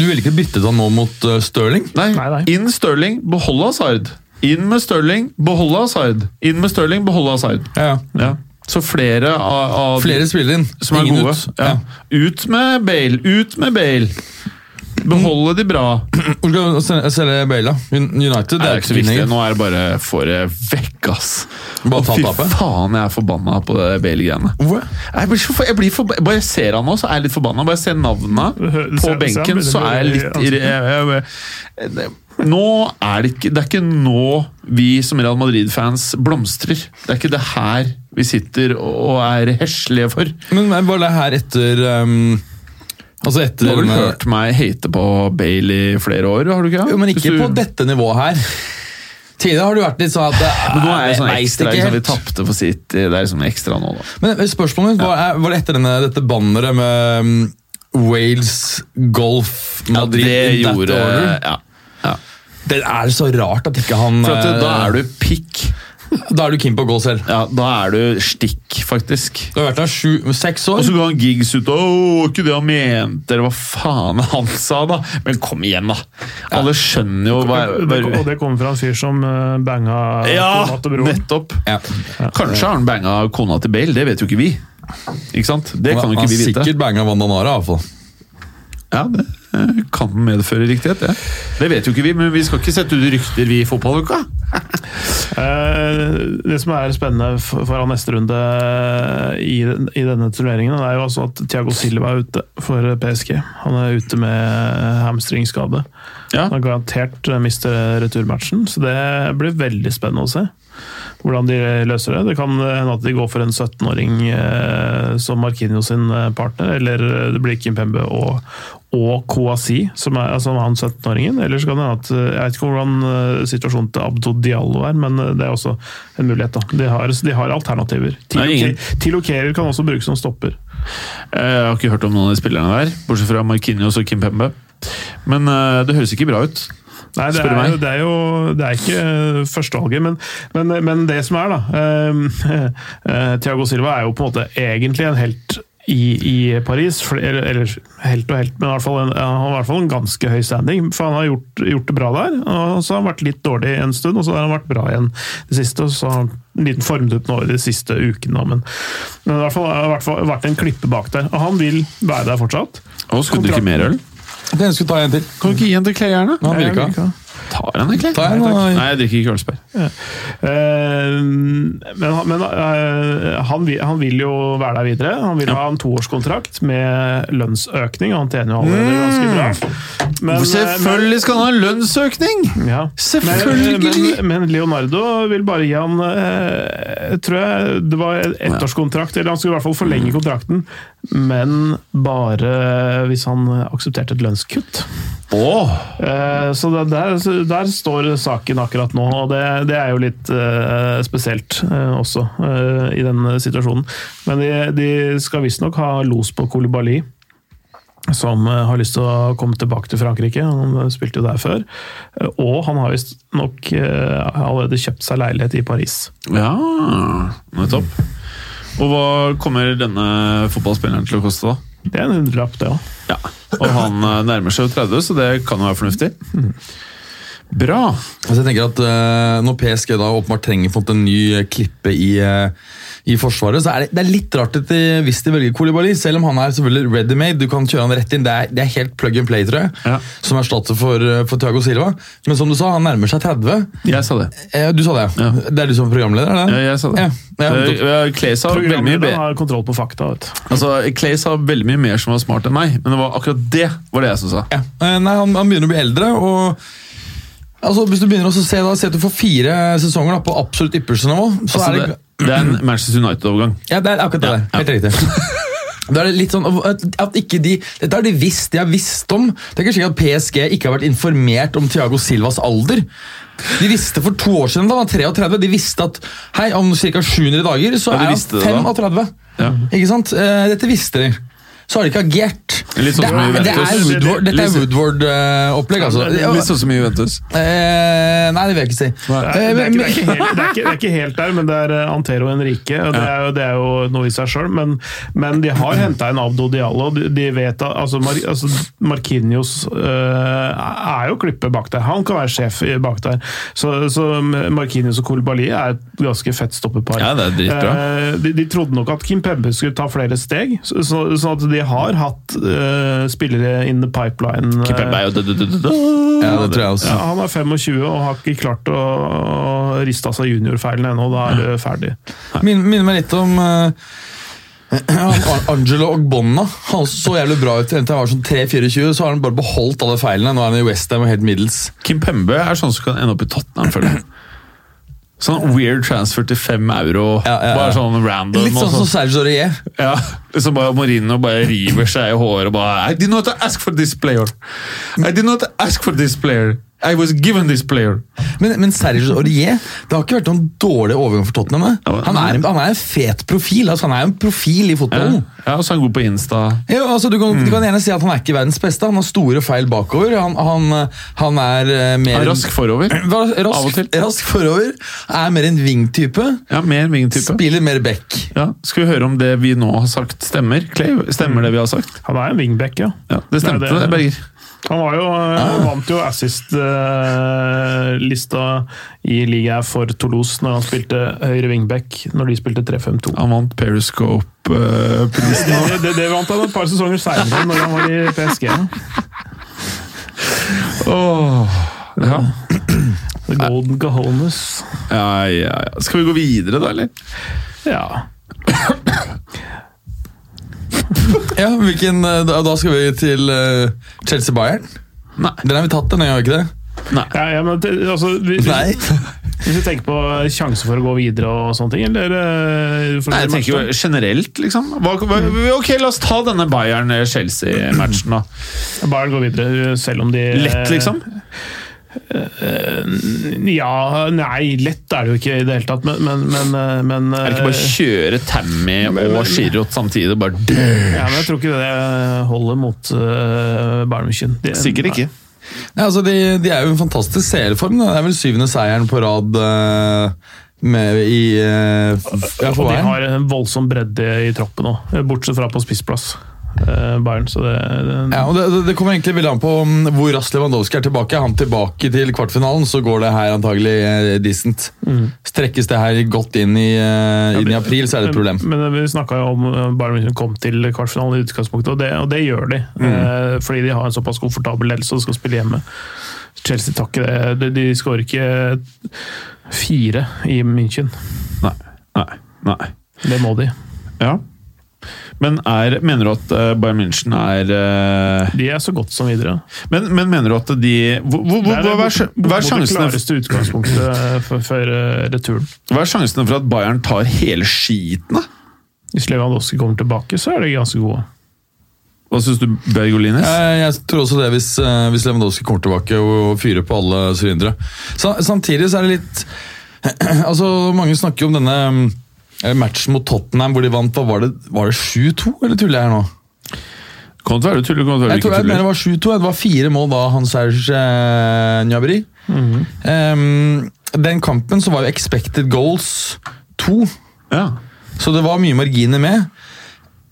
[SPEAKER 3] Du ville ikke byttet han nå mot uh, Stirling?
[SPEAKER 1] Nei,
[SPEAKER 2] Nei, nei.
[SPEAKER 1] inn Stirling, behold Hazard. Inn med Stirling, behold Hazard. Inn med Stirling, behold Hazard.
[SPEAKER 3] Ja, ja.
[SPEAKER 1] Ja. Så flere av, av
[SPEAKER 3] Flere spiller inn.
[SPEAKER 1] som er
[SPEAKER 3] Ingen
[SPEAKER 1] gode.
[SPEAKER 3] Ut.
[SPEAKER 1] Ja.
[SPEAKER 3] Ja.
[SPEAKER 1] Ut med Bale, ut med Bale! Beholde de bra.
[SPEAKER 3] Hvor skal du se- selge Bale, da? Un- United?
[SPEAKER 1] Det er ikke så viktig.
[SPEAKER 3] lenger.
[SPEAKER 1] Nå er det bare få det vekk, ass.
[SPEAKER 3] Bare
[SPEAKER 1] Å,
[SPEAKER 3] ta
[SPEAKER 1] fy
[SPEAKER 3] tapet.
[SPEAKER 1] faen, jeg er forbanna på det Bale-greiene.
[SPEAKER 3] Hvorfor?
[SPEAKER 1] Jeg blir så for, jeg blir forba- bare jeg ser han nå, så er jeg litt forbanna. Bare jeg ser navnene
[SPEAKER 2] Hø-
[SPEAKER 1] på
[SPEAKER 2] ser-
[SPEAKER 1] benken,
[SPEAKER 2] ser
[SPEAKER 1] så er jeg
[SPEAKER 2] han
[SPEAKER 1] litt
[SPEAKER 2] begynner å bli-
[SPEAKER 1] irri- jeg- jeg- jeg- Nå er det ikke Det er ikke nå vi som Real Madrid-fans blomstrer. Det er ikke det her vi sitter og er heslige for.
[SPEAKER 3] Men hva- var det her etter um, Altså
[SPEAKER 1] Du
[SPEAKER 3] etter
[SPEAKER 1] har vel
[SPEAKER 3] denne-
[SPEAKER 1] hørt meg hate på Bale i flere år, har du ikke?
[SPEAKER 3] Jo, men ikke
[SPEAKER 1] Hvis du-
[SPEAKER 3] på dette nivået her. Tidligere har du vært litt sånn at
[SPEAKER 1] Men nå er det sånn
[SPEAKER 3] jeg vet
[SPEAKER 1] ekstra,
[SPEAKER 3] ikke
[SPEAKER 1] liksom, vi
[SPEAKER 3] helt.
[SPEAKER 1] tapte for sitt, det er liksom ekstra nå, da.
[SPEAKER 3] Men spørsmålet mitt, var, er- var det etter denne, dette banneret med um, Wales, Golf, Madrid
[SPEAKER 1] det
[SPEAKER 3] in that
[SPEAKER 1] gjorde
[SPEAKER 3] order?
[SPEAKER 1] ja.
[SPEAKER 3] Det er så rart at ikke han
[SPEAKER 1] For at,
[SPEAKER 3] eh,
[SPEAKER 1] da er du pikk.
[SPEAKER 3] da er du keen på å gå selv.
[SPEAKER 1] Ja, da er du stikk, faktisk.
[SPEAKER 3] Du har vært der sju, seks
[SPEAKER 1] Og
[SPEAKER 3] år.
[SPEAKER 1] så går han gigs ut og «Åh, ikke det han mente, eller hva faen han sa, da. Men kom igjen, da! Alle skjønner jo hva
[SPEAKER 2] Det, og det kommer fra en fyr som øh, banga
[SPEAKER 1] Ja,
[SPEAKER 2] kona til broren.
[SPEAKER 1] nettopp!
[SPEAKER 3] Ja.
[SPEAKER 1] Kanskje har han banga kona til Bale, det vet jo ikke vi. Ikke sant? Det kan jo ikke
[SPEAKER 3] han
[SPEAKER 1] vi
[SPEAKER 3] har
[SPEAKER 1] vite.
[SPEAKER 3] sikkert banga Vandanara, iallfall.
[SPEAKER 1] Ja, det eh, kan medføre riktighet, det. Det vet jo ikke vi, men vi skal ikke sette ut rykter, vi i fotballuka.
[SPEAKER 2] Eh, Det som er spennende for- foran neste runde eh, i, den- i denne turneringen, er jo altså at Thiago Silva er ute for PSG. Han er ute med hamstringskade.
[SPEAKER 1] Ja.
[SPEAKER 2] Han har garantert eh, mister returmatchen, så det blir veldig spennende å se hvordan de eh, løser det. Det kan hende at de går for en 17-åring eh, som Marquinhos sin eh, partner, eller det blir Kimpembe og, og Kouassi, som er altså han 17-åringen. Eller så kan det hende at eh, Jeg vet ikke hvordan eh, situasjonen til Abdo Diallo er, men eh, det er også en mulighet. da. De har, de har alternativer.
[SPEAKER 1] Nei, ingen-
[SPEAKER 2] Tilokerer kan også brukes som stopper.
[SPEAKER 1] Eh, Jeg har ikke hørt om noen av de spillerne der, bortsett fra Marquinhos og Kim Pembe. Men eh, det høres ikke bra ut.
[SPEAKER 2] Nei, det
[SPEAKER 1] Spør du
[SPEAKER 2] er,
[SPEAKER 1] meg?
[SPEAKER 2] jo, det er jo det er ikke eh, førstevalget, men, men, men det som er, da eh, eh, Thiago Silva er jo på en måte egentlig en helt i, i Paris. fl- Eller, eller helt og helt, men i hvert fall en, han har i hvert fall en ganske høy standing. For han har gjort, gjort det bra der, og så har han vært litt dårlig en stund, og så har han vært bra igjen det siste. og så har han en liten formdupp nå i de siste ukene, da, men, men i hvert fall har det vært- vært en klippe bak der. Og han vil være der fortsatt.
[SPEAKER 1] Å, skulle du ikke mer øl?
[SPEAKER 3] Jeg skulle ta en til.
[SPEAKER 1] Kan du ikke gi en til Clay, gjerne?
[SPEAKER 3] Han vil ikke ha.
[SPEAKER 1] Tar han egentlig?
[SPEAKER 3] Ta en,
[SPEAKER 1] Nei, takk.
[SPEAKER 3] da.
[SPEAKER 1] Nei, jeg drikker ikke Carlsberg.
[SPEAKER 2] Eh, men han- men eh, han, vil, han vil jo være der videre. Han vil ha en toårskontrakt med lønnsøkning. og Han tjener jo allerede ganske bra. Men, eh,
[SPEAKER 1] Mm. Selvfølgelig skal han ha lønnsøkning!
[SPEAKER 2] Men, ja.
[SPEAKER 1] Selvfølgelig!
[SPEAKER 2] Men, men, men Leonardo vil bare gi han eh, jeg tror jeg det var en ettårskontrakt, eller han skulle i hvert fall
[SPEAKER 1] Mm.
[SPEAKER 2] forlenge kontrakten, men bare hvis han aksepterte et lønnskutt.
[SPEAKER 1] Åh,
[SPEAKER 2] Eh, Så det- der, så der står saken akkurat nå, og det, det er jo litt eh, spesielt eh, også eh, i denne situasjonen. Men de, de skal visstnok ha los på Kolibali, som eh, har lyst til å komme tilbake til Frankrike. Han spilte jo der før. Eh, Og han har visstnok eh, allerede kjøpt seg leilighet i Paris.
[SPEAKER 1] Ja, nettopp. Og hva kommer denne fotballspilleren til å koste, da?
[SPEAKER 2] Det er en hundrelapp, det òg.
[SPEAKER 1] Ja. Og han eh, nærmer seg jo 30, så det kan jo være fornuftig. Bra.
[SPEAKER 3] Altså jeg tenker at eh, Når PSG da åpenbart trenger på en, måte en ny eh, klippe i, eh, i Forsvaret, så er det, det er litt rart at de, hvis de velger Kolibali, selv om han er selvfølgelig ready made. Du kan kjøre han rett inn. Det er, det er helt plug and play, tror jeg,
[SPEAKER 1] Ja.
[SPEAKER 3] som erstatter for, eh, for Thiago Silva. Men som du sa, han nærmer seg 30.
[SPEAKER 1] Jeg sa det.
[SPEAKER 3] Eh, du sa det, ja.
[SPEAKER 1] Ja.
[SPEAKER 3] Det er du som er programleder? er det?
[SPEAKER 1] Ja, jeg sa det.
[SPEAKER 3] Ja, ja, nettopp.
[SPEAKER 1] Eh, Clay sa veldig mye
[SPEAKER 2] Programlederen
[SPEAKER 1] bedre.
[SPEAKER 2] har kontroll på fakta. Vet. du.
[SPEAKER 1] Altså, Clay sa veldig mye mer som var smart enn meg, men det var akkurat det var det jeg som sa.
[SPEAKER 3] Ja. Eh, Nei, han, han begynner å bli eldre, og altså, hvis du begynner også å se, da, se at du får fire sesonger da, på absolutt ypperste nivå, så
[SPEAKER 1] Altså,
[SPEAKER 3] er det,
[SPEAKER 1] det, det er en Manchester United-overgang.
[SPEAKER 3] Ja, det er akkurat det der. Helt riktig. Da er det litt sånn at at ikke de, Dette har de visst, de har visst om. Det er ikke sikkert at PSG ikke har vært informert om Thiago Silvas alder. De visste for to år siden, da han var 33, de visste at hei, om ca. 700 dager så
[SPEAKER 1] Ja, de
[SPEAKER 3] er
[SPEAKER 1] visste det da.
[SPEAKER 3] han 35.
[SPEAKER 1] Ja.
[SPEAKER 3] Ikke sant? Eh, Dette visste de. Så har de ikke agert.
[SPEAKER 1] Litt sånn
[SPEAKER 3] det,
[SPEAKER 1] som
[SPEAKER 3] er, det er
[SPEAKER 1] Juventus.
[SPEAKER 3] Woodward- Dette
[SPEAKER 1] Litt- sånn-
[SPEAKER 3] er Woodward-opplegg, altså. Ja,
[SPEAKER 1] Litt sånn som i Juventus.
[SPEAKER 3] eh, nei, det vil jeg ikke si.
[SPEAKER 1] Nei.
[SPEAKER 2] Det er,
[SPEAKER 3] Eh,
[SPEAKER 2] det, er
[SPEAKER 3] men-
[SPEAKER 2] ikke, det, er ikke helt, det, er ikke, det er ikke helt der, men det er eh, Antero Henrique. Og det, er jo, det er jo noe i seg sjøl, men, men de har henta inn Abdo Diallo. De, de vet at altså, Mar, altså Marquinhos eh, er jo klippet bak der. Han kan være sjef i- bak der. Så, så Marquinhos og Kolibali er et ganske fett stoppepar.
[SPEAKER 1] Ja, det er dritbra.
[SPEAKER 2] Eh, de, de trodde nok at Kim Pembe skulle ta flere steg, så, så, sånn at de har hatt eh, spillere in the pipeline. eh,
[SPEAKER 3] ja, det tror
[SPEAKER 1] altså.
[SPEAKER 3] jeg også.
[SPEAKER 2] ja, han er 25 og har ikke klart å å riste av seg juniorfeilene ennå. Da er det ferdig.
[SPEAKER 3] Min- Minner meg litt om eh, Ar- Angelo Ogbonna. Han så jævlig bra ut helt til han var sånn 3-24, så har han bare beholdt alle feilene. Nå er han i Westham og helt middels.
[SPEAKER 1] Kim Pembe er sånn som kan ende opp i Tottenham, føler jeg. Sånn weird transfer til fem euro.
[SPEAKER 3] Ja, ja, ja.
[SPEAKER 1] Bare sånn random.
[SPEAKER 3] Litt sånn
[SPEAKER 1] og
[SPEAKER 3] som Serge Aurier.
[SPEAKER 1] Ja, liksom bare Mourinho bare river seg i håret og bare I did not ask for this player. I did not ask for this player. I was given this player.
[SPEAKER 3] Men, men Serge Aurier Det har ikke vært noen dårlig overgang for Tottenham. det.
[SPEAKER 1] Ja, men-
[SPEAKER 3] Han er en, han er en fet profil. Altså, han er jo en profil i fotballen.
[SPEAKER 1] Ja, Mm. og så er han god på Insta.
[SPEAKER 3] Ja, altså du, kan, du kan gjerne si at han er ikke verdens beste. Han har store feil bakover. Han, han, han er eh, mer
[SPEAKER 1] Han er rask forover.
[SPEAKER 3] Ra- Rask,
[SPEAKER 1] Av og til.
[SPEAKER 3] rask forover. Er mer en wing-type.
[SPEAKER 1] Ja, mer wing-type.
[SPEAKER 3] Spiller mer back.
[SPEAKER 1] Ja, Skal vi høre om det vi nå har sagt, stemmer? Clay, stemmer det vi har sagt?
[SPEAKER 2] Han er en wingback, ja.
[SPEAKER 1] Ja, Det stemte,
[SPEAKER 2] Det er
[SPEAKER 1] det,
[SPEAKER 2] det.
[SPEAKER 1] Berger.
[SPEAKER 2] Han var jo,
[SPEAKER 1] Ah.
[SPEAKER 2] han vant jo assist-lista eh, i ligaen for Toulouse når han spilte høyre wingback, når de spilte 3-5-2.
[SPEAKER 1] Han vant Periscope-prisen.
[SPEAKER 2] Det, det, det vant han et par sesonger seinere, når han var i PSG.
[SPEAKER 1] Ah. ja.
[SPEAKER 2] The Golden Gahones.
[SPEAKER 1] Ja, ja, ja. Skal vi gå videre, da, eller?
[SPEAKER 2] Ja.
[SPEAKER 3] Ja, hvilken, eh, da, da skal vi til eh, Chelsea-Bayern.
[SPEAKER 1] Nei.
[SPEAKER 3] Den har vi tatt, den, har vi ikke det?
[SPEAKER 2] ja, ja men det, altså, vi,
[SPEAKER 3] Nei.
[SPEAKER 2] Hvis du tenker på sjanse for å gå videre og sånne ting, eller eh, for
[SPEAKER 1] Nei,
[SPEAKER 2] å
[SPEAKER 1] jeg
[SPEAKER 2] bli
[SPEAKER 1] tenker
[SPEAKER 2] matchet?
[SPEAKER 1] jo generelt, liksom. Hva, hva, ok, la oss ta denne Bayern-Chelsea-matchen, da.
[SPEAKER 2] Bayern går videre, selv om de
[SPEAKER 1] Lett, liksom.
[SPEAKER 2] Ja, nei, lett er det jo ikke i det hele tatt, men, men, men, eh, men
[SPEAKER 1] Er det ikke bare å kjøre Tammy og Giroud samtidig? Bare dø?
[SPEAKER 2] ja, men Jeg tror ikke det holder mot uh, Bayern München. De-
[SPEAKER 1] Sikkert ikke.
[SPEAKER 3] Nei, altså, de, de er jo i en fantastisk seerform. da. Det er vel syvende seieren på rad eh, med, i eh, f- ja,
[SPEAKER 2] Og
[SPEAKER 3] for
[SPEAKER 2] de
[SPEAKER 3] Bayern.
[SPEAKER 2] har en voldsom bredde i troppen òg, bortsett fra på spissplass. eh, Bayern, så det, det
[SPEAKER 3] Ja, og det, det- det kommer egentlig veldig an på mm, hvor raskt Lewandowski er tilbake. Er han tilbake til kvartfinalen, så går det her antagelig eh, decent.
[SPEAKER 2] mm.
[SPEAKER 3] Strekkes det her godt inn i, eh, inn i april, så er det et problem.
[SPEAKER 2] Men, men vi snakka jo om eh, Bayern München kom til kvartfinalen i utgangspunktet, og det, og det gjør de.
[SPEAKER 3] Mm.
[SPEAKER 2] Eh, fordi de har en såpass komfortabel ledelse og skal spille hjemme. Chelsea tar ikke det. De, de skårer ikke fire i München.
[SPEAKER 1] Nei. Nei. Nei.
[SPEAKER 2] Det må de.
[SPEAKER 1] Ja. Men er, mener du at eh, Bayern München er eh,
[SPEAKER 2] De er så godt som videre.
[SPEAKER 1] men, men mener du at de hvor- hvor- hvor-
[SPEAKER 2] Det er
[SPEAKER 1] Hva er sj- hva er
[SPEAKER 2] bortimot det
[SPEAKER 1] sjansene
[SPEAKER 2] klareste utgangspunktet eh, for, for eh, returen.
[SPEAKER 1] Hva er sjansene for at Bayern tar hele skiten, da?
[SPEAKER 2] Hvis Lewandowski kommer tilbake, så er de ganske gode.
[SPEAKER 1] Hva syns du, Bergolines?
[SPEAKER 3] Eh, Jeg tror også det hvis, eh, hvis Lewandowski kommer tilbake og og fyrer på alle sylindere. Sa- Samtidig så er det litt Altså, Mange snakker jo om denne mm, eh, matchen mot Tottenham hvor de vant. hva Var det, var det 7-2, eller tuller jeg her nå?
[SPEAKER 1] Kommer til å være du tuller, kommer til å være
[SPEAKER 3] Jeg
[SPEAKER 1] du
[SPEAKER 3] tror
[SPEAKER 1] ikke
[SPEAKER 3] jeg mener
[SPEAKER 1] tuller.
[SPEAKER 3] det var 7-2. Det var fire mål da han Serge eh, Gnabry. Eh, den kampen så var jo expected goals to,
[SPEAKER 1] Ja.
[SPEAKER 3] så det var mye marginer med.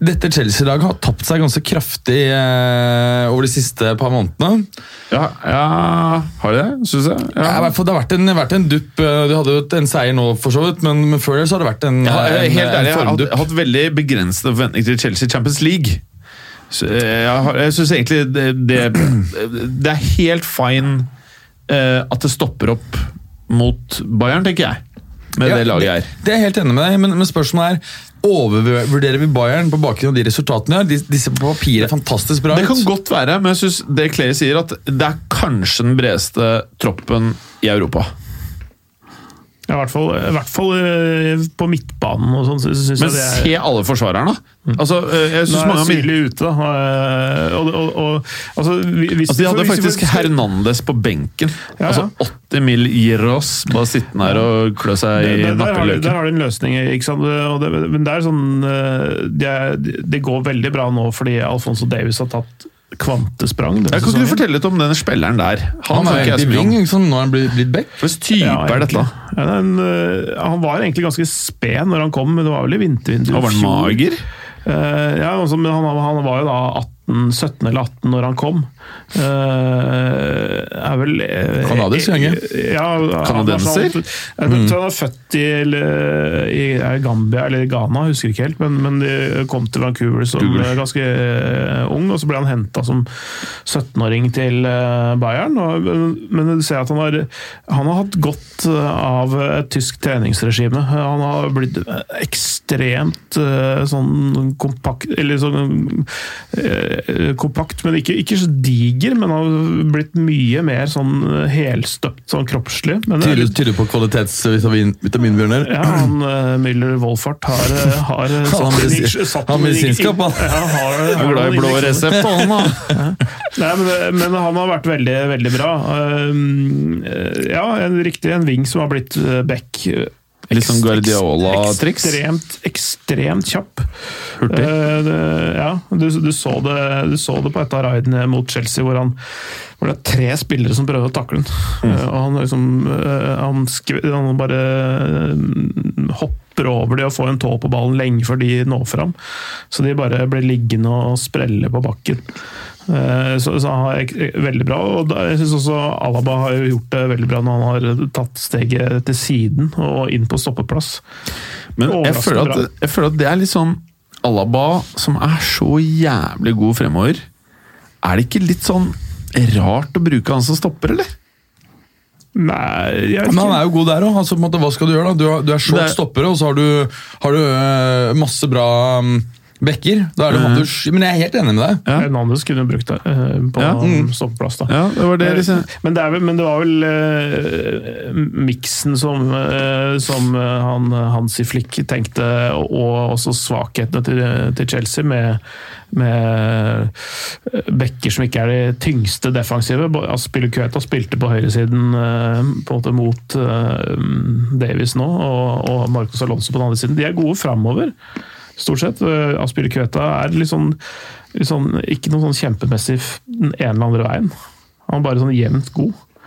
[SPEAKER 3] dette Chelsea-laget har tapt seg ganske kraftig eh, over de siste par månedene.
[SPEAKER 1] Ja, ja Har de det, syns jeg?
[SPEAKER 3] Ja. i hvert fall, det har vært en, vært en dupp. eh, De hadde jo et- en seier nå, for så vidt, men, men før det så har det vært en,
[SPEAKER 1] Jeg har,
[SPEAKER 3] en,
[SPEAKER 1] helt ærlig, jeg har
[SPEAKER 3] en
[SPEAKER 1] hatt,
[SPEAKER 3] formdupp.
[SPEAKER 1] hatt veldig begrensede forventninger til Chelsea Champions League. Så eh, jeg har- jeg syns egentlig det, det, det er helt fine eh, at det stopper opp mot Bayern, tenker jeg. Med
[SPEAKER 3] Ja,
[SPEAKER 1] det laget her.
[SPEAKER 3] Det er jeg helt enig med deg, men, men spørsmålet er Overvurderer vi Bayern på bakgrunn av de resultatene? de har? De, disse på papiret er fantastisk bra.
[SPEAKER 1] Det
[SPEAKER 3] ut.
[SPEAKER 1] kan godt være, men jeg synes det Clay sier, at det er kanskje den bredeste troppen i Europa.
[SPEAKER 2] Ja, I hvert fall, i hvert fall eh, på midtbanen og sånn, så syns
[SPEAKER 1] Men
[SPEAKER 2] jeg det er
[SPEAKER 1] se alle forsvarerne, da! Altså, eh, jeg
[SPEAKER 2] Nå
[SPEAKER 1] synes
[SPEAKER 2] er
[SPEAKER 1] mange av mine
[SPEAKER 2] Sydli ute, da. eh, Og, og, og, altså, vi- hvis,
[SPEAKER 1] Altså, de hadde
[SPEAKER 2] hvis- hvis-
[SPEAKER 1] faktisk Hernandez på benken.
[SPEAKER 2] Ja, ja.
[SPEAKER 1] Altså 80 mil Giros, bare sittende her og klø seg i
[SPEAKER 2] der, der, har, de- der
[SPEAKER 1] nappeløken.
[SPEAKER 2] har de en løsning, ikke sant? Og det, men det er sånn eh, Det er- det går veldig bra nå fordi Alfonso Davis har tatt kvantesprang. denne
[SPEAKER 1] Jeg kan ikke
[SPEAKER 2] sesongen.
[SPEAKER 1] du fortelle litt om denne spilleren der?
[SPEAKER 3] Han
[SPEAKER 1] snakker jeg
[SPEAKER 3] er egentlig
[SPEAKER 1] så mye om.
[SPEAKER 3] wing, liksom. nå er han blitt, blitt back.
[SPEAKER 1] Hva slags type
[SPEAKER 2] Ja,
[SPEAKER 1] er dette?
[SPEAKER 2] egentlig. Ja, den, eh, han var egentlig ganske sped når han kom, men det var vel i vintervinduet. i
[SPEAKER 1] Han var han
[SPEAKER 2] fjor.
[SPEAKER 1] mager?
[SPEAKER 2] Eh, ja, altså, men han, han var jo da 18, 17 eller 18 når han kom. Eh, er vel uh,
[SPEAKER 3] Kanadisk, Jange.
[SPEAKER 2] Ja, han-
[SPEAKER 1] Kanadenser?
[SPEAKER 2] Jeg tror han var født i, eller, i er det Gambia eller Ghana, jeg husker ikke helt. Men, men de kom til Vancouver som
[SPEAKER 1] Google.
[SPEAKER 2] eh, ganske eh, ung, og så ble han henta som 17-åring til eh, Bayern. Og, men, men du ser at han har, han har hatt godt eh, av et tysk treningsregime. Han har blitt eh, ekstremt eh, sånn kompakt Eller sånn eh, kompakt, men ikke, ikke så diger. Men han har blitt mye mer sånn helstøpt sånn kroppslig. Men det er
[SPEAKER 3] Tyder,
[SPEAKER 2] litt-
[SPEAKER 3] tyder på kvalitetsvitamin, vitaminbjørner.
[SPEAKER 2] ja, han eh, Müller Wolfart har, eh, har eh, satt
[SPEAKER 3] Han
[SPEAKER 2] inn
[SPEAKER 3] medisin-
[SPEAKER 2] inj- satt
[SPEAKER 3] han
[SPEAKER 2] inn inj-
[SPEAKER 3] medisinskap, han.
[SPEAKER 2] Ja, han har,
[SPEAKER 1] Jeg er
[SPEAKER 2] har
[SPEAKER 1] glad i
[SPEAKER 2] noen
[SPEAKER 1] blå
[SPEAKER 2] injeksjoner.
[SPEAKER 1] resept, han da!
[SPEAKER 2] Nei, men, eh, men han har vært veldig, veldig bra. Um, eh, ja, en riktig en ving som har blitt eh, back.
[SPEAKER 1] Litt sånn Guardiola-triks.
[SPEAKER 2] Ekstremt, ekstremt kjapp.
[SPEAKER 1] Hurtig.
[SPEAKER 2] Eh, det- ja, du, du, så det, du så det på et av raidene mot Chelsea, hvor, han, hvor det er tre spillere som prøver å takle han.
[SPEAKER 3] Mm.
[SPEAKER 2] Eh, og han liksom eh, han, skv, han bare eh, hopper over de og får en tå på ballen lenge før de når fram. Så de bare blir liggende og sprelle på bakken. Eh, Så, så han er ek- veldig bra. og da- Jeg syns også Alaba har jo gjort det veldig bra når han har tatt steget til siden og inn på stoppeplass.
[SPEAKER 1] Men jeg
[SPEAKER 2] Overraskende
[SPEAKER 1] føler,
[SPEAKER 2] bra.
[SPEAKER 1] at, jeg føler at det er litt sånn Alaba, som er så jævlig god fremover Er det ikke litt sånn rart å bruke han som stopper, eller?
[SPEAKER 2] Nei, jeg vet
[SPEAKER 3] Men han
[SPEAKER 2] ikke.
[SPEAKER 3] er jo god der òg. Altså, på en måte, hva skal du gjøre? da? Du, har- du er short
[SPEAKER 1] Det er-
[SPEAKER 3] stopper, og så har du, har du øh, masse bra um, bekker. Da er det mm. Men jeg er helt enig med deg.
[SPEAKER 1] Ja.
[SPEAKER 2] Hernandez kunne jo brukt det eh, på
[SPEAKER 1] Ja.
[SPEAKER 2] stoppeplass. da.
[SPEAKER 1] Ja, det var det liksom
[SPEAKER 2] Eh, Men, det er vel, men det var vel eh, miksen som, eh, som eh, han, Hansi Flick tenkte, og, og også svakhetene til, til Chelsea med, med bekker som ikke er de tyngste defensive. Bo- Altså, Spilicueta spilte på høyresiden eh, på en måte mot eh, Davies nå, og, og Marcos Alonso på den andre siden. De er gode framover stort sett. Eh, Aspille Kveta er litt sånn, litt sånn ikke noe sånn kjempemessig f- den ene eller andre veien. Han er bare sånn jevnt god.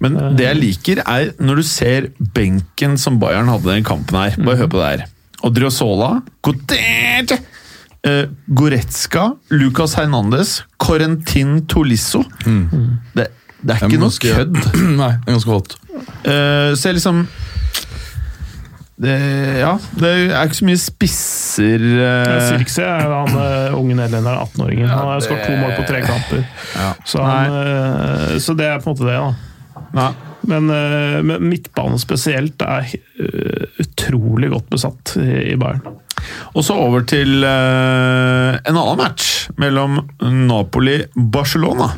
[SPEAKER 1] Men det jeg liker er når du ser benken som Bayern hadde i den kampen her. Bare hør på det her. Odriozola, Godete, eh, Goretzka, Lucas Hernandez, Corentin Tolisso. Det, det er
[SPEAKER 3] Det er
[SPEAKER 1] ikke noe
[SPEAKER 3] ganske-
[SPEAKER 1] kødd.
[SPEAKER 3] Nei, det er ganske hot.
[SPEAKER 1] Eh, så jeg liksom det, Ja, det er ikke så mye spisser
[SPEAKER 2] Eh,
[SPEAKER 1] eh,
[SPEAKER 2] Sirkse er han eh, unge nederlenderen, 18-åringen. Han har skåret to mål på tre kamper. Så, han, eh, så det er på en måte det, da.
[SPEAKER 1] Nei.
[SPEAKER 2] Men, eh, men midtbanen spesielt er eh, utrolig godt besatt i i Bayern.
[SPEAKER 1] Og så over til eh, en annen match mellom Napoli-Barcelona.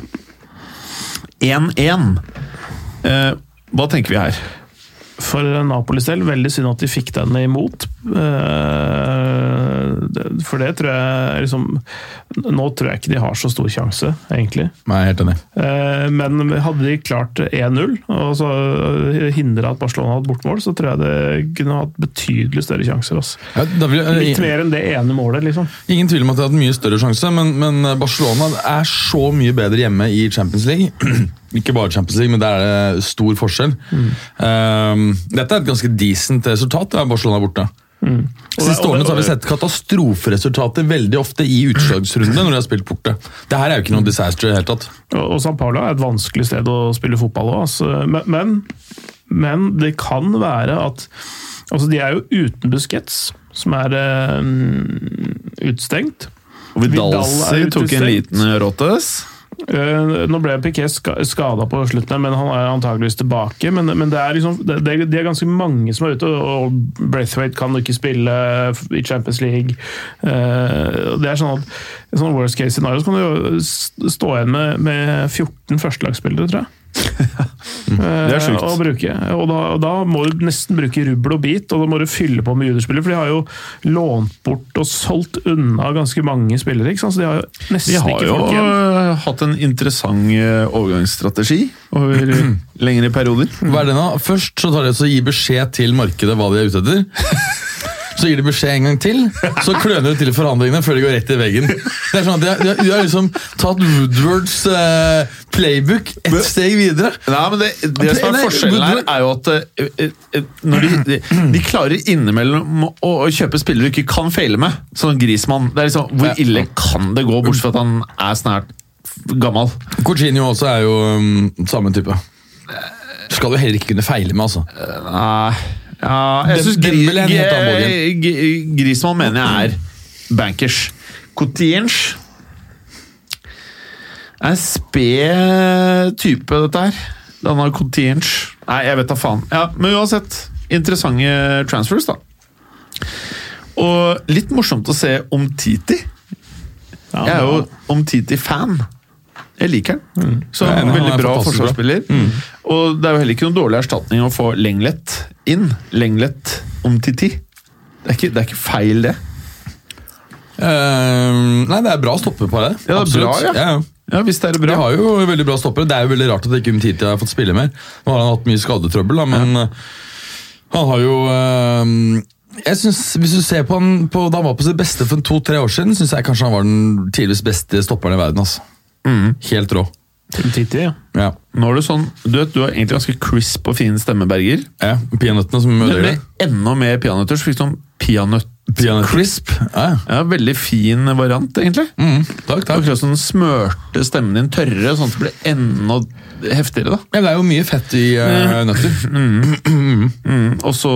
[SPEAKER 1] 1-1. Eh, hva tenker vi her?
[SPEAKER 2] For Napolis del, veldig synd at de fikk den imot. Eh, det- For det tror jeg liksom Nå tror jeg ikke de har så stor sjanse, egentlig.
[SPEAKER 3] Nei, jeg er helt enig.
[SPEAKER 2] Eh, Men hadde de klart 1-0 og så hindra at Barcelona hadde bortmål, så tror jeg det kunne hatt betydelig større sjanser. ass.
[SPEAKER 3] Ja, da vil jeg,
[SPEAKER 2] Litt mer enn det ene målet, liksom.
[SPEAKER 3] Ingen tvil om at de har hatt mye større sjanse, men, men Barcelona er så mye bedre hjemme i Champions League. Ikke bare Champions League, men der
[SPEAKER 2] Mm.
[SPEAKER 3] Ehm, er det stor forskjell. Um, dette er et ganske decent resultat, det er Barcelona borte. De
[SPEAKER 2] Mm. og
[SPEAKER 3] siste
[SPEAKER 2] det-
[SPEAKER 3] årene så har
[SPEAKER 2] og
[SPEAKER 3] vi
[SPEAKER 2] det-
[SPEAKER 3] sett katastroferesultater veldig ofte i utslagsrundene når de har spilt borte. Det her er jo ikke noe disaster i det hele tatt.
[SPEAKER 2] Og og San Paulo er et vanskelig sted å spille fotball òg. Altså. Men, men, men det kan være at altså De er jo uten Busquets, som er eh, utstengt.
[SPEAKER 1] Og
[SPEAKER 2] Vidal er
[SPEAKER 1] Vidalsi tok en
[SPEAKER 2] utestengt.
[SPEAKER 1] liten rottes.
[SPEAKER 2] Eh, Nå ble Piquet skada på slutten, her, men han er antageligvis tilbake. Men, men det, er liksom, det, det det er ganske mange som er ute, og Braithwaite kan ikke spille i Champions League. Eh, og Det er sånn at i sånn worst case scenario så kan du jo s- stå igjen med, med 14 førstelagsspillere, tror jeg.
[SPEAKER 1] Mm. Det er sjukt.
[SPEAKER 2] Eh, å bruke. Og da, og da må du nesten bruke rubbel og bit, og da må du fylle på med juniorspillere. For de har jo lånt bort og solgt unna ganske mange spillere, ikke sant? så de har jo
[SPEAKER 1] Vi
[SPEAKER 2] nesten
[SPEAKER 1] har
[SPEAKER 2] ikke
[SPEAKER 1] jo
[SPEAKER 2] folk igjen.
[SPEAKER 1] øh, hatt en interessant øh, overgangsstrategi over lengre perioder.
[SPEAKER 3] Hva er det nå? Først så tar de altså og gir beskjed til markedet hva de er ute etter. Så gir de beskjed en gang til, så kløner de til forhandlingene før de går rett i veggen. Det er sånn at De har, de har, de har liksom tatt Woodwards eh, playbook ett steg videre.
[SPEAKER 1] Nei, men det, det som er
[SPEAKER 3] Eller-
[SPEAKER 1] forskjellen her, er jo at eh, eh, eh, når de, de, de klarer innimellom å, å kjøpe spillere du ikke kan feile med, sånn Grismann. Det er liksom,
[SPEAKER 3] Ja.
[SPEAKER 1] hvor ille kan det gå, bortsett fra at han er snart f- gammel?
[SPEAKER 3] Coutinho også er jo um, samme type. Skal jo heller ikke kunne feile med, altså.
[SPEAKER 1] Nei ja,
[SPEAKER 3] Dem-
[SPEAKER 1] Jeg syns gri,
[SPEAKER 3] Dembele er en helt annen
[SPEAKER 1] G- G- Grismann mener jeg er bankers. Cotiench er en sped type, dette her. Den har Cotiench Nei, jeg vet da faen. Ja, men uansett, interessante transfers, da. Og litt morsomt å se Omtiti.
[SPEAKER 2] Ja,
[SPEAKER 1] Jeg er jo Omtiti-fan. Jeg liker han. Så
[SPEAKER 3] Jeg er enig, Mm. han
[SPEAKER 1] Veldig
[SPEAKER 3] er
[SPEAKER 1] bra
[SPEAKER 3] fantastisk bra. Mm.
[SPEAKER 1] forsvarsspiller. Og det er jo heller ikke noen dårlig erstatning å få Lenglet inn. Lenglet Omtiti. Det er, ikke, det er ikke feil, det.
[SPEAKER 3] Ehm, nei, det er bra stoppepar her.
[SPEAKER 1] Ja, det er bra, ja.
[SPEAKER 3] ja.
[SPEAKER 1] Ja, hvis det er
[SPEAKER 3] De
[SPEAKER 1] bra.
[SPEAKER 3] har jo veldig bra stoppere. Det er jo veldig rart at ikke Umtiti har fått spille mer. Nå har han hatt mye skadetrøbbel, da, men eh, han har jo eh, jeg synes, hvis du ser på han på, Da han var på sitt beste for to-tre år siden, syns jeg kanskje han var den tidligvis beste stopperen i verden. altså. Helt rå.
[SPEAKER 2] Umtiti, ja.
[SPEAKER 3] Ja.
[SPEAKER 1] Nå er det sånn, Du vet, du har egentlig ganske crisp og fin stemme, Berger.
[SPEAKER 3] ja. Peanøttene som
[SPEAKER 1] Det ble
[SPEAKER 3] ødelegger det.
[SPEAKER 1] enda mer peanøtter. Så fikk du sånn peanøtt.
[SPEAKER 3] Peanøtter. Crisp. Ja, ja.
[SPEAKER 1] Ja, Veldig fin variant, egentlig.
[SPEAKER 3] Mm.
[SPEAKER 1] Det
[SPEAKER 3] Takk,
[SPEAKER 1] er
[SPEAKER 3] takk.
[SPEAKER 1] akkurat som den smørte stemmen din tørre, sånn at det ble enda heftigere. da.
[SPEAKER 3] Ja, det er jo mye fett i eh, nøtter.
[SPEAKER 1] Og så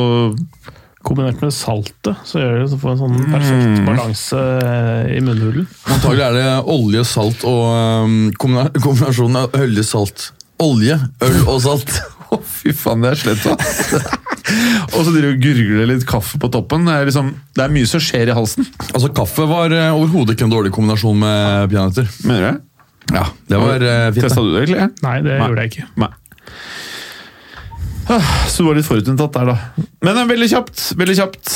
[SPEAKER 2] Kombinert med saltet, så gjør det så får en sånn
[SPEAKER 1] Mm.
[SPEAKER 2] perfekt balanse eh, i munnhulen.
[SPEAKER 3] Antagelig er det olje, salt og eh, kombina- kombinasjonen av olje, salt. Olje, øl og salt.
[SPEAKER 1] Å, fy faen, det er slett, ass. og så driver du og gurgler litt kaffe på toppen. Det er, liksom, det er mye som skjer i halsen.
[SPEAKER 3] Altså, Kaffe var eh, overhodet ikke en dårlig kombinasjon med peanøtter.
[SPEAKER 1] Mener du?
[SPEAKER 3] Ja, det var eh, fint.
[SPEAKER 1] Testa
[SPEAKER 3] det.
[SPEAKER 1] du det, egentlig?
[SPEAKER 2] Nei, det
[SPEAKER 1] Nei.
[SPEAKER 2] gjorde jeg ikke.
[SPEAKER 1] Nei. Ah, Så du var litt forutinntatt der, da. Men eh, veldig kjapt. veldig kjapt.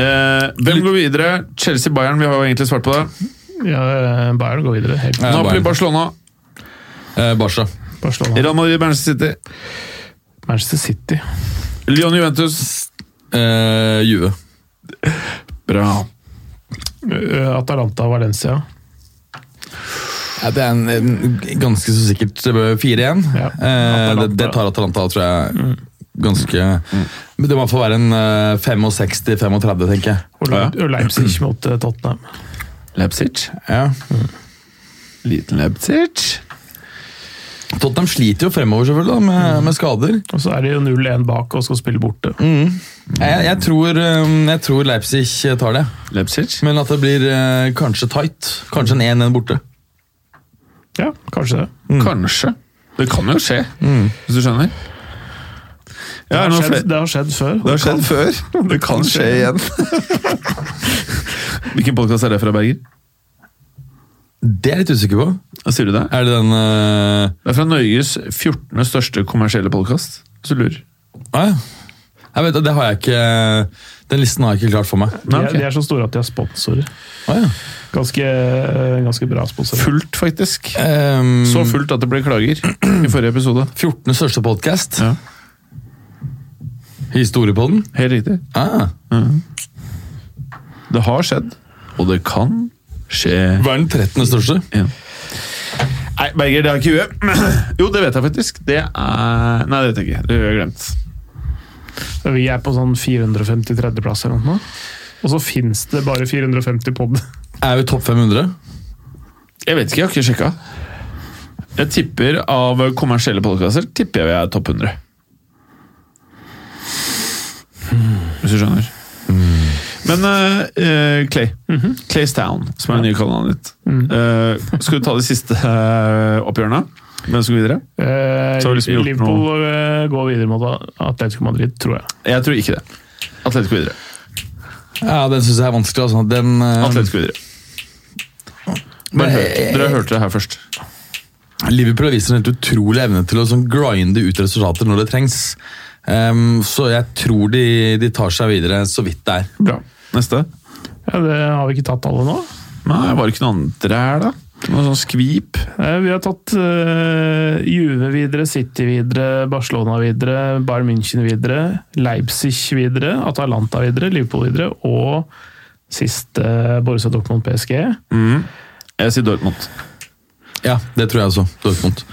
[SPEAKER 1] Eh, hvem går videre? Chelsea-Bayern, vi har jo egentlig svart på det.
[SPEAKER 2] Ja, eh, Bayern går videre. Helt
[SPEAKER 3] Ja, Bayern.
[SPEAKER 1] Napoli-Barcelona.
[SPEAKER 3] Eh, Barca.
[SPEAKER 2] Barcelona.
[SPEAKER 1] Real Madrid-Manchester City.
[SPEAKER 2] Manchester City.
[SPEAKER 1] Lyon-Juventus.
[SPEAKER 3] Eh, Juve.
[SPEAKER 1] Bra.
[SPEAKER 2] Eh, Atalanta Valencia.
[SPEAKER 3] Ja, det er en, en ganske så sikkert 4-1.
[SPEAKER 2] Ja.
[SPEAKER 3] Eh, det, det tar Atalanta, tror jeg. Ganske Men Det må i hvert fall være en eh, 65-35, tenker jeg.
[SPEAKER 2] Og,
[SPEAKER 1] Ja.
[SPEAKER 2] og Leipzig mot eh, Tottenham.
[SPEAKER 1] Leipzig.
[SPEAKER 3] Ja.
[SPEAKER 1] Liten Leipzig.
[SPEAKER 3] Tottenham sliter jo fremover, selvfølgelig, da, med, med skader.
[SPEAKER 2] Og så er de jo 0-1 bak og skal spille borte.
[SPEAKER 1] Mm.
[SPEAKER 3] Jeg, jeg, tror, eh, jeg tror Leipzig tar det,
[SPEAKER 1] Leipzig.
[SPEAKER 3] men at det blir eh, kanskje tight. Kanskje en 1-1 borte.
[SPEAKER 2] Ja, kanskje det.
[SPEAKER 1] Mm. Kanskje. Det kan jo skje, hvis du skjønner.
[SPEAKER 2] Det
[SPEAKER 1] Ja,
[SPEAKER 2] har
[SPEAKER 1] nå
[SPEAKER 2] skjedd,
[SPEAKER 1] flere-
[SPEAKER 2] det har skjedd før.
[SPEAKER 1] det har skjedd før. Det kan skje igjen. Hvilken podkast er det fra, Berger?
[SPEAKER 3] Det er jeg litt usikker på.
[SPEAKER 1] Hva sier du det?
[SPEAKER 3] Er det den eh,
[SPEAKER 1] Det er fra Norges 14. største kommersielle podkast. Hvis du lurer.
[SPEAKER 3] Nei. Jeg vet, det har jeg ikke Den listen har jeg ikke klart for meg.
[SPEAKER 2] De,
[SPEAKER 1] Nei,
[SPEAKER 2] er,
[SPEAKER 1] ok.
[SPEAKER 2] de er så store at de har sponsorer.
[SPEAKER 3] Ah, ja.
[SPEAKER 2] Ganske, eh, ganske bra sponsorer.
[SPEAKER 1] Fullt, faktisk.
[SPEAKER 3] Ehm,
[SPEAKER 1] Så fullt at det ble klager i forrige episode.
[SPEAKER 3] 14. største podkast.
[SPEAKER 1] Ja.
[SPEAKER 3] Historiepodden.
[SPEAKER 1] Helt riktig.
[SPEAKER 3] Ah.
[SPEAKER 1] Det har skjedd, og det kan skje
[SPEAKER 3] Hva er den 13. største?
[SPEAKER 1] igjen. Nei, Berger, det har ikke huet. Jo, det vet jeg faktisk. Det er Nei, det vet jeg ikke. Det har jeg glemt.
[SPEAKER 2] Men Vi er på sånn 453.-plass eller noe. Og så fins det bare 450 pod.
[SPEAKER 3] Er vi topp 500?
[SPEAKER 1] Jeg vet ikke, jeg har ikke sjekka. Jeg tipper av kommersielle podkaster tipper jeg vi er topp 100. Hvis du skjønner. Men eh, eh, Clay. Clay's Town, som er det nye kallenavnet ditt. Eh, skal du ta de siste eh, oppgjørene? Hvem som går videre?
[SPEAKER 2] Eh,
[SPEAKER 1] Så har vi liksom gjort
[SPEAKER 2] Liverpool eh, går videre mot Atletico Madrid, tror jeg.
[SPEAKER 1] Jeg tror ikke det. Atletico videre.
[SPEAKER 3] Ja, den syns jeg er vanskelig. Altså. Den, eh,
[SPEAKER 1] Atletico videre. Bare
[SPEAKER 3] Men-
[SPEAKER 1] hørt. Dere hørte det her først.
[SPEAKER 3] Liverpool har vist en helt utrolig evne til å sånn grinde ut resultater når det trengs. Ehm, så jeg tror de, de tar seg videre så vidt det er.
[SPEAKER 1] Bra. Neste.
[SPEAKER 2] Ja, det har vi ikke tatt alle nå.
[SPEAKER 1] Nei, var det ikke noe andre her, da? Noe sånn skvip?
[SPEAKER 2] Eh, Vi har tatt eh, Juve videre, City videre, Barcelona videre, Bayern München videre, Leipzig videre, Atalanta videre, Liverpool videre og sist eh, Borussia Dortmund PSG.
[SPEAKER 1] Jeg sier Dortmund.
[SPEAKER 3] Ja, det tror jeg også. Dortmund.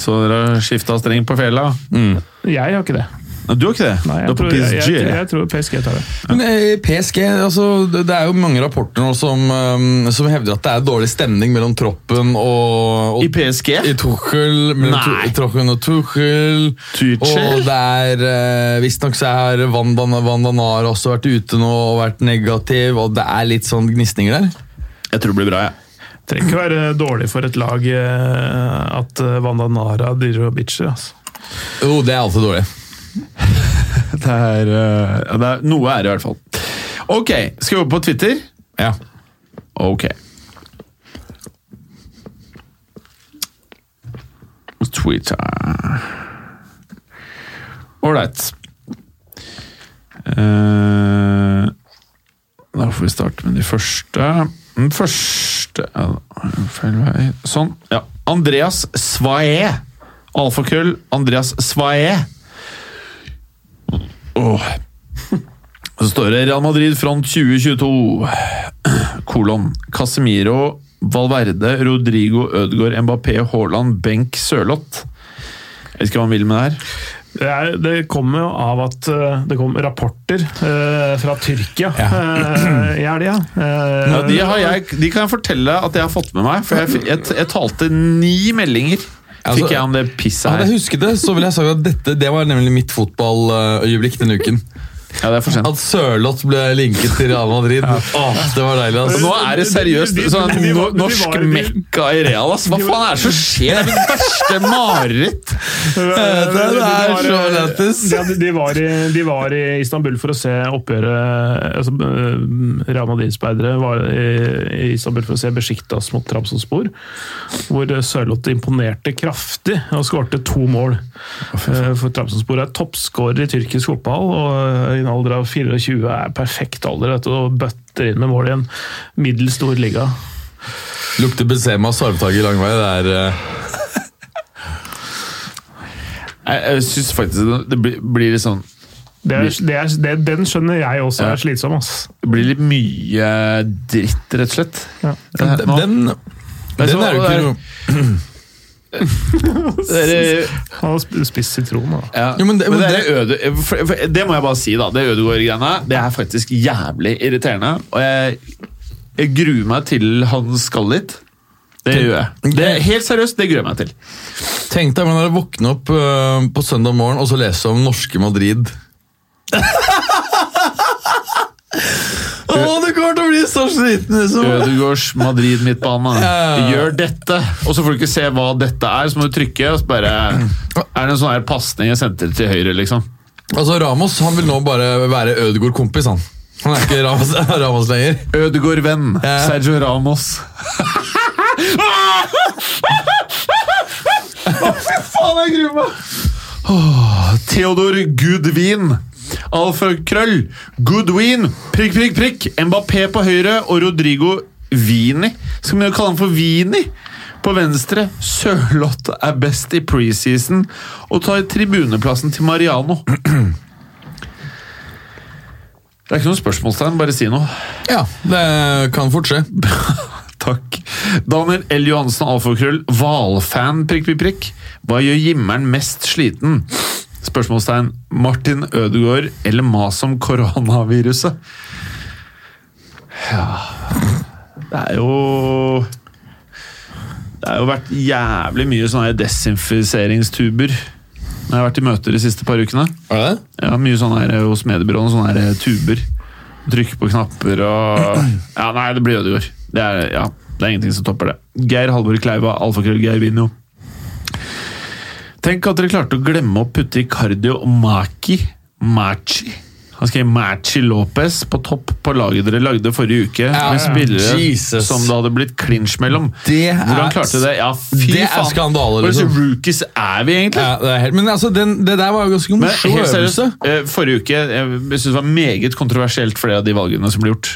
[SPEAKER 1] Så dere har skifta streng på fela?
[SPEAKER 2] Jeg har ikke det.
[SPEAKER 1] Nei, Mm. du har ikke det?
[SPEAKER 2] Nei,
[SPEAKER 1] du
[SPEAKER 2] jeg,
[SPEAKER 1] er på
[SPEAKER 2] tror, jeg,
[SPEAKER 1] PSG?
[SPEAKER 2] jeg, jeg tror PSG tar det.
[SPEAKER 3] Men eh, PSG, altså, det det er jo mange rapporter nå som, ehm, som hevder at det er dårlig stemning mellom troppen og, og
[SPEAKER 1] I PSG?
[SPEAKER 3] i Tuchel, mellom
[SPEAKER 1] Nei.
[SPEAKER 3] Tu- Trochen og Tuchel.
[SPEAKER 1] Tuchel?
[SPEAKER 3] Og det er eh, Visstnok så har Van, Van, Van Danar også vært ute nå og vært negativ, og det er litt sånn gnisninger der.
[SPEAKER 1] Jeg tror det blir bra, jeg.
[SPEAKER 2] Trenger ikke være dårlig for et lag eh, at eh, Wanda Nara driver og bitcher. Altså.
[SPEAKER 3] Jo, det er alltid dårlig.
[SPEAKER 1] Det er, eh, ja, det er Noe er det i hvert fall. Ok, skal vi over på Twitter?
[SPEAKER 3] Ja.
[SPEAKER 1] Ok. Twitter Ålreit. Eh, Da får vi starte med de første. Den første ja, Feil vei. Sånn. Ja. Andreas Svae. Alfakrøll Andreas Svae. Åh. Så står det Real Madrid front 2022 kolon. Casemiro, Valverde, Rodrigo, Ødegaard, Mbappé, Haaland, Benk, Sørloth. Jeg vet ikke hva han vil med det her.
[SPEAKER 2] Det, er- det kommer jo av at eh, det kom rapporter eh, fra Tyrkia eh, i helga. Eh,
[SPEAKER 1] Ja, de, har jeg, de kan jeg fortelle at jeg har fått med meg, for jeg, fikk- jeg, jeg talte ni meldinger.
[SPEAKER 3] Altså,
[SPEAKER 1] Fikk jeg om det pisset
[SPEAKER 3] Hadde
[SPEAKER 1] her.
[SPEAKER 3] jeg husket det, så ville jeg sagt at dette det var nemlig mitt fotballøyeblikk denne uken.
[SPEAKER 1] Ja, det er for sent.
[SPEAKER 3] At Sørloth ble linket til Real Madrid. Åh, det var deilig,
[SPEAKER 1] Og
[SPEAKER 3] altså.
[SPEAKER 1] Nå er det seriøst
[SPEAKER 2] De- de-
[SPEAKER 1] sånn,
[SPEAKER 2] de- de- de-
[SPEAKER 1] no-
[SPEAKER 2] de- de-
[SPEAKER 1] norsk
[SPEAKER 2] de- de-
[SPEAKER 1] mekka i real, ass. Hva faen er det som skjer? Det er mitt verste mareritt!
[SPEAKER 2] Eh,
[SPEAKER 3] Det er
[SPEAKER 2] de var,
[SPEAKER 3] så
[SPEAKER 2] eh,
[SPEAKER 3] lættis.
[SPEAKER 2] ja, de- De var, i, de var i Istanbul for å se oppgjøret altså, eh, Real Madrid-speidere var i i Istanbul for å se Besjiktas mot Trabzonspor, hvor Sørloth imponerte kraftig og skårte to mål. Eh, For Trabzonspor er toppskårer i tyrkisk fotball, og eh, i en alder av 24 er perfekt alder vet du, og bøtter inn med mål i en middels stor liga.
[SPEAKER 3] Lukter Benzema sarvtaker lang vei. Det er eh,
[SPEAKER 1] Jeg, jeg syns faktisk det- det blir, blir litt sånn
[SPEAKER 2] Det er, det er, det, den skjønner jeg også er slitsom. ass.
[SPEAKER 1] Det blir litt mye dritt, rett og slett.
[SPEAKER 2] Ja.
[SPEAKER 1] Det her- nå-
[SPEAKER 3] Den,
[SPEAKER 1] er
[SPEAKER 3] den
[SPEAKER 1] så-
[SPEAKER 3] er jo ikke
[SPEAKER 1] det er-
[SPEAKER 3] noe
[SPEAKER 1] Dere-
[SPEAKER 2] Han har sp- spist sitron. da.
[SPEAKER 1] Ja.
[SPEAKER 3] Jo,
[SPEAKER 1] men
[SPEAKER 3] men
[SPEAKER 1] det,
[SPEAKER 3] det- men
[SPEAKER 1] er øde, for, for, det må jeg bare si, da. Det Ødegaard-greiene det er faktisk jævlig irriterende. Og jeg, jeg gruer meg til han skal litt. Det gjør jeg. Det, helt seriøst, det gruer jeg meg til.
[SPEAKER 3] Tenk deg hvordan det er å våkne opp eh, på søndag morgen og så lese om norske Madrid. Å, det kommer til å bli så sliten! Liksom.
[SPEAKER 1] Ødegaards Madrid-midtbane.
[SPEAKER 3] Ja.
[SPEAKER 1] Gjør dette! Og så får du ikke se hva dette er, så må du trykke. Og så bare
[SPEAKER 3] Mm.
[SPEAKER 1] Er det en sånn her pasning jeg sendte til høyre, liksom?
[SPEAKER 3] Altså, Ramos han vil nå bare være Ødegaard-kompis, han. Han er ikke Ramos, Ramos lenger.
[SPEAKER 1] Ødegaard-venn.
[SPEAKER 3] Ja.
[SPEAKER 1] Sergio Ramos. Å, fy faen, jeg gruer meg! Åh, Theodor Goodwin. Alfa Krøll. Goodwin. Prikk, prikk, prikk. Mbappé på høyre og Rodrigo Vini. Skal vi begynne å kalle ham for Vini? På venstre. Sørloth er best i preseason og tar tribuneplassen til Mariano. Det er ikke noe spørsmålstegn, bare si noe.
[SPEAKER 3] Ja, det kan fort skje.
[SPEAKER 1] Takk. Daniel L. Johansen, alfakrøll, hvalfan, prikk, prikk, prikk. Hva gjør Jimmeren mest sliten? Spørsmålstegn. Martin Ødegaard eller mas om koronaviruset? Ja Det er jo Det har jo vært jævlig mye sånne her desinfiseringstuber når jeg har vært i møter de siste par ukene.
[SPEAKER 3] Er det det?
[SPEAKER 1] Ja, mye sånn her hos mediebyråene, sånne her eh, tuber. Trykke på knapper og Ja, nei, det blir Ødegaard. Det er, ja, det er ingenting som topper det. Geir Halvor Kleiva, alfakrøll Geir Vinjo. Tenk at dere klarte å glemme å putte Icardio og Maki Machi. Han skrev Machi Lopez på topp på laget dere lagde forrige uke.
[SPEAKER 3] Ja,
[SPEAKER 1] med spillere
[SPEAKER 3] Jesus.
[SPEAKER 1] som det hadde blitt clinch mellom.
[SPEAKER 3] Det
[SPEAKER 1] Hvordan
[SPEAKER 3] er-
[SPEAKER 1] klarte dere det? Ja, fy
[SPEAKER 3] det er
[SPEAKER 1] faen!
[SPEAKER 3] skandale,
[SPEAKER 1] Hva slags
[SPEAKER 3] liksom.
[SPEAKER 1] rookies er vi, egentlig?
[SPEAKER 3] Ja, det er helt, men altså, den, det der var jo ganske
[SPEAKER 1] Men
[SPEAKER 3] morsom
[SPEAKER 1] helt seriøst,
[SPEAKER 3] øvelse.
[SPEAKER 1] eh, forrige uke jeg synes det var meget kontroversielt flere av de valgene som ble gjort.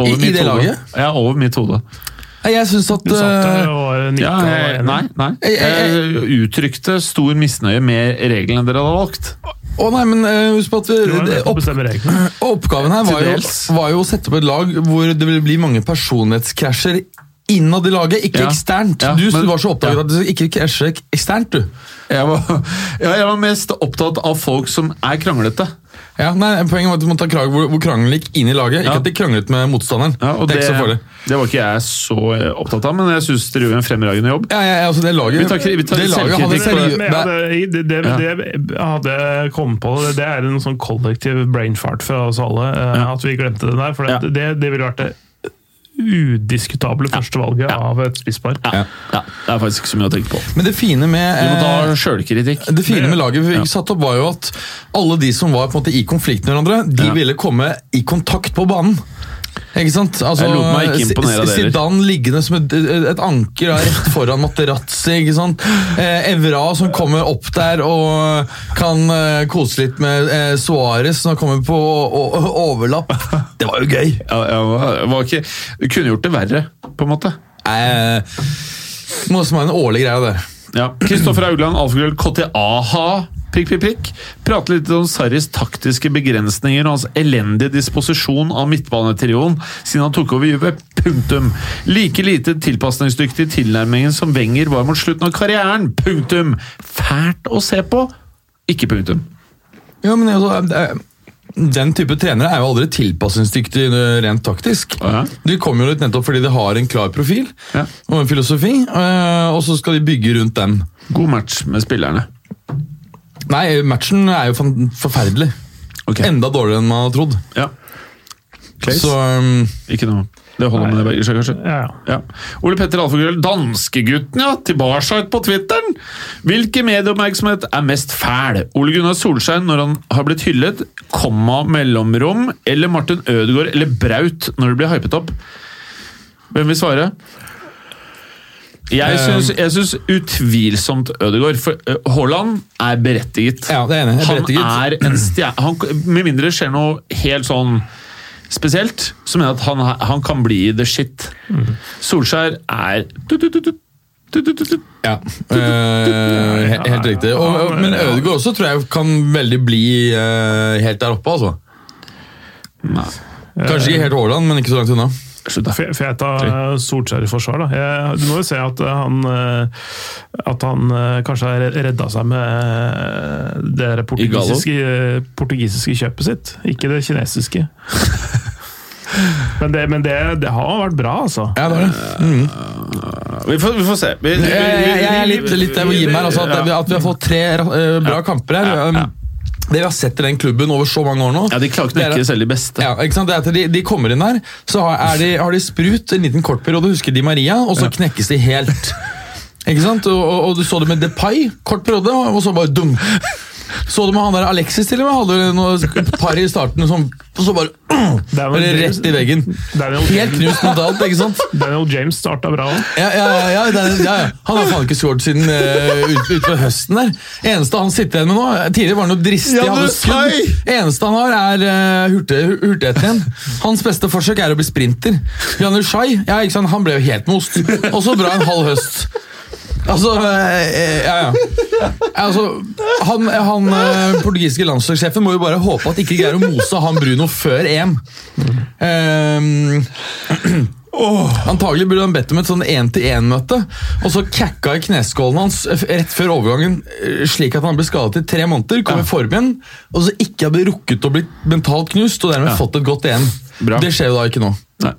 [SPEAKER 3] I- i
[SPEAKER 1] mitt
[SPEAKER 3] det
[SPEAKER 1] hode.
[SPEAKER 3] laget?
[SPEAKER 1] Ja, over mitt hode.
[SPEAKER 3] Nei, Jeg syns at
[SPEAKER 2] Du satt
[SPEAKER 3] eh,
[SPEAKER 2] der og var nikka
[SPEAKER 1] Ja,
[SPEAKER 2] og var
[SPEAKER 1] jeg,
[SPEAKER 2] enig.
[SPEAKER 1] nei, nei.
[SPEAKER 3] Jeg- jeg-
[SPEAKER 1] Jeg uttrykte stor misnøye med reglene dere hadde valgt.
[SPEAKER 3] Å nei, men eh, husk på at
[SPEAKER 2] Det var
[SPEAKER 3] vi,
[SPEAKER 2] jo
[SPEAKER 3] det,
[SPEAKER 2] nettopp å
[SPEAKER 3] opp,
[SPEAKER 2] bestemme reglene.
[SPEAKER 3] oppgaven her var
[SPEAKER 1] Til
[SPEAKER 3] jo,
[SPEAKER 1] dels.
[SPEAKER 3] var jo å sette opp et lag hvor det ville bli mange personlighetskrasjer innad i laget, ikke
[SPEAKER 1] Ja.
[SPEAKER 3] eksternt.
[SPEAKER 1] Ja,
[SPEAKER 3] du
[SPEAKER 1] men-
[SPEAKER 3] var så opptatt
[SPEAKER 1] Ja.
[SPEAKER 3] av at du ikke krasje eksternt, du.
[SPEAKER 1] Jeg var, ja, jeg var mest opptatt av folk som er kranglete.
[SPEAKER 3] Ja, nei, Poenget var at du måtte ta krag hvor, hvor krangelen gikk inn i laget.
[SPEAKER 1] Ja.
[SPEAKER 3] Ikke at de kranglet med motstanderen.
[SPEAKER 1] Ja, og
[SPEAKER 3] det er ikke så farlig.
[SPEAKER 1] det var ikke jeg så eh, opptatt av, men jeg syns dere gjorde en fremragende jobb.
[SPEAKER 3] Ja, ja, ja, altså det laget,
[SPEAKER 1] Vi tar kri- vi tar
[SPEAKER 3] det laget hadde
[SPEAKER 1] selvkritikk på
[SPEAKER 3] seriø-
[SPEAKER 2] Men ja, det,
[SPEAKER 3] det-
[SPEAKER 2] det, det, det jeg hadde kommet på, det, det er en sånn kollektiv brain fart fra oss alle, eh,
[SPEAKER 1] Ja.
[SPEAKER 2] at vi glemte den der. For
[SPEAKER 1] Ja.
[SPEAKER 2] det, det, det ville vært det udiskutable førstevalget av et spisspar.
[SPEAKER 1] Ja, ja, det er faktisk ikke så mye å tenke på.
[SPEAKER 3] Men det fine med
[SPEAKER 1] Vi må
[SPEAKER 3] eh,
[SPEAKER 1] ta sjølkritikk.
[SPEAKER 3] Det fine med laget vi fikk satt opp, var jo at alle de som var på en måte i konflikt med hverandre, de
[SPEAKER 1] Ja.
[SPEAKER 3] ville komme i kontakt på banen. Ikke sant? Altså,
[SPEAKER 1] Jeg lot meg ikke imponere av det heller.
[SPEAKER 3] Zidane liggende som et, et anker da, rett foran Materazzi. ikke sant? Eh, Evra som kommer opp der og kan eh, kose litt med eh, Suárez som kommer på o- o- overlapp. Det var jo gøy!
[SPEAKER 1] Ja, jeg var, jeg var ikke, du kunne gjort det verre, på en måte.
[SPEAKER 3] Eh, noe som er en årlig greie, det.
[SPEAKER 1] Ja. Kristoffer Haugland, alfagrøll, KTAH, prikk, prikk, prikk. Prate litt om Sarris taktiske begrensninger og hans elendige disposisjon av midtbanetrioen siden han tok over Juve. Punktum. Like lite tilpasningsdyktig i tilnærmingen som Wenger var mot slutten av karrieren. Punktum. Fælt å se på. Ikke punktum.
[SPEAKER 3] Ja, men altså, eh, den type trenere er jo aldri tilpasningsdyktig eh, rent taktisk.
[SPEAKER 1] Ja.
[SPEAKER 3] De kommer jo litt nettopp fordi de har en klar profil
[SPEAKER 1] Ja.
[SPEAKER 3] og en filosofi, eh, og så skal de bygge rundt den.
[SPEAKER 1] God match med spillerne.
[SPEAKER 3] Nei, matchen er jo fan- forferdelig.
[SPEAKER 1] Ok.
[SPEAKER 3] Enda dårligere enn man hadde trodd.
[SPEAKER 1] Ja. Claes?
[SPEAKER 3] Så um,
[SPEAKER 1] Ikke noe. Det holder med det begge seg, kanskje?
[SPEAKER 2] Ja, ja.
[SPEAKER 1] Ja. Ole Petter Alfagrøll, danskegutten, ja! Tilbake på Twitteren! Hvilken medieoppmerksomhet er mest fæl? Ole Gunnar Solskjær når han har blitt hyllet, komma mellomrom, eller Martin Ødegaard eller Braut når det blir hypet opp? Hvem vil svare? Jeg
[SPEAKER 3] Eh.
[SPEAKER 1] syns, jeg syns utvilsomt Ødegaard, for eh, Haaland er berettiget.
[SPEAKER 3] ja, det er enig. Jeg er
[SPEAKER 1] Han
[SPEAKER 3] berettiget.
[SPEAKER 1] er en stjerne han, Med mindre det skjer noe helt sånn spesielt, så mener jeg at han, han kan bli the shit. Solskjær er tut, tut, tut, tut, tut, tut, tut.
[SPEAKER 3] Ja, eh, he- helt riktig. Og, og, men Ødegaard også tror jeg kan veldig bli eh, helt der oppe, altså.
[SPEAKER 1] Nei,
[SPEAKER 3] Kanskje ikke helt Haaland, men ikke så langt unna.
[SPEAKER 1] slutt, da.
[SPEAKER 2] Fe- Feta eh, Solskjær i forsvar, da. Jeg, du må jo se at eh, han eh, At han eh, kanskje har redda seg med eh, det der portugisiske, portugisiske kjøpet sitt, ikke det kinesiske. men det, men det, det har vært bra, altså.
[SPEAKER 3] Ja, det er det.
[SPEAKER 1] Vi får, vi får se. Vi- vi-
[SPEAKER 3] Jeg, jeg, jeg er litt, litt der hvor Jim er. Altså, at,
[SPEAKER 1] ja.
[SPEAKER 3] vi- at vi har fått tre eh, bra kamper her. Um, Det vi har sett i den klubben over så mange år nå
[SPEAKER 1] ja, de klarer ikke å
[SPEAKER 3] det
[SPEAKER 1] knekke
[SPEAKER 3] er-
[SPEAKER 1] selv de beste.
[SPEAKER 3] ja, ikke sant? Det er at de, de kommer inn her, så har, er de, har de sprut en liten kort periode, husker de Maria, og så knekkes de helt. Ikke sant? Og, og, og du så det med Depay, kort periode, og og så bare dung. Så du med han der Alexis til og med, hadde jo noe et par i starten, som, og så bare
[SPEAKER 2] Det er jo-
[SPEAKER 3] Eller rett i veggen.
[SPEAKER 2] Daniel,
[SPEAKER 3] Helt knust mentalt, ikke sant?
[SPEAKER 2] Daniel James starta bra òg.
[SPEAKER 3] Ja, ja, ja, ja, det er- ja, ja. Han har faen ikke skåret siden uh, utpå høsten. der Eneste han sitter igjen med nå Tidligere var han noe dristig.
[SPEAKER 1] Ja,
[SPEAKER 3] hadde
[SPEAKER 1] du
[SPEAKER 3] skudd. Eneste han har, er eh, hurtig, hurtigheten igjen. Hans beste forsøk er å bli sprinter. Janus Shai ja, ikke sant? han ble jo helt most. Og så bra en halv høst. Altså eh, Ja, ja. Altså, han han eh, portugisiske landslagssjefen må jo bare
[SPEAKER 1] Ehm,
[SPEAKER 3] håpe at ikke greier å mose han Bruno før EM. Um, Antagelig burde han bedt om et sånn én-til-én-møte, og så kakka i kneskålen hans eh, rett før overgangen, eh, slik at han ble skadet i tre måneder, kom i form igjen, og så ikke hadde rukket å bli mentalt knust, og dermed fått et godt EM.
[SPEAKER 1] Bra.
[SPEAKER 3] Det skjer jo da ikke nå.
[SPEAKER 1] Nei.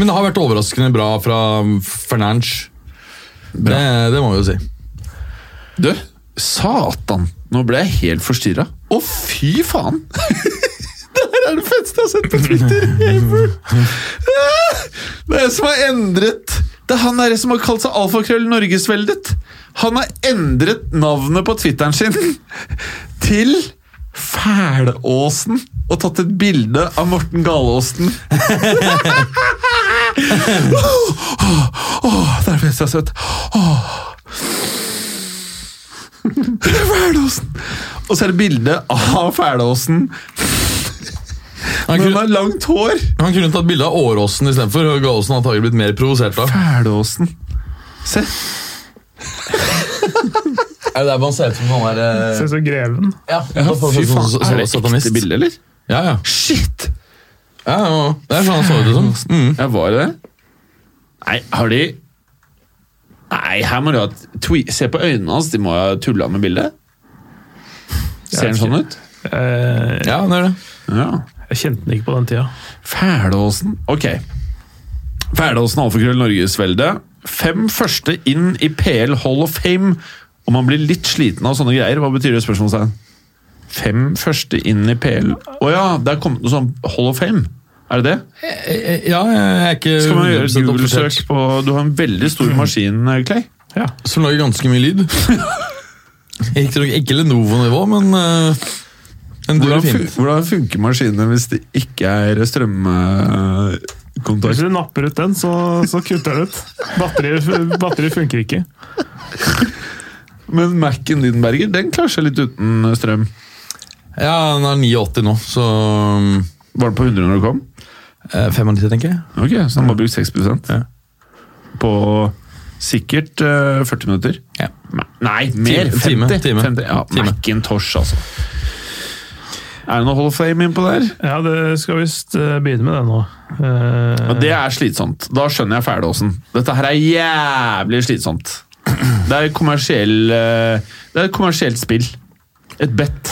[SPEAKER 3] Men det har vært overraskende bra fra Fernandes. Det, det må vi jo si.
[SPEAKER 1] Du, satan! Nå ble jeg helt forstyrra. Å, fy faen! det her er det feteste jeg har sett på Twitter ever! Det er jeg som har endret Det er han der som har kalt seg Alfakrøll Norgesveldet. Han har endret navnet på Twitteren sin til Fælåsen og tatt et bilde av Morten Galaasen. Åh, åh, det er det beste jeg har sett. Åh. Fælåsen! Og så er det bilde av Fælåsen.
[SPEAKER 3] Han
[SPEAKER 1] Men han
[SPEAKER 3] kunne,
[SPEAKER 1] har langt hår!
[SPEAKER 3] han kunne tatt bilde av Åråsen istedenfor. og Gaalesen har antagelig blitt mer provosert av.
[SPEAKER 1] Fælåsen. Se.
[SPEAKER 3] Er det der man ser ut som han
[SPEAKER 2] Se
[SPEAKER 3] er eh,
[SPEAKER 2] så greven.
[SPEAKER 3] Ja,
[SPEAKER 1] Fy faen, er det
[SPEAKER 3] satanist.
[SPEAKER 1] ekte bilde, eller?
[SPEAKER 3] Ja, ja.
[SPEAKER 1] Shit!
[SPEAKER 3] ja, ja. Det er sånn han så ut som. Mm.
[SPEAKER 1] Ja, var det det? Nei, har de Nei, her må de ha et twi... Se på øynene hans, de må ha tulla med bildet. Ser den sånn ut?
[SPEAKER 2] Eh,
[SPEAKER 3] Ja, det er det.
[SPEAKER 1] Ja.
[SPEAKER 2] Jeg kjente den ikke på den tida.
[SPEAKER 1] Fælåsen. Ok. Fælåsen alfakrøll Norgesvelde. Fem første inn i PL Hall of Fame. Om man blir litt sliten av sånne greier, hva betyr det? spørsmålstegn? Fem første inn i PL Å ja, det er kommet noe sånn Hall of Fame. Er det det?
[SPEAKER 3] Eh, Ja, jeg er ikke
[SPEAKER 1] Skal man gjøre
[SPEAKER 3] 100%
[SPEAKER 1] et
[SPEAKER 3] oppdatert.
[SPEAKER 1] Google-søk på Du har en veldig
[SPEAKER 3] Mm.
[SPEAKER 1] stor maskin, eh, Clay.
[SPEAKER 2] Ja.
[SPEAKER 3] Som lager ganske mye lyd. Ikke, nok- ikke Lenovo-nivå, men uh, en dør
[SPEAKER 1] Hvordan,
[SPEAKER 3] er
[SPEAKER 1] fun
[SPEAKER 3] fint.
[SPEAKER 1] hvordan funker maskinene hvis det ikke er strømkontakt?
[SPEAKER 2] Hvis du napper ut den, så, så kutter den ut. Batteriet batteri funker ikke.
[SPEAKER 1] Men Mac-en din, Berger, den klarer seg litt uten strøm.
[SPEAKER 3] Ja, den er 89 nå, så um,
[SPEAKER 1] Var den på 100 når du kom?
[SPEAKER 3] eh, 95, tenker jeg.
[SPEAKER 1] Ok, Så han bare brukt 6
[SPEAKER 3] Ja.
[SPEAKER 1] på sikkert eh, 40 minutter.
[SPEAKER 3] Ja.
[SPEAKER 1] Nei, Nei, mer!
[SPEAKER 3] Time,
[SPEAKER 1] 50!
[SPEAKER 3] time,
[SPEAKER 1] 50. Ja,
[SPEAKER 3] time.
[SPEAKER 1] Macintosh, altså. Er det noe Hall of Fame innpå der?
[SPEAKER 2] Ja, det skal visst eh, begynne med det nå. Eh,
[SPEAKER 1] Ja, det er slitsomt. Da skjønner jeg Fælåsen. Dette her er jævlig slitsomt. Det er, kommersiell, eh, det er et kommersielt spill. Et bet.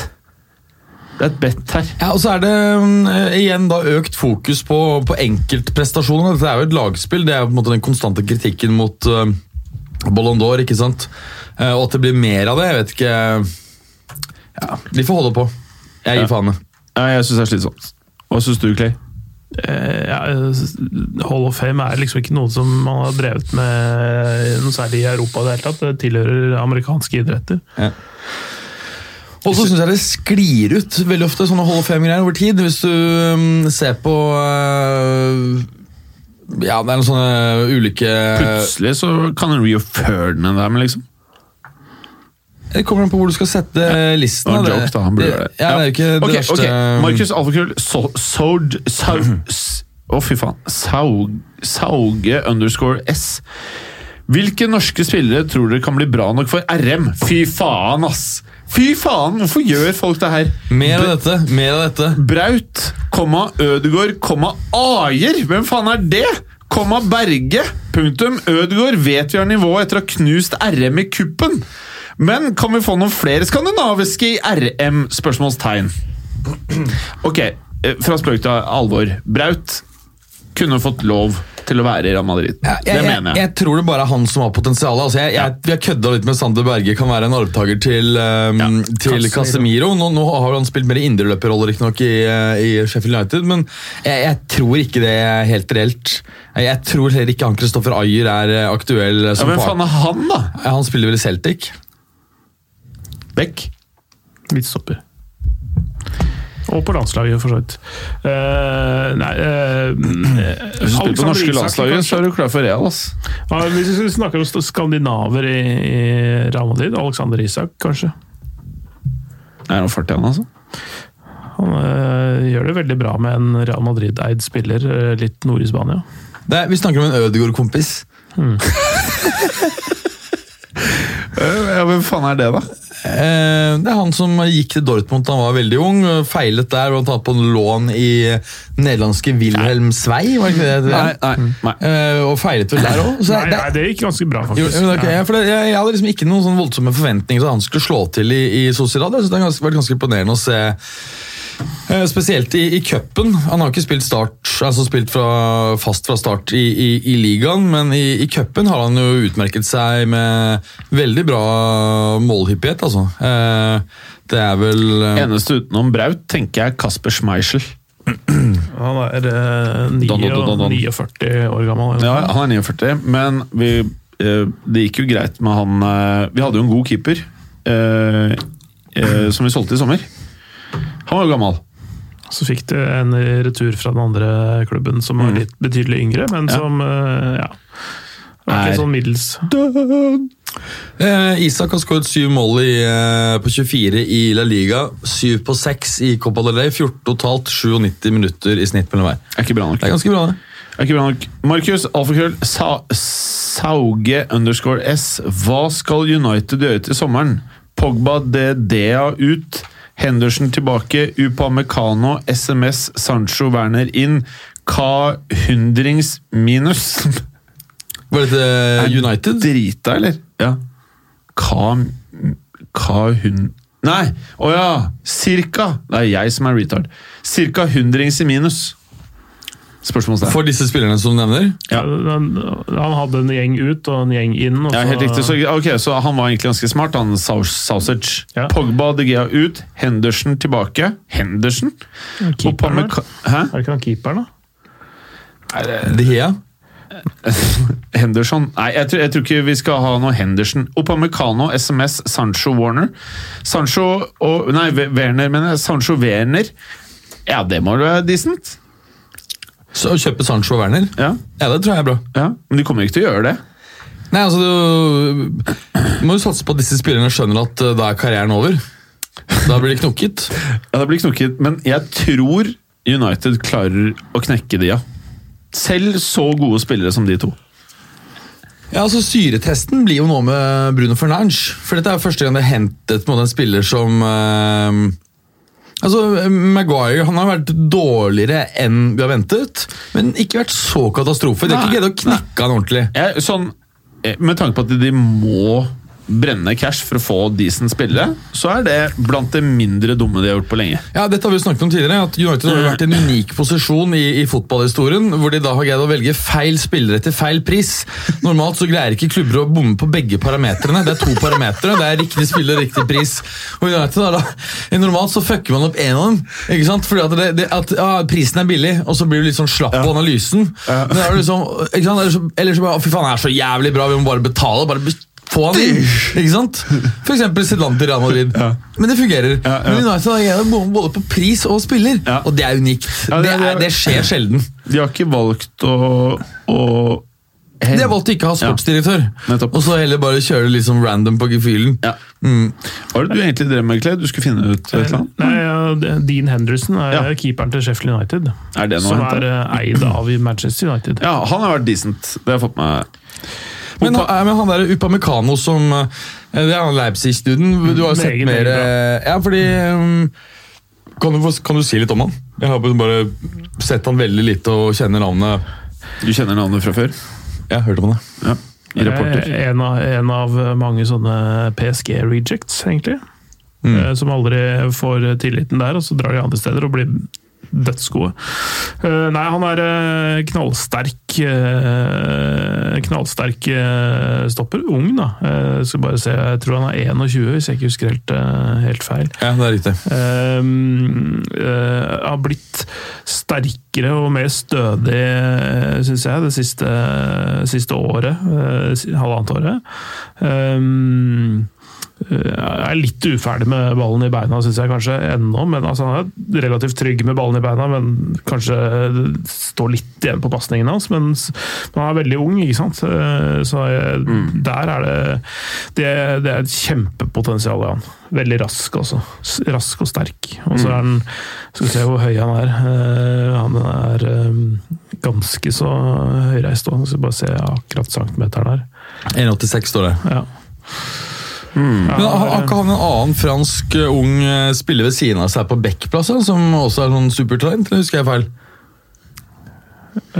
[SPEAKER 1] Det er et bet her.
[SPEAKER 3] Ja, og så er det mm, eh, igjen da økt fokus på, på enkeltprestasjoner. Dette er jo et lagspill. Det er jo på en måte den konstante kritikken mot uh, Ballon d'Or, ikke sant? Eh, og at det blir mer av det, jeg vet ikke Ja, De får holde på. Jeg gir faen. jeg.
[SPEAKER 1] Ja, jeg syns det er slitsomt. Hva syns du, Clay?
[SPEAKER 2] eh, ja, Hall of Fame er liksom ikke noe som man har drevet med noe særlig i Europa i det hele tatt. Det tilhører amerikanske idretter.
[SPEAKER 3] Og så syns jeg det sklir ut veldig ofte, sånne Hall of Fame-greier over tid. Hvis du mm, ser på eh, Ja, det er noen sånne ulike
[SPEAKER 1] Plutselig så kan Rio Ferdinand være med, liksom.
[SPEAKER 3] Det kommer an på hvor du skal sette listen.
[SPEAKER 1] Det var en
[SPEAKER 3] da.
[SPEAKER 1] joke, da. Han burde gjøre det.
[SPEAKER 3] Ja, det er jo ikke det
[SPEAKER 1] Ok,
[SPEAKER 3] verste
[SPEAKER 1] ok. Markus Alfakrøll so- Sord Sau... s- Å, fy faen. Saug, sauge underscore S. Hvilke norske spillere tror dere kan bli bra nok for RM? Fy faen, ass! Fy faen, hvorfor gjør folk det her?
[SPEAKER 3] Mer av dette, mer av dette.
[SPEAKER 1] Braut, komma Ødegård, komma Ajer! Hvem faen er det?! Komma Berge! Punktum. Ødegård vet vi har nivå etter å ha knust RM i kuppen. Men kan vi få noen flere skandinaviske i RM? Spørsmålstegn. Ok, eh, fra spøk til alvor. Braut kunne fått lov til å være i Real Madrid. det
[SPEAKER 3] jeg,
[SPEAKER 1] mener jeg.
[SPEAKER 3] jeg tror det bare er han som har potensial. Altså, jeg, jeg, vi har kødda litt med Sander Berge, kan være en arvtaker til, um, til Casemiro. Nå, nå har han spilt mer indreløperrolle, riktignok, i, uh, i Sheffield United, men jeg, jeg tror ikke det er helt reelt. Jeg, jeg tror heller ikke han Kristoffer Ayer er uh, aktuell uh,
[SPEAKER 1] Ja,
[SPEAKER 3] som
[SPEAKER 1] Hvem faen
[SPEAKER 3] part.
[SPEAKER 1] er han, da?
[SPEAKER 3] Ja, Han spiller vel i Celtic?
[SPEAKER 1] Beck?
[SPEAKER 2] Midtstopper. Og på landslaget, for så vidt. Eh, nei eh,
[SPEAKER 1] Hvis du spiller på
[SPEAKER 2] Alexander
[SPEAKER 1] norske
[SPEAKER 2] Isak,
[SPEAKER 1] landslaget,
[SPEAKER 2] kanskje?
[SPEAKER 1] så er du klar for Real. ass.
[SPEAKER 2] Ja, hvis vi snakker om st- skandinaver i, i Real Madrid, Alexander Isak kanskje.
[SPEAKER 1] Det er noe fart i han, altså.
[SPEAKER 2] Han eh, gjør det veldig bra med en Real Madrid-eid spiller eh, litt nord i Spania.
[SPEAKER 3] Det er, vi snakker om en Ødegaard-kompis.
[SPEAKER 1] Ja, Hvem faen er det, da?
[SPEAKER 3] Eh, Det er han som gikk til Dortmund da han var veldig ung. Feilet der, blant annet på en lån i nederlandske Wilhelm Svei. Var det ikke det? det?
[SPEAKER 1] Nei, nei, Mm. nei.
[SPEAKER 3] Eh, Og feilet vel der òg.
[SPEAKER 2] Nei, nei, det gikk ganske bra,
[SPEAKER 3] Jo,
[SPEAKER 2] faktisk.
[SPEAKER 3] men ok, ja, for det, jeg, jeg hadde liksom ikke noen sånn voldsomme forventninger til at han skulle slå til i, i Sociedad. Jeg synes det har ganske, vært ganske imponerende å se, eh, spesielt i, i cupen. Han har ikke spilt, start, altså spilt fra, fast fra start i, i, i ligaen, men i, i cupen har han jo utmerket seg med veldig bra målhyppighet, altså. Eh, Det er vel eh,
[SPEAKER 1] Eneste utenom Braut tenker jeg Kasper Schmeichel.
[SPEAKER 2] Han er eh,
[SPEAKER 1] Don, don, don, don.
[SPEAKER 2] 49 år gammel. eller noe
[SPEAKER 1] Ja,
[SPEAKER 2] sånt.
[SPEAKER 1] han er 49, men vi, eh, det gikk jo greit med han eh, Vi hadde jo en god keeper eh, eh, som vi solgte i sommer. Han var jo gammel.
[SPEAKER 2] Så fikk du en retur fra den andre klubben som
[SPEAKER 1] Mm.
[SPEAKER 2] var litt betydelig yngre, men som eh, ja. Det var
[SPEAKER 1] Er-
[SPEAKER 2] ikke sånn middels.
[SPEAKER 3] eh, Isak har skåret syv mål i, eh, på 24 i La Liga. Syv på seks i Copa del Rey. 14 totalt, 97 minutter i snitt mellom hver.
[SPEAKER 1] Er ikke bra nok.
[SPEAKER 3] Det er ganske bra, det.
[SPEAKER 1] Er ikke bra nok. Markus Alfakrøll sa, Sauge underscore S. Hva skal United gjøre til sommeren? Pogba de Dea ut. Henderson tilbake. Upamecano, SMS, Sancho Werner inn. Ka hundrings minus.
[SPEAKER 3] Var dette United?
[SPEAKER 1] Drita, eller? Ja. Ka Ka hun... Nei! Å ja! Cirka! Det er jeg som er retard. Cirka hundrings i minus. Spørsmålstegn.
[SPEAKER 3] For disse spillerne som du nevner?
[SPEAKER 1] Ja.
[SPEAKER 2] Han, eh, han hadde en gjeng ut og en gjeng inn. Og
[SPEAKER 1] Ja,
[SPEAKER 2] så-
[SPEAKER 1] helt riktig. Så, ok, så han var egentlig ganske smart, han Sau- Sausage.
[SPEAKER 2] Ja.
[SPEAKER 1] Pogba de Gea ut, Henderson tilbake. Henderson?
[SPEAKER 2] Keeperen
[SPEAKER 1] Oppame-
[SPEAKER 2] der.
[SPEAKER 1] Hæ?
[SPEAKER 2] Er det ikke han keeperen, da?
[SPEAKER 3] De Hea?
[SPEAKER 1] Henderson? Nei, jeg tror, jeg tror ikke vi skal ha noe Henderson. Opamecano, SMS, Sancho Warner. Sancho og Nei, Ve- Werner, mener jeg. Sancho Werner. Ja, det må være decent.
[SPEAKER 3] Så å kjøpe Sancho og Werner?
[SPEAKER 1] Ja,
[SPEAKER 3] Ja, det tror jeg er bra.
[SPEAKER 1] ja. Men de kommer ikke til å gjøre det.
[SPEAKER 3] Nei, altså, du, du må jo satse på at disse spillerne skjønner at eh, da er karrieren over. Da blir det knokket.
[SPEAKER 1] Ja, det blir knokket, men jeg tror United klarer å knekke de, ja. Selv så gode spillere som de to.
[SPEAKER 3] Ja, altså Syretesten blir jo nå med Bruno Fernandes. For dette er første gang det er hentet på en måte, en spiller som eh, Altså, Maguire han har vært dårligere enn vi har ventet, men ikke vært så katastrofe. De har
[SPEAKER 1] Nei.
[SPEAKER 3] ikke greid å knekke han ordentlig.
[SPEAKER 1] jeg, sånn, eh, med tanke på at de må brenne cash for å få decent spillere, så er det blant det mindre dumme de har gjort på lenge.
[SPEAKER 3] Ja, dette har vi jo snakket om tidligere, at United har jo vært i en unik posisjon i, i fotballhistorien, hvor de da har greid å velge feil spillere til feil pris. Normalt så greier ikke klubber å bomme på begge parametrene. Det er to parametre, det er riktig spiller og riktig pris. Og United har da, Normalt så fucker man opp én av dem, ikke sant? fordi at, det, det, at ja, prisen er billig, og så blir du litt sånn slapp på analysen. Men da er du liksom, ikke sant? Eller så, eller så bare, «Å, fy faen, det er så jævlig bra, vi må bare betale. bare be- få han inn, ikke sant? For eksempel Zidane til Real Madrid. Men det fungerer. Men United har greid å bomme både på pris og spiller,
[SPEAKER 1] Ja.
[SPEAKER 3] og det er unikt.
[SPEAKER 1] Ja,
[SPEAKER 3] det,
[SPEAKER 1] det-
[SPEAKER 3] er, det skjer sjelden.
[SPEAKER 1] De har ikke valgt å, å
[SPEAKER 3] De har valgt å ikke ha sportsdirektør,
[SPEAKER 1] Nettopp.
[SPEAKER 3] og så heller bare kjøre det litt sånn random på gefühlen.
[SPEAKER 1] Ja. Hva er det du egentlig drev med, Clay? Du skulle finne ut et eller annet?
[SPEAKER 2] Nei, ja, det- Dean Henderson er
[SPEAKER 1] Ja.
[SPEAKER 2] keeperen til Sheffield United.
[SPEAKER 1] Er det noe
[SPEAKER 2] som
[SPEAKER 1] å hente?
[SPEAKER 2] er eh, eid av i Manchester United.
[SPEAKER 1] Ja, han har vært decent. Det har jeg fått med
[SPEAKER 3] Men, han- eh, men han der Upamecano som eh, Det er han Leipzig-duden. Du har jo sett
[SPEAKER 2] Meget,
[SPEAKER 3] mer
[SPEAKER 2] meget
[SPEAKER 3] eh, Ja, fordi um, kan, du, få- kan du si litt om han? Jeg har bare sett han veldig lite og kjenner navnet.
[SPEAKER 1] Du kjenner navnet fra før?
[SPEAKER 3] Jeg har hørt om det.
[SPEAKER 1] Ja. I reporter.
[SPEAKER 2] Eh, En av, en av mange sånne PSG-rejects, egentlig. Eh, Som aldri får tilliten der, og så drar de andre steder og blir dødsgode. Eh, Nei, han er eh, knallsterk eh, Knallsterk eh, stopper. Ung, da. Eh, Skal bare se, jeg tror han er 21, hvis jeg ikke husker helt, eh, helt feil.
[SPEAKER 3] Ja, det er riktig.
[SPEAKER 2] Um, eh, har blitt sterkere og mer stødig, syns jeg, det siste, siste året. eh, si- halvannet året. Um, eh, er litt uferdig med ballen i beina, syns jeg kanskje ennå. men altså, Han er relativt trygg med ballen i beina, men kanskje det står litt igjen på pasningen hans. Men s- men han er veldig ung, ikke sant. Eh, Så jeg, der er det det, det er et kjempepotensial i han. Veldig rask, altså. S- Rask og sterk. Og så er han Skal vi se hvor høy han er. Eh, Han er eh, ganske så høyreist òg, skal bare se akkurat centimeteren her.
[SPEAKER 3] 1,86 står det.
[SPEAKER 2] Ja.
[SPEAKER 3] Men har
[SPEAKER 2] eh,
[SPEAKER 3] har ikke han en annen fransk eh, ung eh, spiller ved siden av seg på backplass, han, som også er sånn supertalent? Eller husker jeg feil?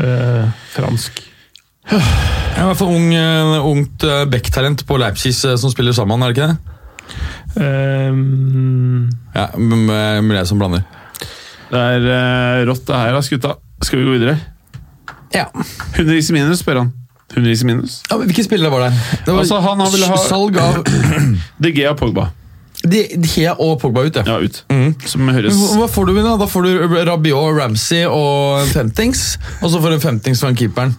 [SPEAKER 2] Eh, fransk.
[SPEAKER 3] Ja, I hvert fall ung, eh, ungt eh, backtalent på Leipzig eh, som spiller sammen, er det ikke det?
[SPEAKER 2] Eh,
[SPEAKER 3] Ja, men men det er jeg som blander.
[SPEAKER 1] Det er eh, rått, det her, ass, gutta. Skal vi gå videre?
[SPEAKER 3] Ja.
[SPEAKER 1] 100 is i minus, spør han. 100 is i minus.
[SPEAKER 3] men Hvilke spillere var det? Det var
[SPEAKER 1] Altså, han har vel ha-
[SPEAKER 3] salg av
[SPEAKER 1] DG og Pogba.
[SPEAKER 3] De, Hea og Pogba ut, ja.
[SPEAKER 1] Ja, ut. Som høres
[SPEAKER 3] Hva hva får du da? Da får du Rabiot, Ramsey og en femtings. Og så får du en femtings fra keeperen.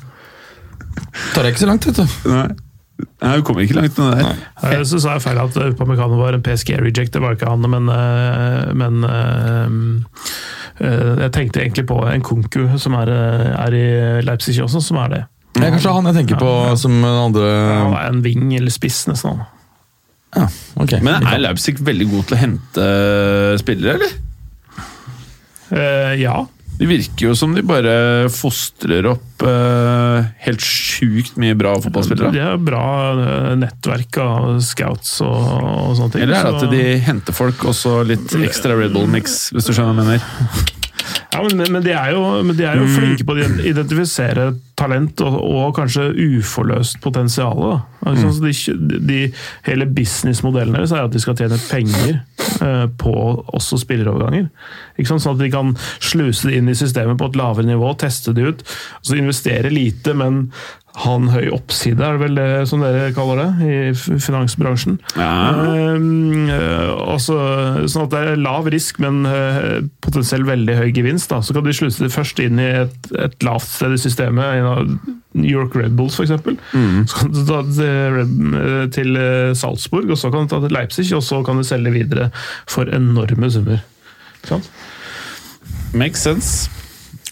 [SPEAKER 3] Tar jeg ikke så langt, vet du.
[SPEAKER 1] Nei, Nei du kommer ikke langt med det der.
[SPEAKER 2] her så sa jeg feil at Upamecano var en PSG-reject. Det var ikke han, men, eh, men eh, eh, Jeg tenkte egentlig på en Kunku, som er, eh, er i Leipzig også, som er det.
[SPEAKER 3] Det er kanskje han jeg tenker på som den andre
[SPEAKER 1] Ehm.
[SPEAKER 2] Han er en ving eller spiss, nesten. han.
[SPEAKER 3] ja, ok.
[SPEAKER 1] Men er Leipzig veldig god til å hente eh, spillere, eller?
[SPEAKER 2] Eh, ja.
[SPEAKER 1] Det virker jo som de bare fostrer opp eh, helt sjukt mye bra fotballspillere.
[SPEAKER 2] Det er bra eh, nettverk av scouts og, og sånne ting.
[SPEAKER 1] Eller er det
[SPEAKER 2] så-
[SPEAKER 1] at de henter folk og så litt ekstra Red Bull-mix, hvis du skjønner hva jeg mener?
[SPEAKER 2] Ja, men, men de er jo, men de er jo flinke på å identifisere talent og, og kanskje uforløst potensial. Da. Altså, så de, kjø- de, hele businessmodellen deres er at de skal tjene penger eh, på også spilleroverganger. Ikke sant? Sånn at de kan sluse det inn i systemet på et lavere nivå, teste det ut. Så investere lite, men ha en høy oppside, er det vel det som dere kaller det i f- finansbransjen.
[SPEAKER 1] Ja.
[SPEAKER 2] Ehm, øh, altså, sånn at det er lav risk, men øh, potensielt veldig høy gevinst. Da. Så kan de sluse det først inn i et, et lavt sted i systemet, en av New York Red Bulls f.eks. Så kan du ta til, Red- til øh, Salzburg, og så kan du ta til Leipzig, og så kan du selge videre for enorme summer. Ikke Sant?
[SPEAKER 1] Makes sense.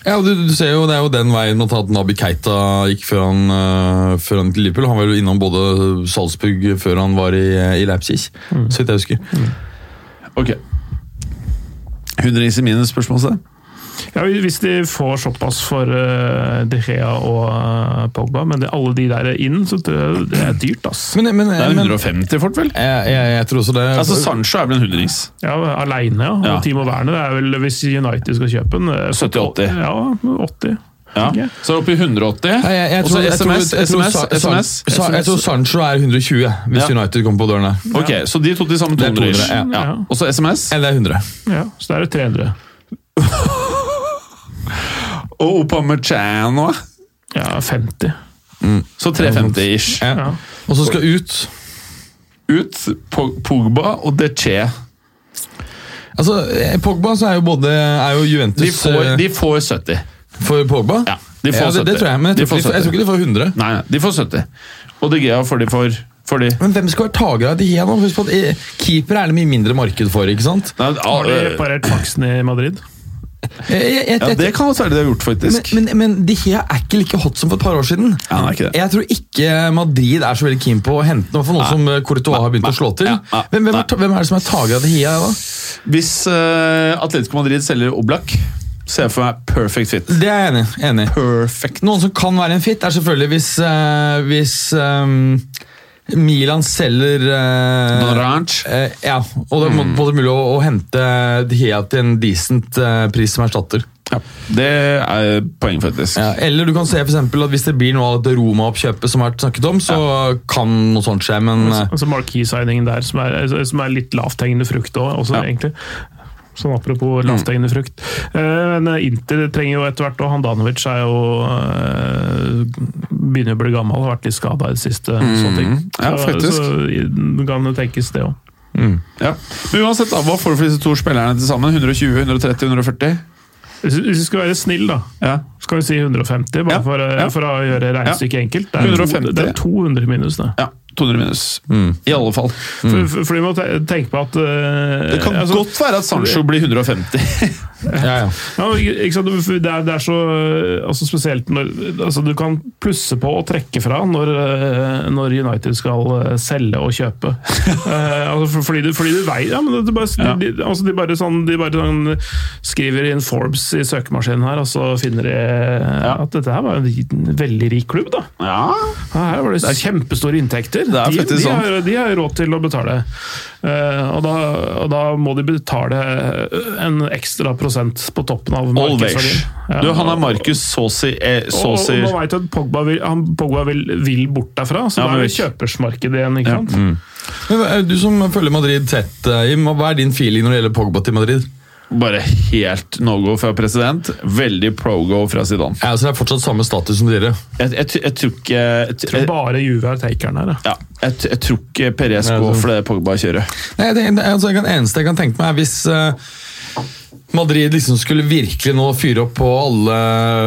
[SPEAKER 3] Ja, og du, du ser jo, Det er jo den veien blant annet Nabi Keita gikk før han, eh, før han til Liverpool. Han var jo innom både Salzburg før han var i, eh, i Leipzig,
[SPEAKER 1] Mm.
[SPEAKER 3] så vidt jeg husker.
[SPEAKER 1] Ok. 100 is i minus, spørsmål seg.
[SPEAKER 2] Ja, Hvis de får såpass for øh, De Gea og øh, Pogba, men det, alle de der er inn, så tror jeg det er dyrt, ass.
[SPEAKER 3] Men, men,
[SPEAKER 1] Det er
[SPEAKER 3] men
[SPEAKER 1] 150 fort, vel?
[SPEAKER 3] jeg, jeg, jeg tror også det
[SPEAKER 1] Altså, Sancho er vel en 100-is.
[SPEAKER 2] Ja, Aleine, ja.
[SPEAKER 1] Ja.
[SPEAKER 2] Og Timo Werner er vel, hvis United skal kjøpe den eh,
[SPEAKER 1] 70-80.
[SPEAKER 2] Ja, 80.
[SPEAKER 1] Ja.
[SPEAKER 2] tenker jeg.
[SPEAKER 1] Så er det oppe i 180.
[SPEAKER 3] Nei, jeg, jeg,
[SPEAKER 1] Og så
[SPEAKER 3] tror, jeg, tror,
[SPEAKER 1] SMS,
[SPEAKER 3] jeg, tror,
[SPEAKER 1] SMS,
[SPEAKER 3] Sa- San-
[SPEAKER 1] SMS.
[SPEAKER 3] Sa- jeg tror Sancho er 120, hvis
[SPEAKER 1] Ja.
[SPEAKER 3] United kommer på døren der.
[SPEAKER 1] Ok, så de to til sammen
[SPEAKER 3] Det er
[SPEAKER 1] 200 ish.
[SPEAKER 3] 200, ja.
[SPEAKER 2] Ja.
[SPEAKER 1] Og så SMS.
[SPEAKER 3] Eller det er 100.
[SPEAKER 2] ja, så da er det 300.
[SPEAKER 1] Og Opamechan òg.
[SPEAKER 2] Ja, 50.
[SPEAKER 1] Så 350 ish.
[SPEAKER 3] Ja.
[SPEAKER 2] Ja.
[SPEAKER 3] Og så skal ut
[SPEAKER 1] Ut Po- Pogba og Deche.
[SPEAKER 3] Altså, eh, Pogba så er jo både er jo Juventus
[SPEAKER 1] De får,
[SPEAKER 3] eh,
[SPEAKER 1] de får 70.
[SPEAKER 3] for Pogba.
[SPEAKER 1] Ja, de får
[SPEAKER 3] ja, det, det
[SPEAKER 1] 70.
[SPEAKER 3] tror jeg, men jeg
[SPEAKER 1] De
[SPEAKER 3] tror,
[SPEAKER 1] får
[SPEAKER 3] ikke de får- jeg tror ikke de får 100.
[SPEAKER 1] Nei, nei, de får 70. Og De Gea får de for, for de.
[SPEAKER 3] Men hvem skal være taker av de her nå? Husk på at eh, keeper er det mye mindre marked for, ikke sant?
[SPEAKER 1] Nei,
[SPEAKER 2] Har de
[SPEAKER 1] ah,
[SPEAKER 2] parert faksen i Madrid?
[SPEAKER 3] Eh, Jeg, jeg,
[SPEAKER 1] ja,
[SPEAKER 3] jeg,
[SPEAKER 1] det kan godt være de har gjort, faktisk.
[SPEAKER 3] men, men, men de her er ikke like hot som for et par år siden.
[SPEAKER 1] Ja, han er ikke det.
[SPEAKER 3] Jeg tror ikke Madrid er så veldig keen på å hente noe for noe
[SPEAKER 1] Nei.
[SPEAKER 3] som eh, Courtois har begynt
[SPEAKER 1] Nei.
[SPEAKER 3] å slå til.
[SPEAKER 1] Ja, ja,
[SPEAKER 3] Hvem, hvem,
[SPEAKER 1] nei.
[SPEAKER 3] er, ta- hvem er det som er taker av de her da?
[SPEAKER 1] Hvis eh, Atletico Madrid selger Oblak, ser jeg for meg perfect fit.
[SPEAKER 3] Det er jeg enig, i, enig. i.
[SPEAKER 1] Perfect.
[SPEAKER 3] Noen som kan være en fit, er selvfølgelig hvis, eh, hvis eh, Milan selger eh,
[SPEAKER 1] Orange.
[SPEAKER 3] eh, Ja, og det er på en måte mulig å, å hente De Gea til en decent eh, pris som erstatter.
[SPEAKER 1] Ja, det er poeng, faktisk.
[SPEAKER 3] Ja, eller du kan se for eksempel at hvis det blir noe av dette Roma-oppkjøpet som har vært snakket om, så kan noe sånt skje, men eh,
[SPEAKER 2] Altså Marquis-signingen der, som er, altså, som er litt lavthengende frukt òg, også,
[SPEAKER 1] Ja.
[SPEAKER 2] egentlig. Sånn apropos lavthengende frukt. Eh, Men Inter trenger jo etter hvert òg. Handanovic er jo eh, Begynner å bli gammel, har vært litt skada i det siste. Sånne ting.
[SPEAKER 1] Mm. Ja, faktisk.
[SPEAKER 2] Så, så kan det tenkes, det òg.
[SPEAKER 3] eh, mm.
[SPEAKER 1] Ja. Men uansett, da, hva får du for disse to spillerne til sammen? 120, 130, 140?
[SPEAKER 2] Hvis hvis vi skal være snill da,
[SPEAKER 1] Ja.
[SPEAKER 2] skal vi si 150, bare
[SPEAKER 1] Ja,
[SPEAKER 2] for,
[SPEAKER 1] ja.
[SPEAKER 2] for å gjøre regnestykket enkelt. Det er,
[SPEAKER 1] 150.
[SPEAKER 2] det er 200 minus, det.
[SPEAKER 1] ja 200 minus. I alle fall.
[SPEAKER 2] For, for, for vi må te- tenke på at eh,
[SPEAKER 1] Mm. Det kan
[SPEAKER 2] altså,
[SPEAKER 1] godt være at Sancho blir 150.
[SPEAKER 3] Ja, ja.
[SPEAKER 2] Ja, men ikke ikke sant? du- Det er, det er så øh, altså spesielt når altså Du kan plusse på og trekke fra når, øh, når United skal øh, selge og kjøpe. Eh, altså for, fordi, du, fordi du veier ja, men det, det bare, de, altså de bare, sånn, de bare sånn, skriver inn Forbes i søkemaskinen her, og så finner de eh, at dette her var en liten, veldig rik klubb. da
[SPEAKER 1] Ja,
[SPEAKER 2] her var det, kjempestore inntekter.
[SPEAKER 1] Det er
[SPEAKER 2] de,
[SPEAKER 1] faktisk
[SPEAKER 2] de,
[SPEAKER 1] sånn.
[SPEAKER 2] har, de har råd til å betale. Eh, og, da, og da må de betale eh, en ekstra prosent på toppen av
[SPEAKER 1] Always.
[SPEAKER 2] markedsverdien. Ja.
[SPEAKER 1] Du, han er Marcus Saucy eh,
[SPEAKER 2] Og, og,
[SPEAKER 1] Saucy-
[SPEAKER 2] man vet at Pogba vil, han, Pogba vil, vil bort derfra, så
[SPEAKER 1] Ja,
[SPEAKER 2] da
[SPEAKER 1] men Mm.
[SPEAKER 2] er det kjøpersmarkedet igjen. ikke sant?
[SPEAKER 3] Men hva- Du som følger Madrid tett, eh, Jim, hva er din feeling når det gjelder Pogba til Madrid?
[SPEAKER 1] Bare helt no-go fra president. Veldig pro-go fra Zidane.
[SPEAKER 3] Ja, altså det er fortsatt samme status som dere.
[SPEAKER 1] Jeg, jeg, jeg tror ikke jeg,
[SPEAKER 2] Det
[SPEAKER 1] jeg,
[SPEAKER 2] er Bare Juve er takeren her. da.
[SPEAKER 1] ja, jeg, jeg tror ikke Perez
[SPEAKER 3] Nei,
[SPEAKER 1] går
[SPEAKER 3] så-
[SPEAKER 1] for det Pogba-kjøret.
[SPEAKER 3] Nei, det, det altså, jeg kan, eneste jeg kan tenke meg er hvis eh, Madrid liksom skulle virkelig nå fyre opp på alle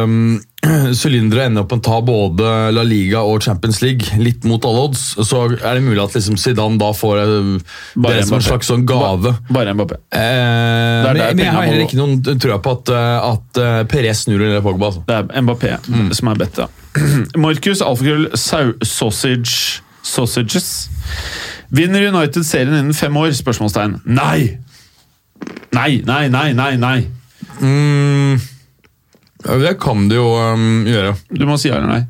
[SPEAKER 3] um, sylindere og ende opp med å ta både La Liga og Champions League, litt mot alle odds, så er det mulig at liksom Zidane da får eh,
[SPEAKER 1] Bare
[SPEAKER 3] det som en
[SPEAKER 1] Mbappé.
[SPEAKER 3] slags sånn gave.
[SPEAKER 1] Bare Mbappé.
[SPEAKER 3] Eh,
[SPEAKER 1] der
[SPEAKER 3] men, men jeg
[SPEAKER 1] pengene
[SPEAKER 3] har heller
[SPEAKER 1] må
[SPEAKER 3] ikke noen trøya på at, eh, at eh, Perez snur eller Pogba. Altså.
[SPEAKER 1] Det er Mbappé
[SPEAKER 3] Mm.
[SPEAKER 1] som er bedt, ja. Markus Alfakrøll sau- Sausage Sausages. Vinner United serien innen fem år? Spørsmålstegn. Nei! Nei, nei, nei, nei! nei.
[SPEAKER 3] Mm, ja, det kan det jo um, gjøre.
[SPEAKER 1] Du må si ja eller nei.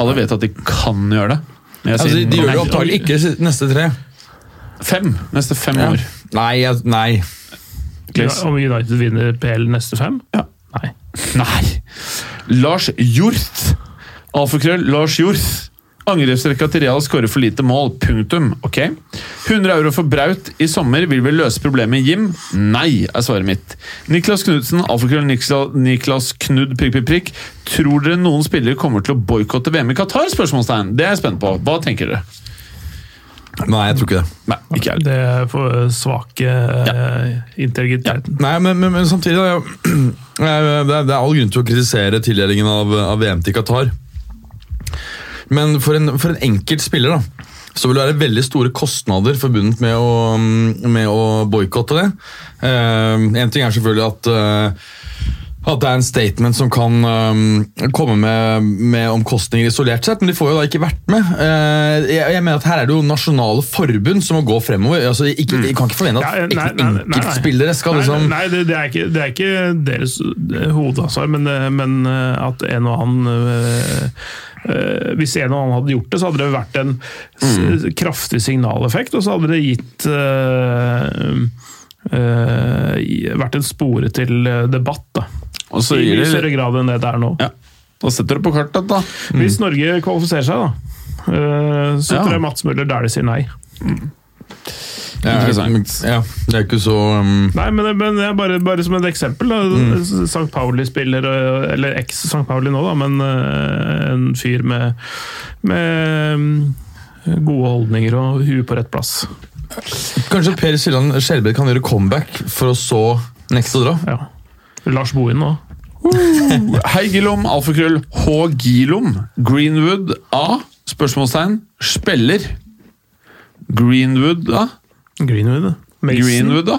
[SPEAKER 1] Alle vet at de kan gjøre det. Men jeg
[SPEAKER 3] Altså,
[SPEAKER 1] sier
[SPEAKER 3] de gjør det jo
[SPEAKER 1] nei.
[SPEAKER 3] antagelig ikke de neste tre.
[SPEAKER 1] Fem. Neste fem år.
[SPEAKER 3] Nei, jeg, nei.
[SPEAKER 1] Claes.
[SPEAKER 2] Om United vinner PL neste fem?
[SPEAKER 1] Ja.
[SPEAKER 2] Nei.
[SPEAKER 1] Nei! Lars Hjort. Alfakrøll Lars Hjort. Angrepsrekka til Real skårer for lite mål. Punktum. Ok. 100 euro for Braut i sommer vil vel løse problemet, Jim? Nei, er svaret mitt. Niklas Knudsen, alfakrøll Nikla- Niklas Knud, prikk, prikk, prikk. Tror dere noen spillere kommer til å boikotte VM i Qatar? Spørsmålstegn. Det er jeg spent på. Hva tenker dere?
[SPEAKER 3] Nei, jeg tror ikke det.
[SPEAKER 1] Nei, ikke jeg.
[SPEAKER 2] Det er for svake eh, integriteten.
[SPEAKER 3] Nei, men, men, men samtidig da, jeg, jeg- det, er, det er all grunn til å kritisere tildelingen av, av VM til Qatar. Men for en, for en enkelt spiller da, så vil det være veldig store kostnader forbundet med å, mm, med å boykotte det. Eh, en ting er selvfølgelig at, eh, at det er en statement som kan eh, komme med, med omkostninger isolert sett, men de får jo da ikke vært med. Eh, jeg, jeg mener at her er det jo nasjonale forbund som må gå fremover. Altså, ikke, jeg kan ikke forvente
[SPEAKER 2] Mm. Ja,
[SPEAKER 3] at
[SPEAKER 2] nei, nei, nei, nei.
[SPEAKER 3] enkeltspillere skal
[SPEAKER 2] Nei,
[SPEAKER 3] liksom...
[SPEAKER 2] nei det, det, er ikke, det er ikke deres eh, hovedansvar, men, eh, men eh, at en og annen eh, eh, Hvis en og annen hadde gjort det, så hadde det vært en s- kraftig signaleffekt, og så hadde det gitt eh, eh, i- vært en spore til eh, debatt, da.
[SPEAKER 1] Og så
[SPEAKER 2] I
[SPEAKER 1] gir
[SPEAKER 2] mye
[SPEAKER 1] de
[SPEAKER 2] større grad enn det det er nå.
[SPEAKER 1] Ja. Da setter du på kartet, da.
[SPEAKER 2] Hvis Norge kvalifiserer seg, da, eh, så
[SPEAKER 1] Ja.
[SPEAKER 2] tror jeg Mats Møller der de sier nei.
[SPEAKER 3] Ja,
[SPEAKER 1] Interessant.
[SPEAKER 3] Ja, det er ikke så um,
[SPEAKER 2] Nei, men, men jeg bare, bare som et eksempel. Da. St. Pauli-spiller, eh, eller eks-St. Pauli nå, da, men eh, en fyr med, med eh, gode holdninger og huet på rett plass.
[SPEAKER 3] Kanskje Per Siljan Skjelbred kan gjøre comeback for å så nekte å dra?
[SPEAKER 2] Ja. Lars Bohin nå.
[SPEAKER 1] Hei, Gilom. Alfakrøll. H. Gilom. Greenwood A. Spørsmålstegn. Spiller. Greenwood, da?
[SPEAKER 2] Greenwood. Mason.
[SPEAKER 1] Greenwood, da?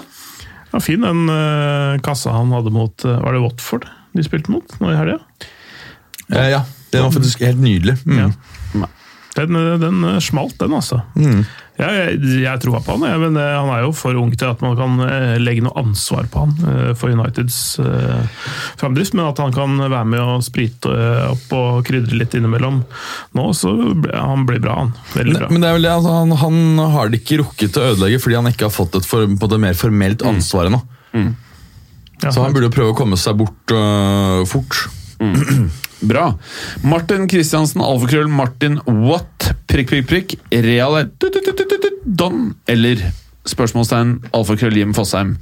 [SPEAKER 2] Ja, fin den eh, kassa han hadde mot eh, Var det Watford de spilte mot nå i helga?
[SPEAKER 3] Eh, ja, Det var faktisk helt nydelig. Mm.
[SPEAKER 2] Ja. Den, eh, den eh, smalt, den, altså.
[SPEAKER 3] Mm.
[SPEAKER 2] Ja, jeg, jeg tror på han, jeg, men eh, han er jo for ung til at man kan eh, legge noe ansvar på han eh, for Uniteds eh, framdrift. Men at han kan være med og sprite eh, opp og krydre litt innimellom nå, så ble, han blir bra, han. Veldig bra.
[SPEAKER 3] Men det er vel det, altså, han, han har det ikke rukket å ødelegge fordi han ikke har fått et for, på det mer formelt
[SPEAKER 1] Mm.
[SPEAKER 3] ansvar ennå.
[SPEAKER 2] Ja,
[SPEAKER 3] Så han burde jo prøve å komme seg bort øh, fort.
[SPEAKER 1] Bra. Martin Kristiansen, alfakrøll, Martin What? Prikk, prikk, prikk. Real er tut, tut, tut, tut, tut, Don eller Spørsmålstegn, alfakrøll, Jim Fosheim.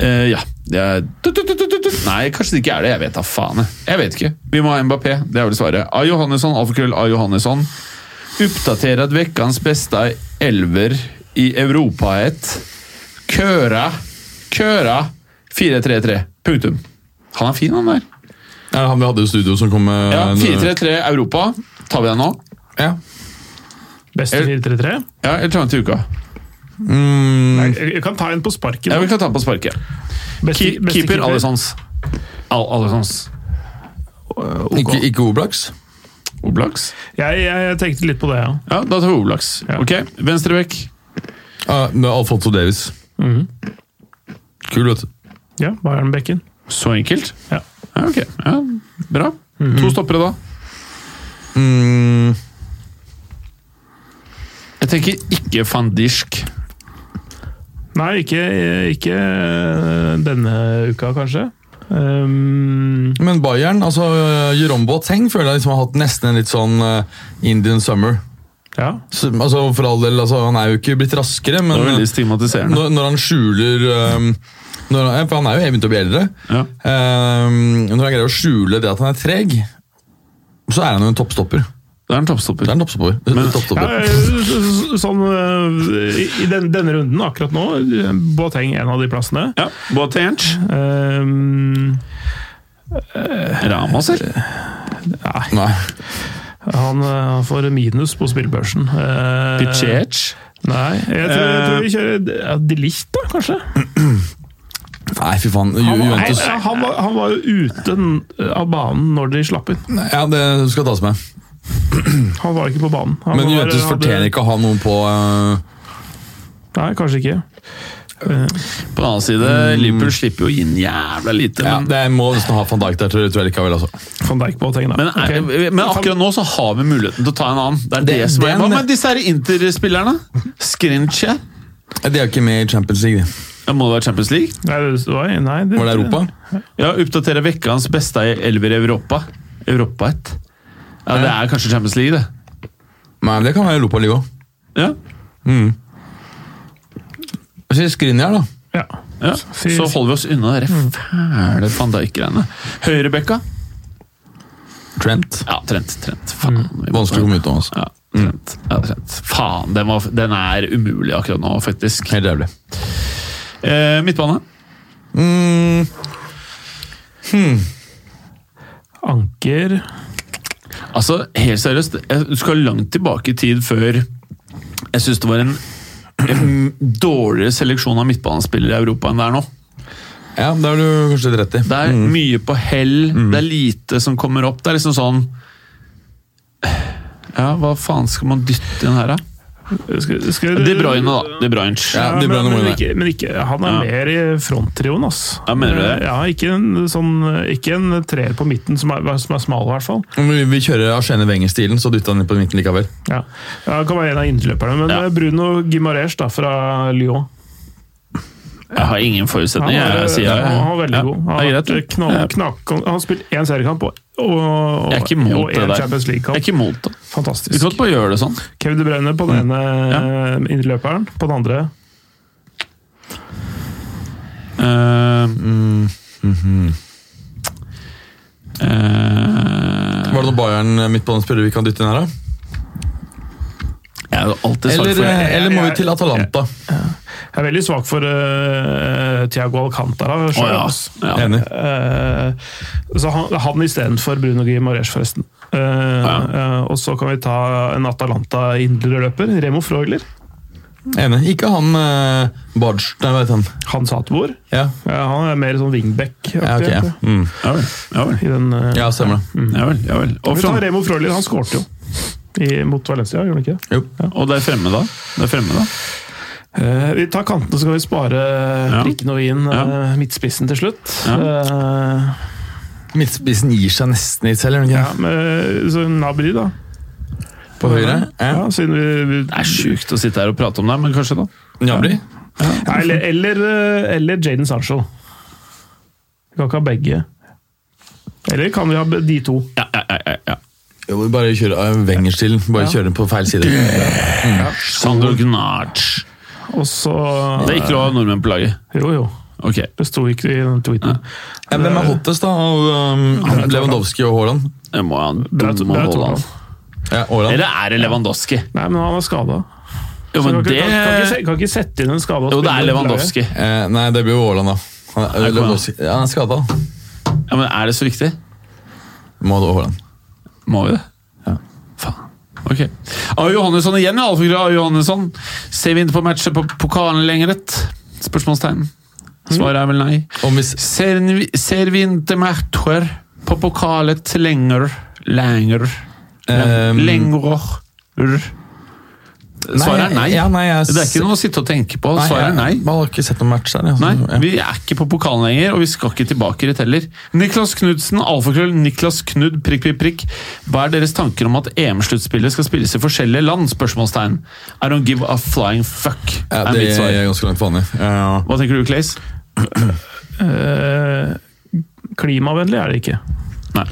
[SPEAKER 1] Eh, ja, det er tut, tut, tut, tut, tut. Nei, kanskje det ikke er det. Jeg vet da faen. jeg. Jeg vet ikke. Vi må ha Mbappé. Det er vel svaret. A. Johannesson, alfakrøll, A. Johannesson. Oppdatert vekkans beste elver i Europaet. Køra. Køra 4-3-3. Punktum. Han er fin, han der.
[SPEAKER 3] Ja, han vi hadde i studio som kom med
[SPEAKER 1] Ja, 4-3-3 Europa. Tar vi den nå?
[SPEAKER 3] Ja.
[SPEAKER 2] Beste 4-3-3?
[SPEAKER 1] Ja, eller tar vi den til uka?
[SPEAKER 3] Mm,
[SPEAKER 2] Jeg, jeg kan ta en på sparket.
[SPEAKER 1] Ja, vi kan ta den på sparket.
[SPEAKER 2] Beste-
[SPEAKER 1] Keep,
[SPEAKER 2] beste
[SPEAKER 1] keeper Alessons. Al Alessons.
[SPEAKER 3] Ikke, ikke Oblaks.
[SPEAKER 1] Oblaks?
[SPEAKER 2] Jeg, jeg, jeg tenkte litt på det, ja.
[SPEAKER 1] Ja, da tar vi Oblaks.
[SPEAKER 2] Ja.
[SPEAKER 1] Ok, Venstrebekk.
[SPEAKER 3] Ja, med Alfonso Davis.
[SPEAKER 1] Mhm.
[SPEAKER 3] Kul, vet du.
[SPEAKER 2] Ja, Bayern-bekken.
[SPEAKER 1] Så enkelt.
[SPEAKER 2] Ja.
[SPEAKER 1] Ja, ok. Ja, bra. To stoppere, da.
[SPEAKER 3] Mm,
[SPEAKER 1] Jeg tenker ikke fandishk.
[SPEAKER 2] Nei, ikke, ikke eh, denne uka, kanskje. Um,
[SPEAKER 3] men Bayern, altså øh, Jerome Boateng føler jeg liksom har hatt nesten en litt sånn øh, Indian summer.
[SPEAKER 2] ja.
[SPEAKER 3] Så, altså For all del, altså, han er jo ikke blitt raskere,
[SPEAKER 1] Det
[SPEAKER 3] men
[SPEAKER 1] var veldig
[SPEAKER 3] øh,
[SPEAKER 1] stigmatiserende.
[SPEAKER 3] når, når han skjuler øh, når han, ja, For han er jo begynt å bli eldre.
[SPEAKER 1] Ja.
[SPEAKER 3] Ehm, når han greier å skjule det at han er treg, så er han jo en toppstopper.
[SPEAKER 1] Det er en
[SPEAKER 3] Det
[SPEAKER 1] toppstopper.
[SPEAKER 3] er en toppstopper.
[SPEAKER 2] Ja,
[SPEAKER 3] toppstopper.
[SPEAKER 2] s- s- sånn øh, i i den, denne runden akkurat nå, Boateng en av de plassene.
[SPEAKER 1] Ja, Boateng.
[SPEAKER 2] Ehm,
[SPEAKER 1] Ramas, eller?
[SPEAKER 3] Nei.
[SPEAKER 2] han, øh, han får minus på spillbørsen. Uh,
[SPEAKER 1] Pichech.
[SPEAKER 2] Nei, jeg tror, jeg tror vi kjører ja, De Ligt, da, kanskje?
[SPEAKER 3] Nei, fy faen. Ju
[SPEAKER 2] Han, var-
[SPEAKER 3] Juventus
[SPEAKER 2] nei, han, var, han var jo ute n- eh, av banen når de slapp inn.
[SPEAKER 3] Ja, det skal tas med.
[SPEAKER 2] Han var ikke på banen. Han
[SPEAKER 3] Men
[SPEAKER 2] var,
[SPEAKER 3] Juventus
[SPEAKER 2] hadde-
[SPEAKER 3] fortjener ikke å ha noen på øh,
[SPEAKER 2] Nei, kanskje ikke.
[SPEAKER 1] På den annen side, Liverpool slipper jo inn jævla lite.
[SPEAKER 3] Ja,
[SPEAKER 1] Men,
[SPEAKER 3] det må nesten ha van Dijk der, tror jeg, tror jeg likevel. Altså.
[SPEAKER 2] Van Dijk Boateng, da.
[SPEAKER 3] eh,
[SPEAKER 1] men, er,
[SPEAKER 2] Ok.
[SPEAKER 1] men akkurat nå så har vi muligheten til å ta en annen. Det er det,
[SPEAKER 3] Det-
[SPEAKER 1] som er.
[SPEAKER 3] den-
[SPEAKER 1] Hva med disse her Inter-spillerne? Skrinche?
[SPEAKER 3] De er jo ikke med i Champions League. de.
[SPEAKER 1] Ja, Må det være Champions League?
[SPEAKER 2] Nei, det var, nei,
[SPEAKER 3] Var det Europa?
[SPEAKER 1] Ja, oppdatere vekka hans beste i elver i Europa. Europa 1. Ja, det er kanskje Champions League, det.
[SPEAKER 3] Nei, men det kan være Europa League òg.
[SPEAKER 1] Ja,
[SPEAKER 3] Skrinjar, da.
[SPEAKER 2] Ja.
[SPEAKER 1] ja. Så Mm. holder vi oss unna de fæle van Dijk-greiene. Høyrebekka?
[SPEAKER 3] Trent.
[SPEAKER 1] Ja, Trent. Trent. Faen. vi må-
[SPEAKER 3] Vanskelig å komme ut av. Altså.
[SPEAKER 1] Ja, Trent. Ja, Trent. Faen, den, var, den er umulig akkurat nå, faktisk.
[SPEAKER 3] Helt jævlig.
[SPEAKER 1] Eh, midtbane?
[SPEAKER 3] Mm,
[SPEAKER 2] Anker
[SPEAKER 1] Altså, helt seriøst, jeg- du skal langt tilbake i tid før jeg syns det var en, en dårligere seleksjon av midtbanespillere i Europa enn det er nå.
[SPEAKER 3] ja, det har du kanskje litt rett i.
[SPEAKER 1] Det er mye på hell, det er lite som kommer opp. Det er liksom sånn Ja, hva faen skal man dytte inn her, da?
[SPEAKER 2] skal, skal,
[SPEAKER 1] De Bruyne, da. De Bruyne.
[SPEAKER 3] Ja,
[SPEAKER 2] Ja,
[SPEAKER 3] De
[SPEAKER 2] men,
[SPEAKER 3] Bruyne må
[SPEAKER 2] men,
[SPEAKER 3] jo
[SPEAKER 2] ikke, men ikke, han er
[SPEAKER 1] Ja.
[SPEAKER 2] mer i fronttrioen, ass. Eh,
[SPEAKER 1] Ja, mener du det?
[SPEAKER 2] Ja, ikke en, sånn, ikke en treer på midten som er, som er smal, i hvert fall.
[SPEAKER 3] Vi, vi kjører Arsene Wenger-stilen, så dytter han inn på midten likevel.
[SPEAKER 2] Ja. Ja, han kan være en av innløperne, men
[SPEAKER 1] Ja.
[SPEAKER 2] eh, Bruno Gimarez da, fra Lyon.
[SPEAKER 1] Jeg har ingen
[SPEAKER 2] Han
[SPEAKER 1] forutsetninger,
[SPEAKER 2] var, eh,
[SPEAKER 1] jeg sier jeg.
[SPEAKER 2] han var veldig
[SPEAKER 1] Ja,
[SPEAKER 2] god. Han,
[SPEAKER 1] det er
[SPEAKER 2] har
[SPEAKER 1] greit,
[SPEAKER 2] vært
[SPEAKER 1] det.
[SPEAKER 2] knak, knak, han har spilt én seriekamp og, og, og,
[SPEAKER 1] Jeg er ikke imot
[SPEAKER 2] og
[SPEAKER 1] det
[SPEAKER 2] én
[SPEAKER 1] der. Jeg
[SPEAKER 2] Champions
[SPEAKER 1] er
[SPEAKER 2] League-kamp.
[SPEAKER 1] ikke Mm. imot det. Vi
[SPEAKER 2] Fantastisk.
[SPEAKER 1] kan bare gjøre det sånn.
[SPEAKER 2] Kevin De Bruyne på den ene eh, innløperen, på den andre
[SPEAKER 1] Eh, eh,
[SPEAKER 3] Var det noen Bayern midtbanespillere vi kan dytte inn her, da?
[SPEAKER 1] jeg har alltid sagt
[SPEAKER 3] Eller, eh,
[SPEAKER 1] for jeg,
[SPEAKER 2] eh,
[SPEAKER 3] eller må vi til Atalanta?
[SPEAKER 2] Jeg er veldig svak for eh, Thiago Alcantara.
[SPEAKER 1] Å
[SPEAKER 2] selv,
[SPEAKER 1] ja.
[SPEAKER 2] ass.
[SPEAKER 1] ja.
[SPEAKER 3] Enig.
[SPEAKER 2] Eh, så han, han istedenfor Bruno Guimaraes, forresten. Eh, eh, og så kan vi ta en Atalanta indreløper. Remo Freuler.
[SPEAKER 3] Enig. Ikke han eh, Barge, nei, hva heter han?
[SPEAKER 2] Hans Hatbor.
[SPEAKER 3] Ja,
[SPEAKER 2] han er mer sånn wingback.
[SPEAKER 3] ja, ok, ja. Mm.
[SPEAKER 1] Ja vel. Ja vel.
[SPEAKER 2] I den, eh,
[SPEAKER 3] ja stemmer det.
[SPEAKER 1] Ja vel, ja vel. Og,
[SPEAKER 2] Vi tar
[SPEAKER 1] frem,
[SPEAKER 2] Remo Freuler. Han skårte jo i, mot Valencia, gjorde han ikke? det?
[SPEAKER 3] Jo.
[SPEAKER 1] og der fremme, da? Der fremme da?
[SPEAKER 2] Eh, vi tar kantene, så kan vi spare prikken og i-en.
[SPEAKER 1] Ja.
[SPEAKER 2] eh, midtspissen til slutt.
[SPEAKER 1] Ja.
[SPEAKER 2] Eh,
[SPEAKER 3] Midtspissen gir seg nesten litt selv, gjør den
[SPEAKER 2] ja,
[SPEAKER 3] ikke?
[SPEAKER 2] men, så Nabri, da.
[SPEAKER 3] det? På høyre. Ja.
[SPEAKER 2] Ja, siden vi, vi,
[SPEAKER 1] Det er sjukt å sitte her og prate om det, men kanskje, da.
[SPEAKER 3] Njabri.
[SPEAKER 2] Ja, eller, eller, eller Jaden Sancho. Vi kan ikke ha begge. Eller kan vi ha be- de to?
[SPEAKER 1] Ja, ja, ja, ja, ja.
[SPEAKER 3] Jo, vi bare kjører uh, Wenger-stilen. Bare kjører den på feil side.
[SPEAKER 1] Sandro Gnarch.
[SPEAKER 2] Og så
[SPEAKER 1] Det er ikke lov å ha nordmenn på laget.
[SPEAKER 2] Jo, jo.
[SPEAKER 1] Ok.
[SPEAKER 2] Det sto ikke i den tweeten.
[SPEAKER 3] Ja, hvem er hottest da av um, Lewandowski og Haaland?
[SPEAKER 1] Det må han
[SPEAKER 2] Det er, to-
[SPEAKER 1] dumme
[SPEAKER 2] det er to
[SPEAKER 1] Haaland.
[SPEAKER 3] Ja, Haaland.
[SPEAKER 1] Eller er det Lewandowski?
[SPEAKER 2] Nei, men han er skada.
[SPEAKER 1] Jo,
[SPEAKER 2] Kan,
[SPEAKER 1] men
[SPEAKER 2] ikke-
[SPEAKER 1] det
[SPEAKER 2] kan, kan, ikke se- kan ikke sette inn en skada
[SPEAKER 1] Jo, det er Lewandowski.
[SPEAKER 3] Eh, nei, det blir jo Haaland, da. Han er,
[SPEAKER 1] Her kommer
[SPEAKER 3] Lewandowski. Ja, han er skada.
[SPEAKER 1] Ja, men er det så viktig?
[SPEAKER 3] Må ha Haaland.
[SPEAKER 1] Må vi det? Faen. Ok. A. Johannesson igjen, ja. Alfakrøll A. Ah, Johannesson. Ser vi inn på matchet på pokalen lenger? et? Spørsmålstegn. Svaret er vel nei.
[SPEAKER 3] Om hvis,
[SPEAKER 1] Ser, vi- ser vi inn til matcher på pokalet lenger? Lenger.
[SPEAKER 3] Ehm,
[SPEAKER 1] lenger. Svaret er nei.
[SPEAKER 3] Ja, nei jeg,
[SPEAKER 1] Det er ikke noe å sitte og tenke på. Svaret er nei.
[SPEAKER 3] Jeg, man har ikke sett noen match der. jeg,
[SPEAKER 1] Nei,
[SPEAKER 3] så- Mm, ja.
[SPEAKER 1] vi er ikke på pokalen lenger, og vi skal ikke tilbake dit heller. Niklas Knudsen, alfakrøll, Niklas Knud, prikk, prikk, prikk. Hva er deres tanker om at EM-sluttspillet skal spilles i forskjellige land? Spørsmålstegn. I don't give a flying fuck,
[SPEAKER 3] Ja,
[SPEAKER 1] er
[SPEAKER 3] det
[SPEAKER 1] mitt
[SPEAKER 3] er
[SPEAKER 1] svar.
[SPEAKER 3] jeg ganske langt vanlig. Ja.
[SPEAKER 1] Hva tenker du, Clays?
[SPEAKER 2] Eh, Klimavennlig er det ikke.
[SPEAKER 1] Nei.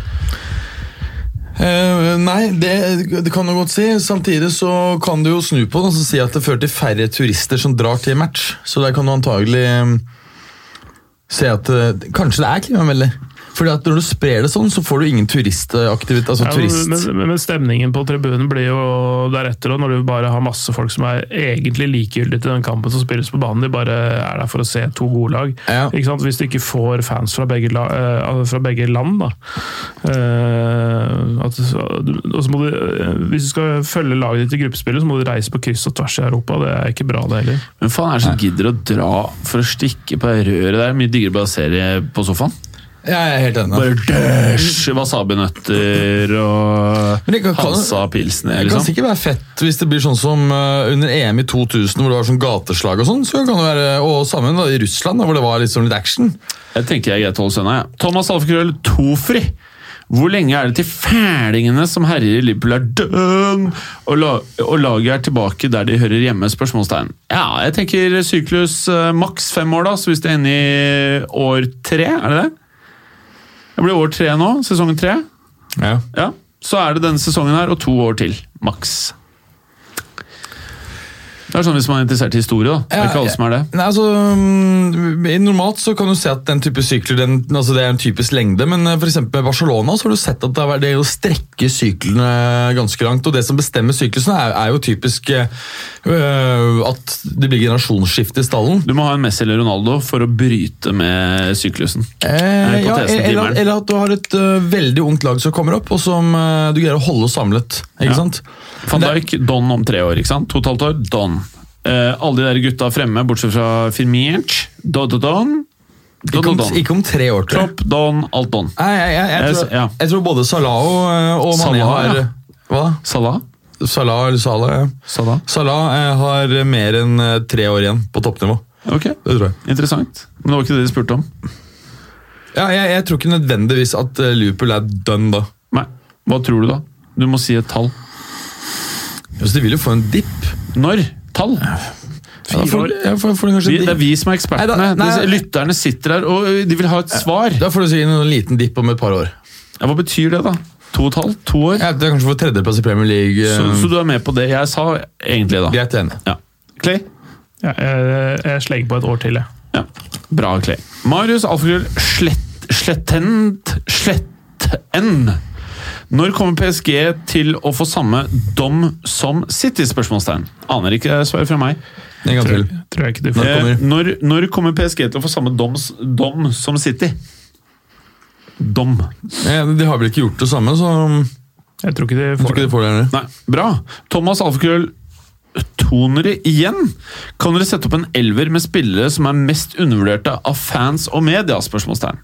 [SPEAKER 3] Eh, nei, det, det kan du godt si. Samtidig så kan du jo snu på det og så si at det fører til færre turister som drar til match. Så der kan du antagelig eh, se at eh, kanskje det er klimavennlig. Fordi at når du sprer det sånn, så får du ingen turistaktivitet. Altså
[SPEAKER 2] Ja,
[SPEAKER 3] turist.
[SPEAKER 2] men, men, men stemningen på tribunen blir jo deretter, og når du bare har masse folk som er egentlig likegyldige til den kampen som spilles på banen, de bare er der for å se to gode lag.
[SPEAKER 3] Ja.
[SPEAKER 2] Ikke sant? Hvis du ikke får fans fra begge, la, eh, altså fra begge land, da. Eh, at, og så må du, eh, hvis du skal følge laget ditt i gruppespillet, så må du reise på kryss og tvers i Europa. Det er ikke bra, det heller.
[SPEAKER 1] Hvem faen er det som gidder å dra for å stikke på røret? Det er mye diggere bare å se det på sofaen.
[SPEAKER 3] Jeg er helt enig.
[SPEAKER 1] Bare dæsj! Wasabinøtter og
[SPEAKER 3] Men det kan- kan-
[SPEAKER 1] Hansa Pilsner,
[SPEAKER 3] Det kan
[SPEAKER 1] liksom.
[SPEAKER 3] sikkert være fett hvis det blir sånn som eh, under EM i 2000, hvor det var sånn gateslag og sånn. så kan det være, Og sammen da, i Russland, da, hvor det var liksom litt action.
[SPEAKER 1] Jeg tenker jeg er greit å holde søndag, jeg. Thomas Alfakrøll Tofri. Hvor lenge er det til fælingene som herjer i Liverpool er døden, og, la, og laget er tilbake der de hører hjemme? spørsmålstegn. Ja, jeg tenker syklus eh, maks fem år, da, så hvis det ender i år tre, er det det? Det blir år tre nå, sesong tre.
[SPEAKER 3] Ja.
[SPEAKER 1] Ja, Så er det denne sesongen her, og to år til, maks. Det er sånn hvis man er interessert i historie, da. Det er
[SPEAKER 3] Ja,
[SPEAKER 1] ikke alle som er det.
[SPEAKER 3] Nei, altså, mm, i- Normalt så kan du se at den type sykler den, altså det er en typisk lengde, men eh, for eksempel med Barcelona så har du sett at det, har vært, det å strekke syklene ganske langt. og Det som bestemmer syklusene, er, er jo typisk eh, øh, at det blir generasjonsskifte i stallen.
[SPEAKER 1] Du må ha en Messi eller Ronaldo for å bryte med syklusen. Det
[SPEAKER 3] Eh,
[SPEAKER 1] er
[SPEAKER 3] ja,
[SPEAKER 1] hypotesen til
[SPEAKER 3] eller,
[SPEAKER 1] Mern.
[SPEAKER 3] eller at du har et øh, veldig ungt lag som kommer opp, og som øh, du greier å holde samlet. ikke
[SPEAKER 1] Ja.
[SPEAKER 3] sant?
[SPEAKER 1] Van
[SPEAKER 3] Men det-
[SPEAKER 1] Dijk, Don om tre år. ikke sant? To og et halvt år, Don. Eh, alle de der gutta fremme, bortsett fra Firmiench. Don, don, don. Don,
[SPEAKER 3] Ikke
[SPEAKER 1] don,
[SPEAKER 3] om,
[SPEAKER 1] don.
[SPEAKER 3] ikke om tre år, tror jeg.
[SPEAKER 1] Klopp, Don, alt Don.
[SPEAKER 3] Nei, jeg, jeg, jeg,
[SPEAKER 1] Jeg
[SPEAKER 3] tror,
[SPEAKER 1] s- ja.
[SPEAKER 3] jeg tror både Salah og, øh, og Mané
[SPEAKER 1] Salah,
[SPEAKER 3] har
[SPEAKER 1] ja.
[SPEAKER 3] Hva?
[SPEAKER 1] Salah?
[SPEAKER 3] Salah eller Salah, ja.
[SPEAKER 1] Salah.
[SPEAKER 3] Salah eh, har mer enn eh, tre år igjen på toppnivå.
[SPEAKER 1] Ok,
[SPEAKER 3] Det tror jeg.
[SPEAKER 1] interessant. Men det var ikke det de spurte om.
[SPEAKER 3] Ja, jeg, jeg tror ikke nødvendigvis at eh, Liverpool er done da.
[SPEAKER 1] Nei. Hva tror du, da? Du må si et tall.
[SPEAKER 3] Så Altså, de vil jo få en dipp.
[SPEAKER 1] Når? Tall?
[SPEAKER 3] Ja, for, ja, for, for kanskje
[SPEAKER 1] Vi,
[SPEAKER 3] en
[SPEAKER 1] det er
[SPEAKER 3] dipp.
[SPEAKER 1] vi som er ekspertene.
[SPEAKER 3] Nei, da- nei,
[SPEAKER 1] Disse
[SPEAKER 3] nei.
[SPEAKER 1] lytterne sitter her og ø, de vil ha et svar.
[SPEAKER 3] Da får du sikkert en liten dipp om et par år.
[SPEAKER 1] Ja, hva betyr det, da? To og et halvt? To år?
[SPEAKER 3] Ja, det er kanskje for tredjeplass i Premier League. eh,
[SPEAKER 1] Så, så du er med på det jeg sa, egentlig, da?
[SPEAKER 3] Greit, jeg er enig.
[SPEAKER 1] Ja. Clay?
[SPEAKER 2] Ja, jeg, jeg slenger på et år til, jeg.
[SPEAKER 1] Ja. Bra, Clay. Marius Alfakrøll slett, Slettent Sletten. Når kommer PSG til å få samme dom som City? spørsmålstegn? Aner ikke svaret fra meg.
[SPEAKER 3] En gang til.
[SPEAKER 2] Tror, tror jeg ikke du får.
[SPEAKER 3] Nei. kommer?
[SPEAKER 1] Eh, når, når kommer PSG til å få samme dom, s- dom som City? Dom.
[SPEAKER 3] Ja, de har vel ikke gjort det samme, så jeg
[SPEAKER 2] Jeg tror ikke de
[SPEAKER 3] tror
[SPEAKER 2] får
[SPEAKER 3] ikke
[SPEAKER 2] det.
[SPEAKER 3] de får det heller.
[SPEAKER 1] Nei, bra. Thomas Alfakrøll Tonere igjen. Kan dere sette opp en elver med spillere som er mest undervurderte av fans og media? spørsmålstegn?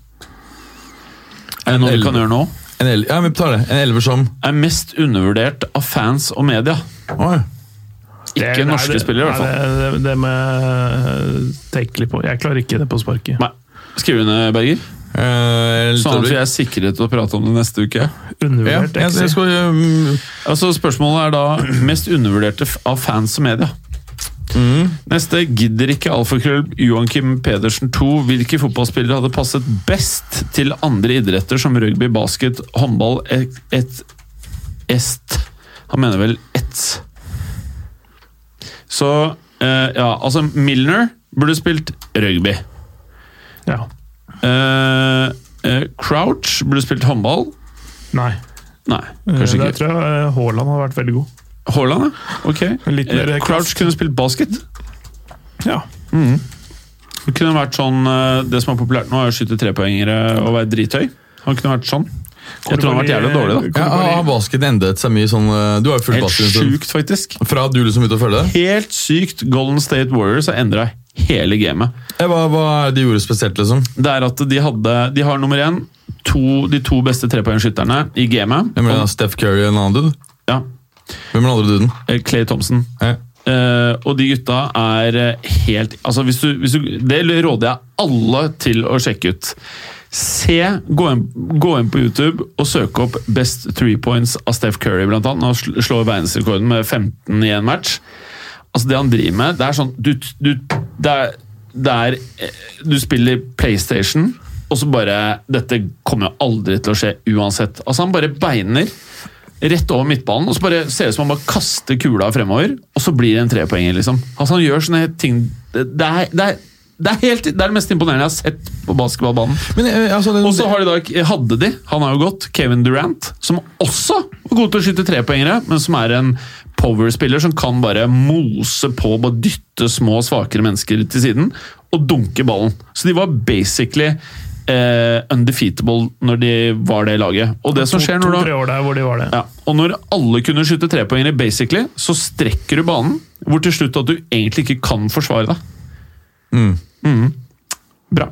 [SPEAKER 1] Er det noe vi kan gjøre nå?
[SPEAKER 3] En el ja, vi tar det. En elver som
[SPEAKER 1] er mest undervurdert av fans og media.
[SPEAKER 3] Oi.
[SPEAKER 1] Ikke
[SPEAKER 2] Nei,
[SPEAKER 1] norske
[SPEAKER 2] det-
[SPEAKER 1] spillere, i hvert
[SPEAKER 2] nei,
[SPEAKER 1] fall.
[SPEAKER 2] Det, det, det må jeg tenke litt på. Jeg klarer ikke det på sparket.
[SPEAKER 1] Nei. Skriv under, Berger.
[SPEAKER 3] Eh, litt
[SPEAKER 1] Sånn at vi
[SPEAKER 3] over.
[SPEAKER 1] er sikre til å prate om det neste uke.
[SPEAKER 3] Ja,
[SPEAKER 2] Undervurdert.
[SPEAKER 3] jeg,
[SPEAKER 2] jeg
[SPEAKER 3] jeg
[SPEAKER 2] sier.
[SPEAKER 3] skal, um,
[SPEAKER 1] Altså, Spørsmålet er da mest undervurderte f- av fans og media.
[SPEAKER 3] mm.
[SPEAKER 1] Neste gidder ikke alfakrøll Joakim Pedersen 2. Hvilke fotballspillere hadde passet best til andre idretter som rugby, basket, håndball, et, et est Han mener vel ett. Så eh, ja, altså Milner burde spilt rugby.
[SPEAKER 2] Ja.
[SPEAKER 1] Eh, eh, Crouch burde spilt håndball.
[SPEAKER 2] Nei.
[SPEAKER 1] Nei,
[SPEAKER 2] Kanskje
[SPEAKER 1] kanskje
[SPEAKER 2] Der
[SPEAKER 1] ikke.
[SPEAKER 2] tror jeg eh, Haaland har vært veldig god.
[SPEAKER 1] Haaland, ja. Ok.
[SPEAKER 2] Litt mer
[SPEAKER 1] Eh, Crouch
[SPEAKER 2] kast.
[SPEAKER 1] kunne spilt basket.
[SPEAKER 2] Ja.
[SPEAKER 1] Det kunne vært sånn, eh, det som er populært nå, er å skyte trepoengere og være drithøy. Han kunne vært sånn. Jeg tror han har vært jævlig dårlig, da.
[SPEAKER 3] Ja, ja, basket endet seg mye sånn eh, Du har jo fulgt
[SPEAKER 1] Helt
[SPEAKER 3] basket en stund.
[SPEAKER 1] sjukt, faktisk.
[SPEAKER 3] Fra du liksom begynte å følge det?
[SPEAKER 1] Helt sykt. Golden State Warriors har endra hele gamet.
[SPEAKER 3] Eh, Hva, hva er det de gjorde spesielt, liksom?
[SPEAKER 1] Det er at de hadde De har nummer én to, de to beste trepoengskytterne i gamet.
[SPEAKER 3] Hvem er det,
[SPEAKER 1] Og-
[SPEAKER 3] da? Steph Curry og en annen dude?
[SPEAKER 1] Ja,
[SPEAKER 3] Hvem er den andre duden?
[SPEAKER 1] eh, Clay Thompson.
[SPEAKER 3] Eh,
[SPEAKER 1] Eh, og de gutta er eh, helt altså hvis du, hvis du, Det råder jeg alle til å sjekke ut. Se, Gå inn, gå inn på YouTube og søk opp Best three points av Steph Curry. Blant annet. Han sl- slår verdensrekorden med 15 i en match. Altså Det han driver med, det er sånn Du, du, det er, det er, eh, du spiller PlayStation, og så bare Dette kommer jo aldri til å skje uansett. Altså Han bare beiner rett over midtbanen, og så bare ser det ut som han bare kaster kula fremover, og så blir det en trepoenger, liksom. Altså Han gjør sånne ting Det, det, er, det, er, det, er, helt, det er det mest imponerende jeg har sett på basketballbanen.
[SPEAKER 3] Men eh, altså, det,
[SPEAKER 1] Og så har de da, hadde de, han har jo gått, Kevin Durant, som også var god til å skyte trepoengere, men som er en power-spiller som kan bare mose på, bare dytte små, svakere mennesker til siden, og dunke ballen. Så de var basically eh, undefeatable når de var det laget. Og det som skjer når du
[SPEAKER 2] To-tre år der hvor de var det.
[SPEAKER 1] ja, og når alle kunne skyte trepoengere, basically, så strekker du banen, hvor til slutt at du egentlig ikke kan forsvare deg.
[SPEAKER 3] Mm.
[SPEAKER 1] Mhm. Bra.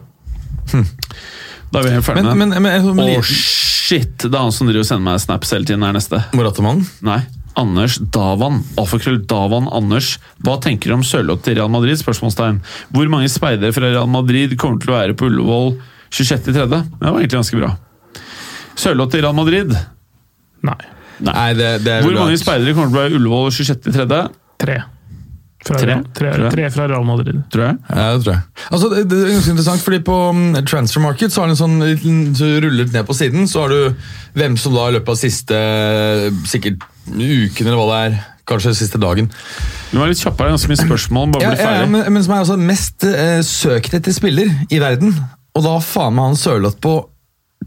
[SPEAKER 1] Da er vi ferdig
[SPEAKER 3] Hm.
[SPEAKER 1] med
[SPEAKER 3] men,
[SPEAKER 1] den.
[SPEAKER 3] men, men, altså, men
[SPEAKER 1] Å, shit! Det er han som driver og sender meg snaps hele tiden her neste.
[SPEAKER 3] Moratamann?
[SPEAKER 1] Nei. Anders Davan. Alfakrøll Davan Anders. Hva tenker du om Sørloth til Real Madrid? Spørsmålstegn. Hvor mange speidere fra Real Madrid kommer til å være på Ullevål 26.3.? Det var egentlig ganske bra. Sørloth til Real Madrid.
[SPEAKER 2] Nei.
[SPEAKER 3] Nei, det, det er
[SPEAKER 1] Hvor
[SPEAKER 3] vel
[SPEAKER 1] mange
[SPEAKER 3] rart.
[SPEAKER 1] speidere kommer til å være Ullevål 26.3.,
[SPEAKER 2] Tre. Fra,
[SPEAKER 1] Tre?
[SPEAKER 2] tre? Tre,
[SPEAKER 1] Tre.
[SPEAKER 2] fra Real Madrid.
[SPEAKER 1] tror jeg?
[SPEAKER 3] Ja, det tror jeg. Altså, det, det er ganske interessant, fordi På mm, transfer market så har den sånn liten så rullet ned på siden. Så har du hvem som da i løpet av siste sikkert uken eller hva det er, kanskje siste dagen
[SPEAKER 1] Du var litt kjappere, ganske mye spørsmål. Bare
[SPEAKER 3] ja,
[SPEAKER 1] bli
[SPEAKER 3] ja, ja,
[SPEAKER 1] ferdig.
[SPEAKER 3] men, men som er altså mest eh, søkt etter spiller i verden. Og da faen meg han Sørloth på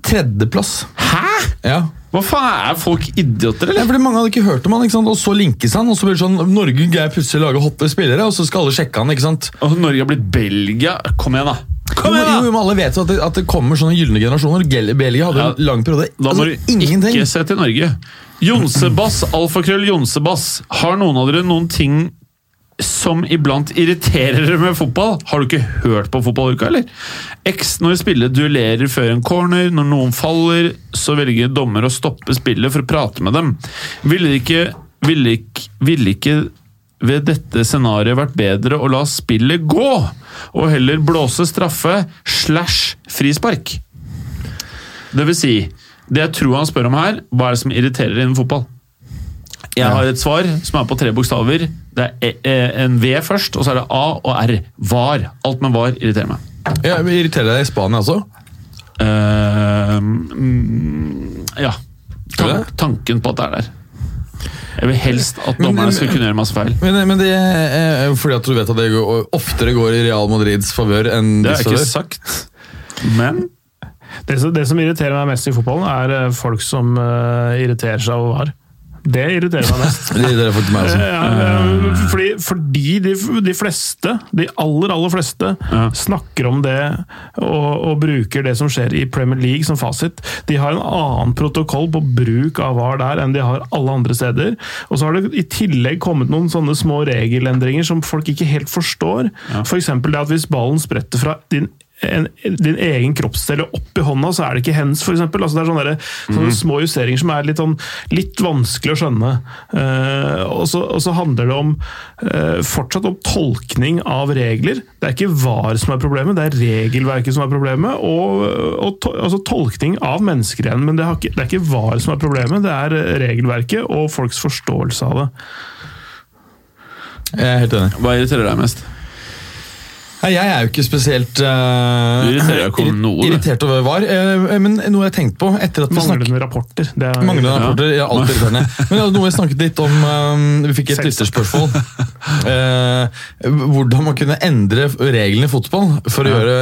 [SPEAKER 3] tredjeplass.
[SPEAKER 1] Hæ?!
[SPEAKER 3] Ja.
[SPEAKER 1] Hva faen, er folk idioter,
[SPEAKER 3] ja,
[SPEAKER 1] eller?
[SPEAKER 3] fordi Mange hadde ikke hørt om han, ikke sant? og så linkes han. Og så blir det sånn Norge greier plutselig å lage hotte spillere, og så skal alle sjekke han. ikke sant?
[SPEAKER 1] Og Norge har blitt Belgia. Kom igjen, da! Kom
[SPEAKER 3] Jo, jo,
[SPEAKER 1] igjen, da!
[SPEAKER 3] men alle vet jo at det, at det kommer sånne gylne generasjoner. Gel- Belgia hadde
[SPEAKER 1] Ja.
[SPEAKER 3] en lang periode.
[SPEAKER 1] Da må
[SPEAKER 3] Altså,
[SPEAKER 1] du
[SPEAKER 3] ingenting.
[SPEAKER 1] ikke se til Norge. Jonsebass, alfakrøll Jonsebass. Har noen av dere noen ting som iblant irriterer dere med fotball? Har du ikke hørt på fotballuka, eller? X når spillet duellerer før en corner, når noen faller, så velger dommer å stoppe spillet for å prate med dem. Ville det ikke, ville ikke, ville ikke ved dette scenarioet vært bedre å la spillet gå, og heller blåse straffe slash frispark? Det vil si, det jeg tror han spør om her, hva er det som irriterer innen fotball? Jeg har et svar som er på tre bokstaver. Det er e- e- en V først, og så er det A og R. Var. Alt med var irriterer meg.
[SPEAKER 3] Ja, men irriterer deg i Spania også?
[SPEAKER 1] Eh, mm, ja.
[SPEAKER 3] Tror du
[SPEAKER 1] Tan
[SPEAKER 3] det?
[SPEAKER 1] tanken på at det er der. Jeg vil helst at dommerne
[SPEAKER 3] men-
[SPEAKER 1] skal kunne gjøre masse feil.
[SPEAKER 3] Men, men det er fordi at du vet at det går, oftere går i Real Madrids favør enn
[SPEAKER 1] Det har
[SPEAKER 3] deres
[SPEAKER 1] jeg ikke
[SPEAKER 3] favør.
[SPEAKER 1] sagt. Men
[SPEAKER 2] Det som, det som irriterer meg mest i fotballen, er eh, folk som eh, irriterer seg over VAR. Det irriterer meg mest.
[SPEAKER 3] Det irriterer faktisk meg også.
[SPEAKER 2] Ja, eh, fordi fordi de, de fleste, de aller aller fleste,
[SPEAKER 1] Ja.
[SPEAKER 2] snakker om det og, og bruker det som skjer i Premier League som fasit. De har en annen protokoll på bruk av VAR der enn de har alle andre steder. Og så har det i tillegg kommet noen sånne små regelendringer som folk ikke helt forstår. For F.eks. det at hvis ballen spretter fra din en, din egen kroppsdel og opp i hånda, så er det ikke hands, f.eks. Altså, det er sånne, der,
[SPEAKER 3] Mhm.
[SPEAKER 2] sånne små justeringer som er litt, sånn, litt vanskelig å skjønne. Eh, og, så, og så handler det om eh, fortsatt om tolkning av regler. Det er ikke VAR som er problemet, det er regelverket som er problemet. Og, og to, altså tolkning av mennesker igjen. Men det, har ikke, det er ikke VAR som er problemet, det er eh, regelverket og folks forståelse av det.
[SPEAKER 3] Jeg er helt enig.
[SPEAKER 1] hva irriterer deg mest?
[SPEAKER 3] Nei, Jeg er jo ikke spesielt eh,
[SPEAKER 1] irriterer deg ikke over noe, du.
[SPEAKER 3] irritert over VAR, eh, men noe jeg har tenkt på etter at vi snakket
[SPEAKER 2] Manglende rapporter. Det er,
[SPEAKER 3] Manglende rapporter ja. alt irriterende. Men det var noe jeg snakket litt om eh, Vi fikk et
[SPEAKER 2] Selvsagt.
[SPEAKER 3] lytterspørsmål. Eh, hvordan man kunne endre reglene i fotball for å gjøre,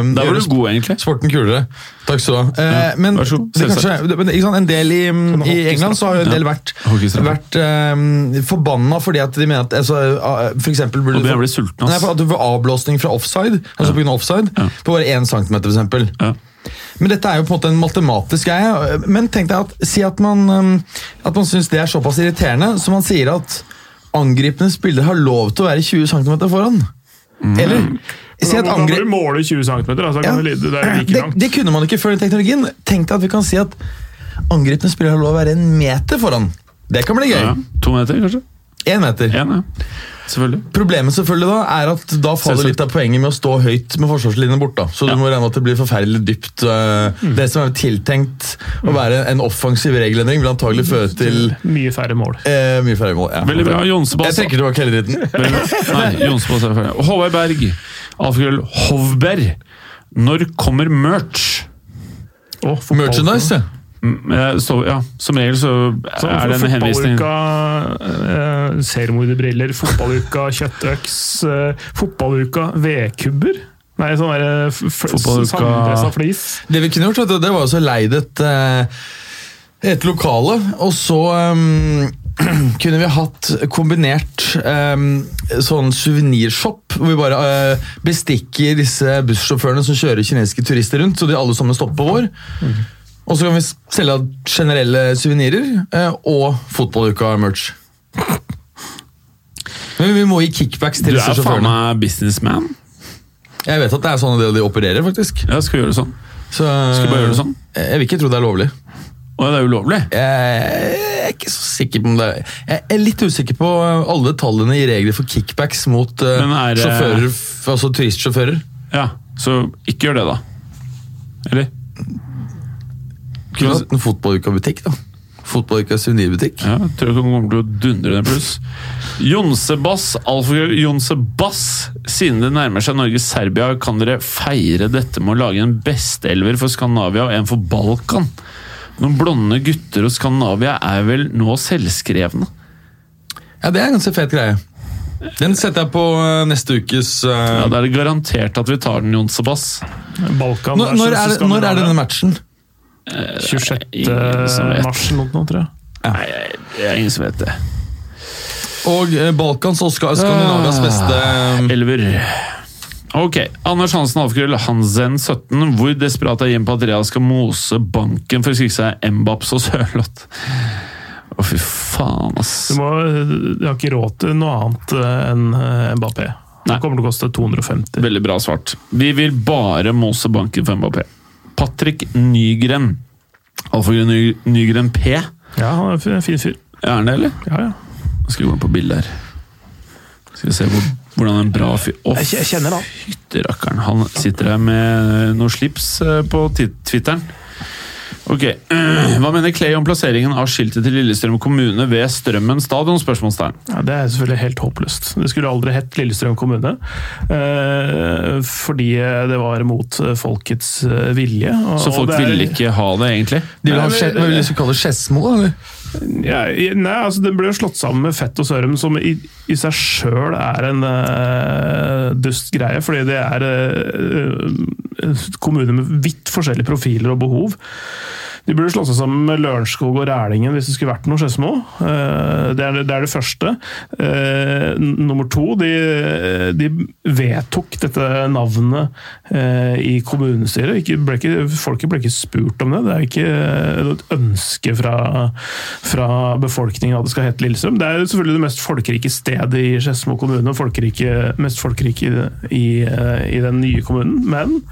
[SPEAKER 3] um,
[SPEAKER 1] Der var
[SPEAKER 3] gjøre
[SPEAKER 1] du god, egentlig.
[SPEAKER 3] Sporten kulere. Takk skal du ha. Eh, men
[SPEAKER 1] vær så god.
[SPEAKER 3] det kanskje, men, ikke sant, en del i, i England så har jo en del vært,
[SPEAKER 1] Hockeystraff.
[SPEAKER 3] vært eh, forbanna fordi at de mener at altså, eh, for eksempel burde
[SPEAKER 1] Og begynner å bli sulten, ass.
[SPEAKER 3] Nei, for at du får avblåsning fra offside, altså på grunn av offside, på bare én centimeter, for eksempel.
[SPEAKER 1] Ja.
[SPEAKER 3] Men dette er jo på en måte en matematisk greie. Men tenk deg at, si at man, øhm, at man syns det er såpass irriterende, så man sier at angripende spiller har lov til å være 20 cm foran.
[SPEAKER 1] Mm.
[SPEAKER 3] Eller si
[SPEAKER 2] Da må da
[SPEAKER 3] at
[SPEAKER 2] må
[SPEAKER 3] angrip...
[SPEAKER 2] du måle 20 cm, da, så kan
[SPEAKER 3] Ja.
[SPEAKER 2] det lyde det er jo like
[SPEAKER 3] det,
[SPEAKER 2] langt.
[SPEAKER 3] det kunne man ikke før den teknologien. Tenk deg at vi kan si at angripende spiller har lov å være en meter foran. Det kan bli gøy.
[SPEAKER 1] Ja, to meter, kanskje?
[SPEAKER 3] Én meter.
[SPEAKER 1] Én, ja. Selvfølgelig.
[SPEAKER 3] Problemet selvfølgelig da er at da faller
[SPEAKER 1] Selvsagt.
[SPEAKER 3] litt av poenget med å stå høyt med forsvarslinjen bort. da. Så du må regne med at det blir forferdelig dypt. øh,
[SPEAKER 1] Mm.
[SPEAKER 3] Det som er tiltenkt å være en offensiv regelendring, vil antagelig føre til
[SPEAKER 2] Mye færre mål.
[SPEAKER 3] eh, mye færre mål. Ja.
[SPEAKER 1] Veldig bra.
[SPEAKER 3] Jeg
[SPEAKER 1] Jonsebass.
[SPEAKER 3] trekker tilbake hele dritten.
[SPEAKER 1] Veldig bra. Nei, Jonsbass er ferdig. Håvard Berg. Alfakrøll Hovberg. Når kommer merch?
[SPEAKER 2] Å, fotball-
[SPEAKER 3] Merchandise, ja.
[SPEAKER 1] Mm, eh, Så, ja, som regel så
[SPEAKER 2] Sånn,
[SPEAKER 1] er det en henvisning
[SPEAKER 2] Fotballuka, eh, seriemorderbriller, fotballuka, kjøttøks, eh, fotballuka, vedkubber. Nei, sånn derre
[SPEAKER 1] Fotballuka-
[SPEAKER 2] sandpressa flis.
[SPEAKER 3] Det vi kunne gjort, vet du, det var jo så leid et, eh, et lokale, og så ehm, kunne vi hatt kombinert ehm, sånn suvenirshop, hvor vi bare eh, bestikker disse bussjåførene som kjører kinesiske turister rundt, så de alle sammen stopper på vår. Og så kan vi s- selge generelle suvenirer eh, og fotballuka-merch. Men vi må gi kickbacks
[SPEAKER 1] Du
[SPEAKER 3] til disse
[SPEAKER 1] er faen
[SPEAKER 3] sjåførene.
[SPEAKER 1] meg businessman.
[SPEAKER 3] Jeg vet at det er sånn det de opererer, faktisk.
[SPEAKER 1] Ja, skal vi gjøre det sånn?
[SPEAKER 3] Så, eh,
[SPEAKER 1] Skal vi bare gjøre det sånn?
[SPEAKER 3] Jeg vil ikke tro det er lovlig.
[SPEAKER 1] Å, det er ulovlig?
[SPEAKER 3] Jeg er ikke så sikker på om det er Jeg er litt usikker på alle tallene i regler for kickbacks mot eh,
[SPEAKER 1] Men er det-
[SPEAKER 3] sjåfører, f- altså turistsjåfører.
[SPEAKER 1] Ja, så ikke gjør det, da. Eller?
[SPEAKER 3] Kunne hatt en fotballuka-butikk, da. Fotballuka-suvenirbutikk.
[SPEAKER 1] Ja, jeg tror ikke hun kommer til å dundre den pluss. Jonsebass, alfakrøll Jonsebass. Siden det nærmer seg Norge-Serbia, kan dere feire dette med å lage en besteelver for Skandinavia og en for Balkan? Noen blonde gutter og Skandinavia er vel nå selvskrevne?
[SPEAKER 3] Ja, det er en ganske fet greie. Den setter jeg på eh, neste ukes eh,
[SPEAKER 1] Ja, Da er det garantert at vi tar den, Jonsebass.
[SPEAKER 2] Balkan
[SPEAKER 3] når, når, er, når er denne matchen?
[SPEAKER 2] 26.
[SPEAKER 1] Ingen som vet.
[SPEAKER 2] mars eller noe, tror jeg.
[SPEAKER 1] Nei, jeg- det er ingen som vet det.
[SPEAKER 3] Og eh, Balkans og Ska- Skandinavias
[SPEAKER 1] Ah.
[SPEAKER 3] beste eh,
[SPEAKER 1] Elver. Ok. Anders Hansen Alfgrøll Hansen 17. Hvor desperat er Jim Patria skal mose banken for å skrike seg Mbaps og Sørloth? Å, fy faen,
[SPEAKER 2] Du,
[SPEAKER 1] ass.
[SPEAKER 2] må, du har ikke råd til noe annet eh, enn eh, Mbappé. Det
[SPEAKER 1] Nei.
[SPEAKER 2] kommer til å koste 250.
[SPEAKER 1] Veldig bra svart. Vi vil bare mose banken for Mbappé. Patrick Nygren. Alfgrøll Ny Nygren P. Er
[SPEAKER 2] Ja, han er en fin fyr.
[SPEAKER 1] han det, eller?
[SPEAKER 2] Ja, ja.
[SPEAKER 1] Nå skal vi gå inn på bildet her. Skal vi se hvor, hvordan en bra fyr Å,
[SPEAKER 2] Jeg kjenner han.
[SPEAKER 1] fytti rakkeren. Han sitter her med noe slips eh, på ti- Twitteren. Ok, Hva mener Clay om plasseringen av skiltet til Lillestrøm kommune ved Strømmen stadion? spørsmålstegn?
[SPEAKER 2] Ja, det er selvfølgelig helt håpløst. Det skulle aldri hett Lillestrøm kommune. eh, Fordi det var mot eh, folkets eh, vilje. og-
[SPEAKER 1] Så
[SPEAKER 2] og
[SPEAKER 1] folk
[SPEAKER 2] det er-
[SPEAKER 1] ville ikke ha det, egentlig?
[SPEAKER 3] De vil ha
[SPEAKER 2] Nei, men-
[SPEAKER 3] skje- Hva vil de kalle det? Skedsmo, da? eller?
[SPEAKER 2] Ja, i- nei, altså Den ble jo slått sammen med Fett og Sørum, som i, i seg sjøl er en eh, dust greie. Fordi det er eh, eh, kommuner med vidt forskjellige profiler og behov. De burde slått seg sammen med Lørenskog og Rælingen hvis det skulle vært noe Skedsmo. Eh, det, er det- det er det første. Eh, n- nummer to, de, eh, de vedtok dette navnet eh, i kommunestyret. Ikke, ble ikke, folket ble ikke spurt om det. Det er ikke eh, et ønske fra, fra befolkningen at det skal hete Lillestrøm. Det er jo selvfølgelig det mest folkerike stedet i Skedsmo kommune, og folkerike, mest folkerike i, eh, i den nye kommunen. Men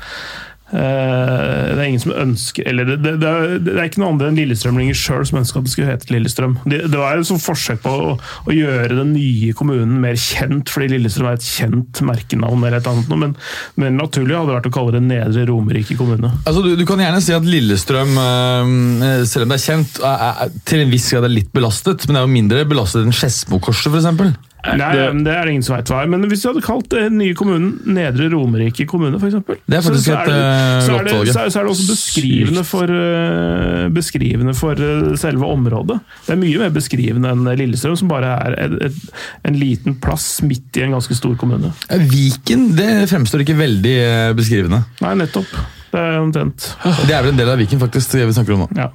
[SPEAKER 2] Eh, det er ingen som ønsker Eller det, det, det, er, det er ikke noe andre enn Lillestrømlinger sjøl som ønsker at det skulle hete Lillestrøm. Det, det var jo et sånt forsøk på å, å gjøre den nye kommunen mer kjent, fordi Lillestrøm er et kjent merkenavn, eller et annet noe, men, men naturlig hadde det vært å kalle det Nedre Romerike kommune.
[SPEAKER 3] Altså, du, du kan gjerne si at Lillestrøm, eh, selv om det er kjent, er, er, til en viss grad er litt belastet, men det er jo mindre belastet enn Skedsmokorset, f.eks.
[SPEAKER 2] Nei,
[SPEAKER 1] det-
[SPEAKER 2] men det er det ingen som veit hva er. Men hvis du hadde kalt den nye kommunen Nedre Romerike kommune, f.eks.
[SPEAKER 3] Det er faktisk et,
[SPEAKER 2] så,
[SPEAKER 3] eh,
[SPEAKER 2] er
[SPEAKER 3] godt
[SPEAKER 2] det,
[SPEAKER 3] valg, ja.
[SPEAKER 2] så, er, så er det også beskrivende for, eh, beskrivende for eh, selve området. Det er mye mer beskrivende enn eh, Lillestrøm, som bare er et, et, en liten plass midt i en ganske stor kommune.
[SPEAKER 3] Eh, Viken det fremstår ikke veldig eh, beskrivende.
[SPEAKER 2] Nei, nettopp. Det er omtrent.
[SPEAKER 3] Det er vel en del av Viken, faktisk, det vi snakker om nå.
[SPEAKER 2] Ja.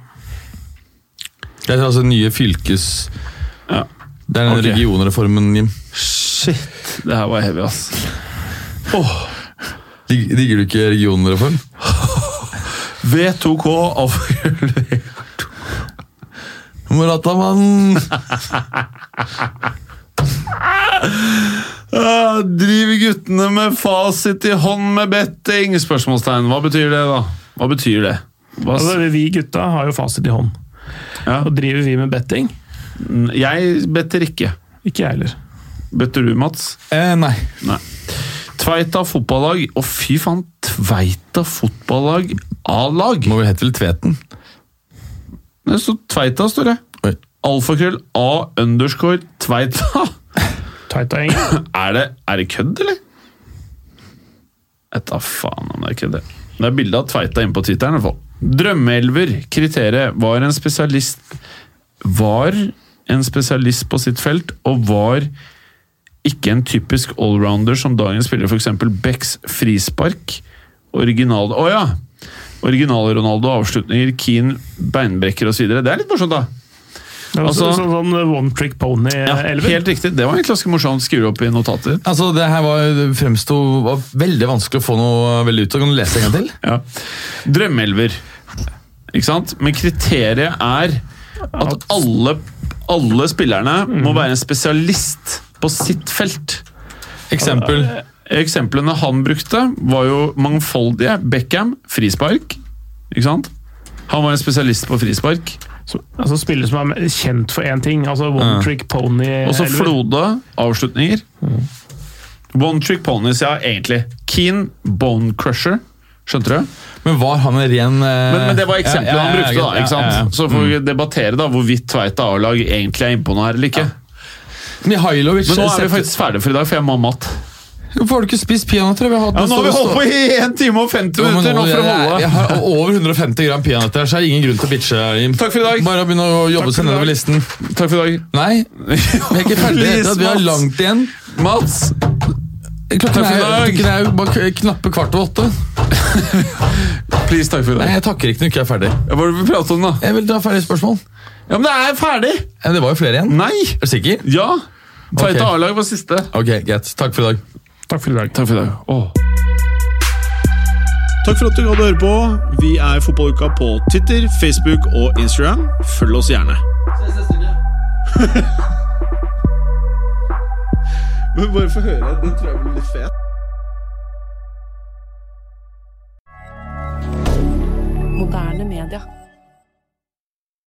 [SPEAKER 3] Det er altså den nye fylkes...
[SPEAKER 1] Ja.
[SPEAKER 3] Det er den
[SPEAKER 1] Ok.
[SPEAKER 3] regionreformen, Jim.
[SPEAKER 1] Shit, det her var heavy, ass.
[SPEAKER 3] Dig- Digger du ikke regionreform?
[SPEAKER 1] V2K alfakrøll
[SPEAKER 3] Moratamann!
[SPEAKER 1] Ah, Driver guttene med fasit i hånd med betting? Spørsmålstegn. Hva betyr det, da? Hva betyr det? Hva s-
[SPEAKER 2] Altså, vi gutta har jo fasit i hånd.
[SPEAKER 1] Ja.
[SPEAKER 2] Og driver vi med betting?
[SPEAKER 1] Jeg better ikke.
[SPEAKER 2] Ikke jeg heller.
[SPEAKER 1] Better du, Mats?
[SPEAKER 3] Eh, nei.
[SPEAKER 1] Nei. Tveita fotballag. Å, fy faen. Tveita fotballag A-lag.
[SPEAKER 3] Må vel hete vel Tveten.
[SPEAKER 1] Det står Tveita, står det.
[SPEAKER 3] Oi.
[SPEAKER 1] Alfakrøll A underscore Tveita.
[SPEAKER 2] Tveita-gjengen.
[SPEAKER 1] Er det, er det kødd, eller? Jeg tar faen om det er kødd. det. Det er bilde av Tveita inne på Twitteren. i hvert fall. Drømmeelver. Kriteriet var en spesialist Var en spesialist på sitt felt, og var ikke en typisk allrounder som dagens spiller, f.eks. Becks frispark. Original Å ja! Originale Ronaldo, avslutninger, Keane, beinbrekker osv. Det er litt morsomt, da.
[SPEAKER 2] Det var
[SPEAKER 1] Altså-
[SPEAKER 2] sånn, sånn one trick eh,
[SPEAKER 1] Ja,
[SPEAKER 2] pony-elver.
[SPEAKER 1] helt riktig. Det var egentlig ganske morsomt. Skrive opp i notater.
[SPEAKER 3] Altså, Det her var, det fremsto var veldig vanskelig å få noe veldig ut av. Kan du lese en gang til?
[SPEAKER 1] Ja. Drømmeelver. Ikke sant? Men kriteriet er at Mm. alle, alle spillerne må være en spesialist på sitt felt.
[SPEAKER 3] Eksempel.
[SPEAKER 1] Eksemplene han brukte, var jo mangfoldige. Beckham, frispark. Ikke sant? Han var en spesialist på frispark.
[SPEAKER 2] Som- Altså Spillere som er kjent for én ting. Altså one trick
[SPEAKER 1] Og så
[SPEAKER 2] pony-elver.
[SPEAKER 1] Flode, avslutninger. One trick ponies, ja, egentlig. Keen, bone crusher. Skjønte du?
[SPEAKER 3] Men var han en ren eh,
[SPEAKER 1] Men, men det var eksempelet
[SPEAKER 3] ja, ja, ja,
[SPEAKER 1] han brukte, da.
[SPEAKER 3] ja,
[SPEAKER 1] ikke sant?
[SPEAKER 3] ja, ja.
[SPEAKER 1] Så får vi debattere da hvorvidt Tveita A-lag egentlig er innpå noe her eller ikke.
[SPEAKER 3] Mihailovic
[SPEAKER 1] Men nå er
[SPEAKER 3] setter-
[SPEAKER 1] vi faktisk ferdige for i dag, for jeg må ha mat.
[SPEAKER 3] Hvorfor har du ikke spist peanøtter? Vi har hatt den store-
[SPEAKER 1] i 1 time og 50
[SPEAKER 3] Jo, men nå- jeg, jeg har over 150 gram peanøtter, her, så er det ingen grunn til å bitche. Jim.
[SPEAKER 1] Takk for i dag.
[SPEAKER 3] Bare begynne å
[SPEAKER 1] Takk
[SPEAKER 3] jobbe
[SPEAKER 1] for
[SPEAKER 3] seg
[SPEAKER 1] i
[SPEAKER 3] nedover
[SPEAKER 1] dag.
[SPEAKER 3] listen.
[SPEAKER 1] Takk for i dag.
[SPEAKER 3] Nei, vi er ikke ferdige. Det heter at vi har
[SPEAKER 1] Please, Mats.
[SPEAKER 3] langt igjen.
[SPEAKER 1] Mats!
[SPEAKER 3] Klokken
[SPEAKER 1] for i
[SPEAKER 3] er,
[SPEAKER 1] dag.
[SPEAKER 3] klokken er jo bare k- knappe kvart over åtte.
[SPEAKER 1] Please, takk for i
[SPEAKER 3] Nei,
[SPEAKER 1] dag.
[SPEAKER 3] jeg takker ikke når jeg ikke er ferdig.
[SPEAKER 1] Hva var det vi pratet om, da?
[SPEAKER 3] Jeg vil ta ferdig spørsmål.
[SPEAKER 1] Ja, Men det er ferdig!
[SPEAKER 3] Ja, Det var jo flere igjen.
[SPEAKER 1] Nei!
[SPEAKER 3] Er du sikker?
[SPEAKER 1] Ja! Tveita
[SPEAKER 3] Ok.
[SPEAKER 1] A-lag var siste.
[SPEAKER 3] Ok, greit. Takk for i dag.
[SPEAKER 2] Takk for i dag.
[SPEAKER 1] Takk for i dag. Åh.
[SPEAKER 4] Takk for at du gadd å høre på. Vi er Fotballuka på Twitter, Facebook og Instagram. Følg oss gjerne. Men bare få høre. Den tror jeg blir litt fet.
[SPEAKER 5] Moderne media.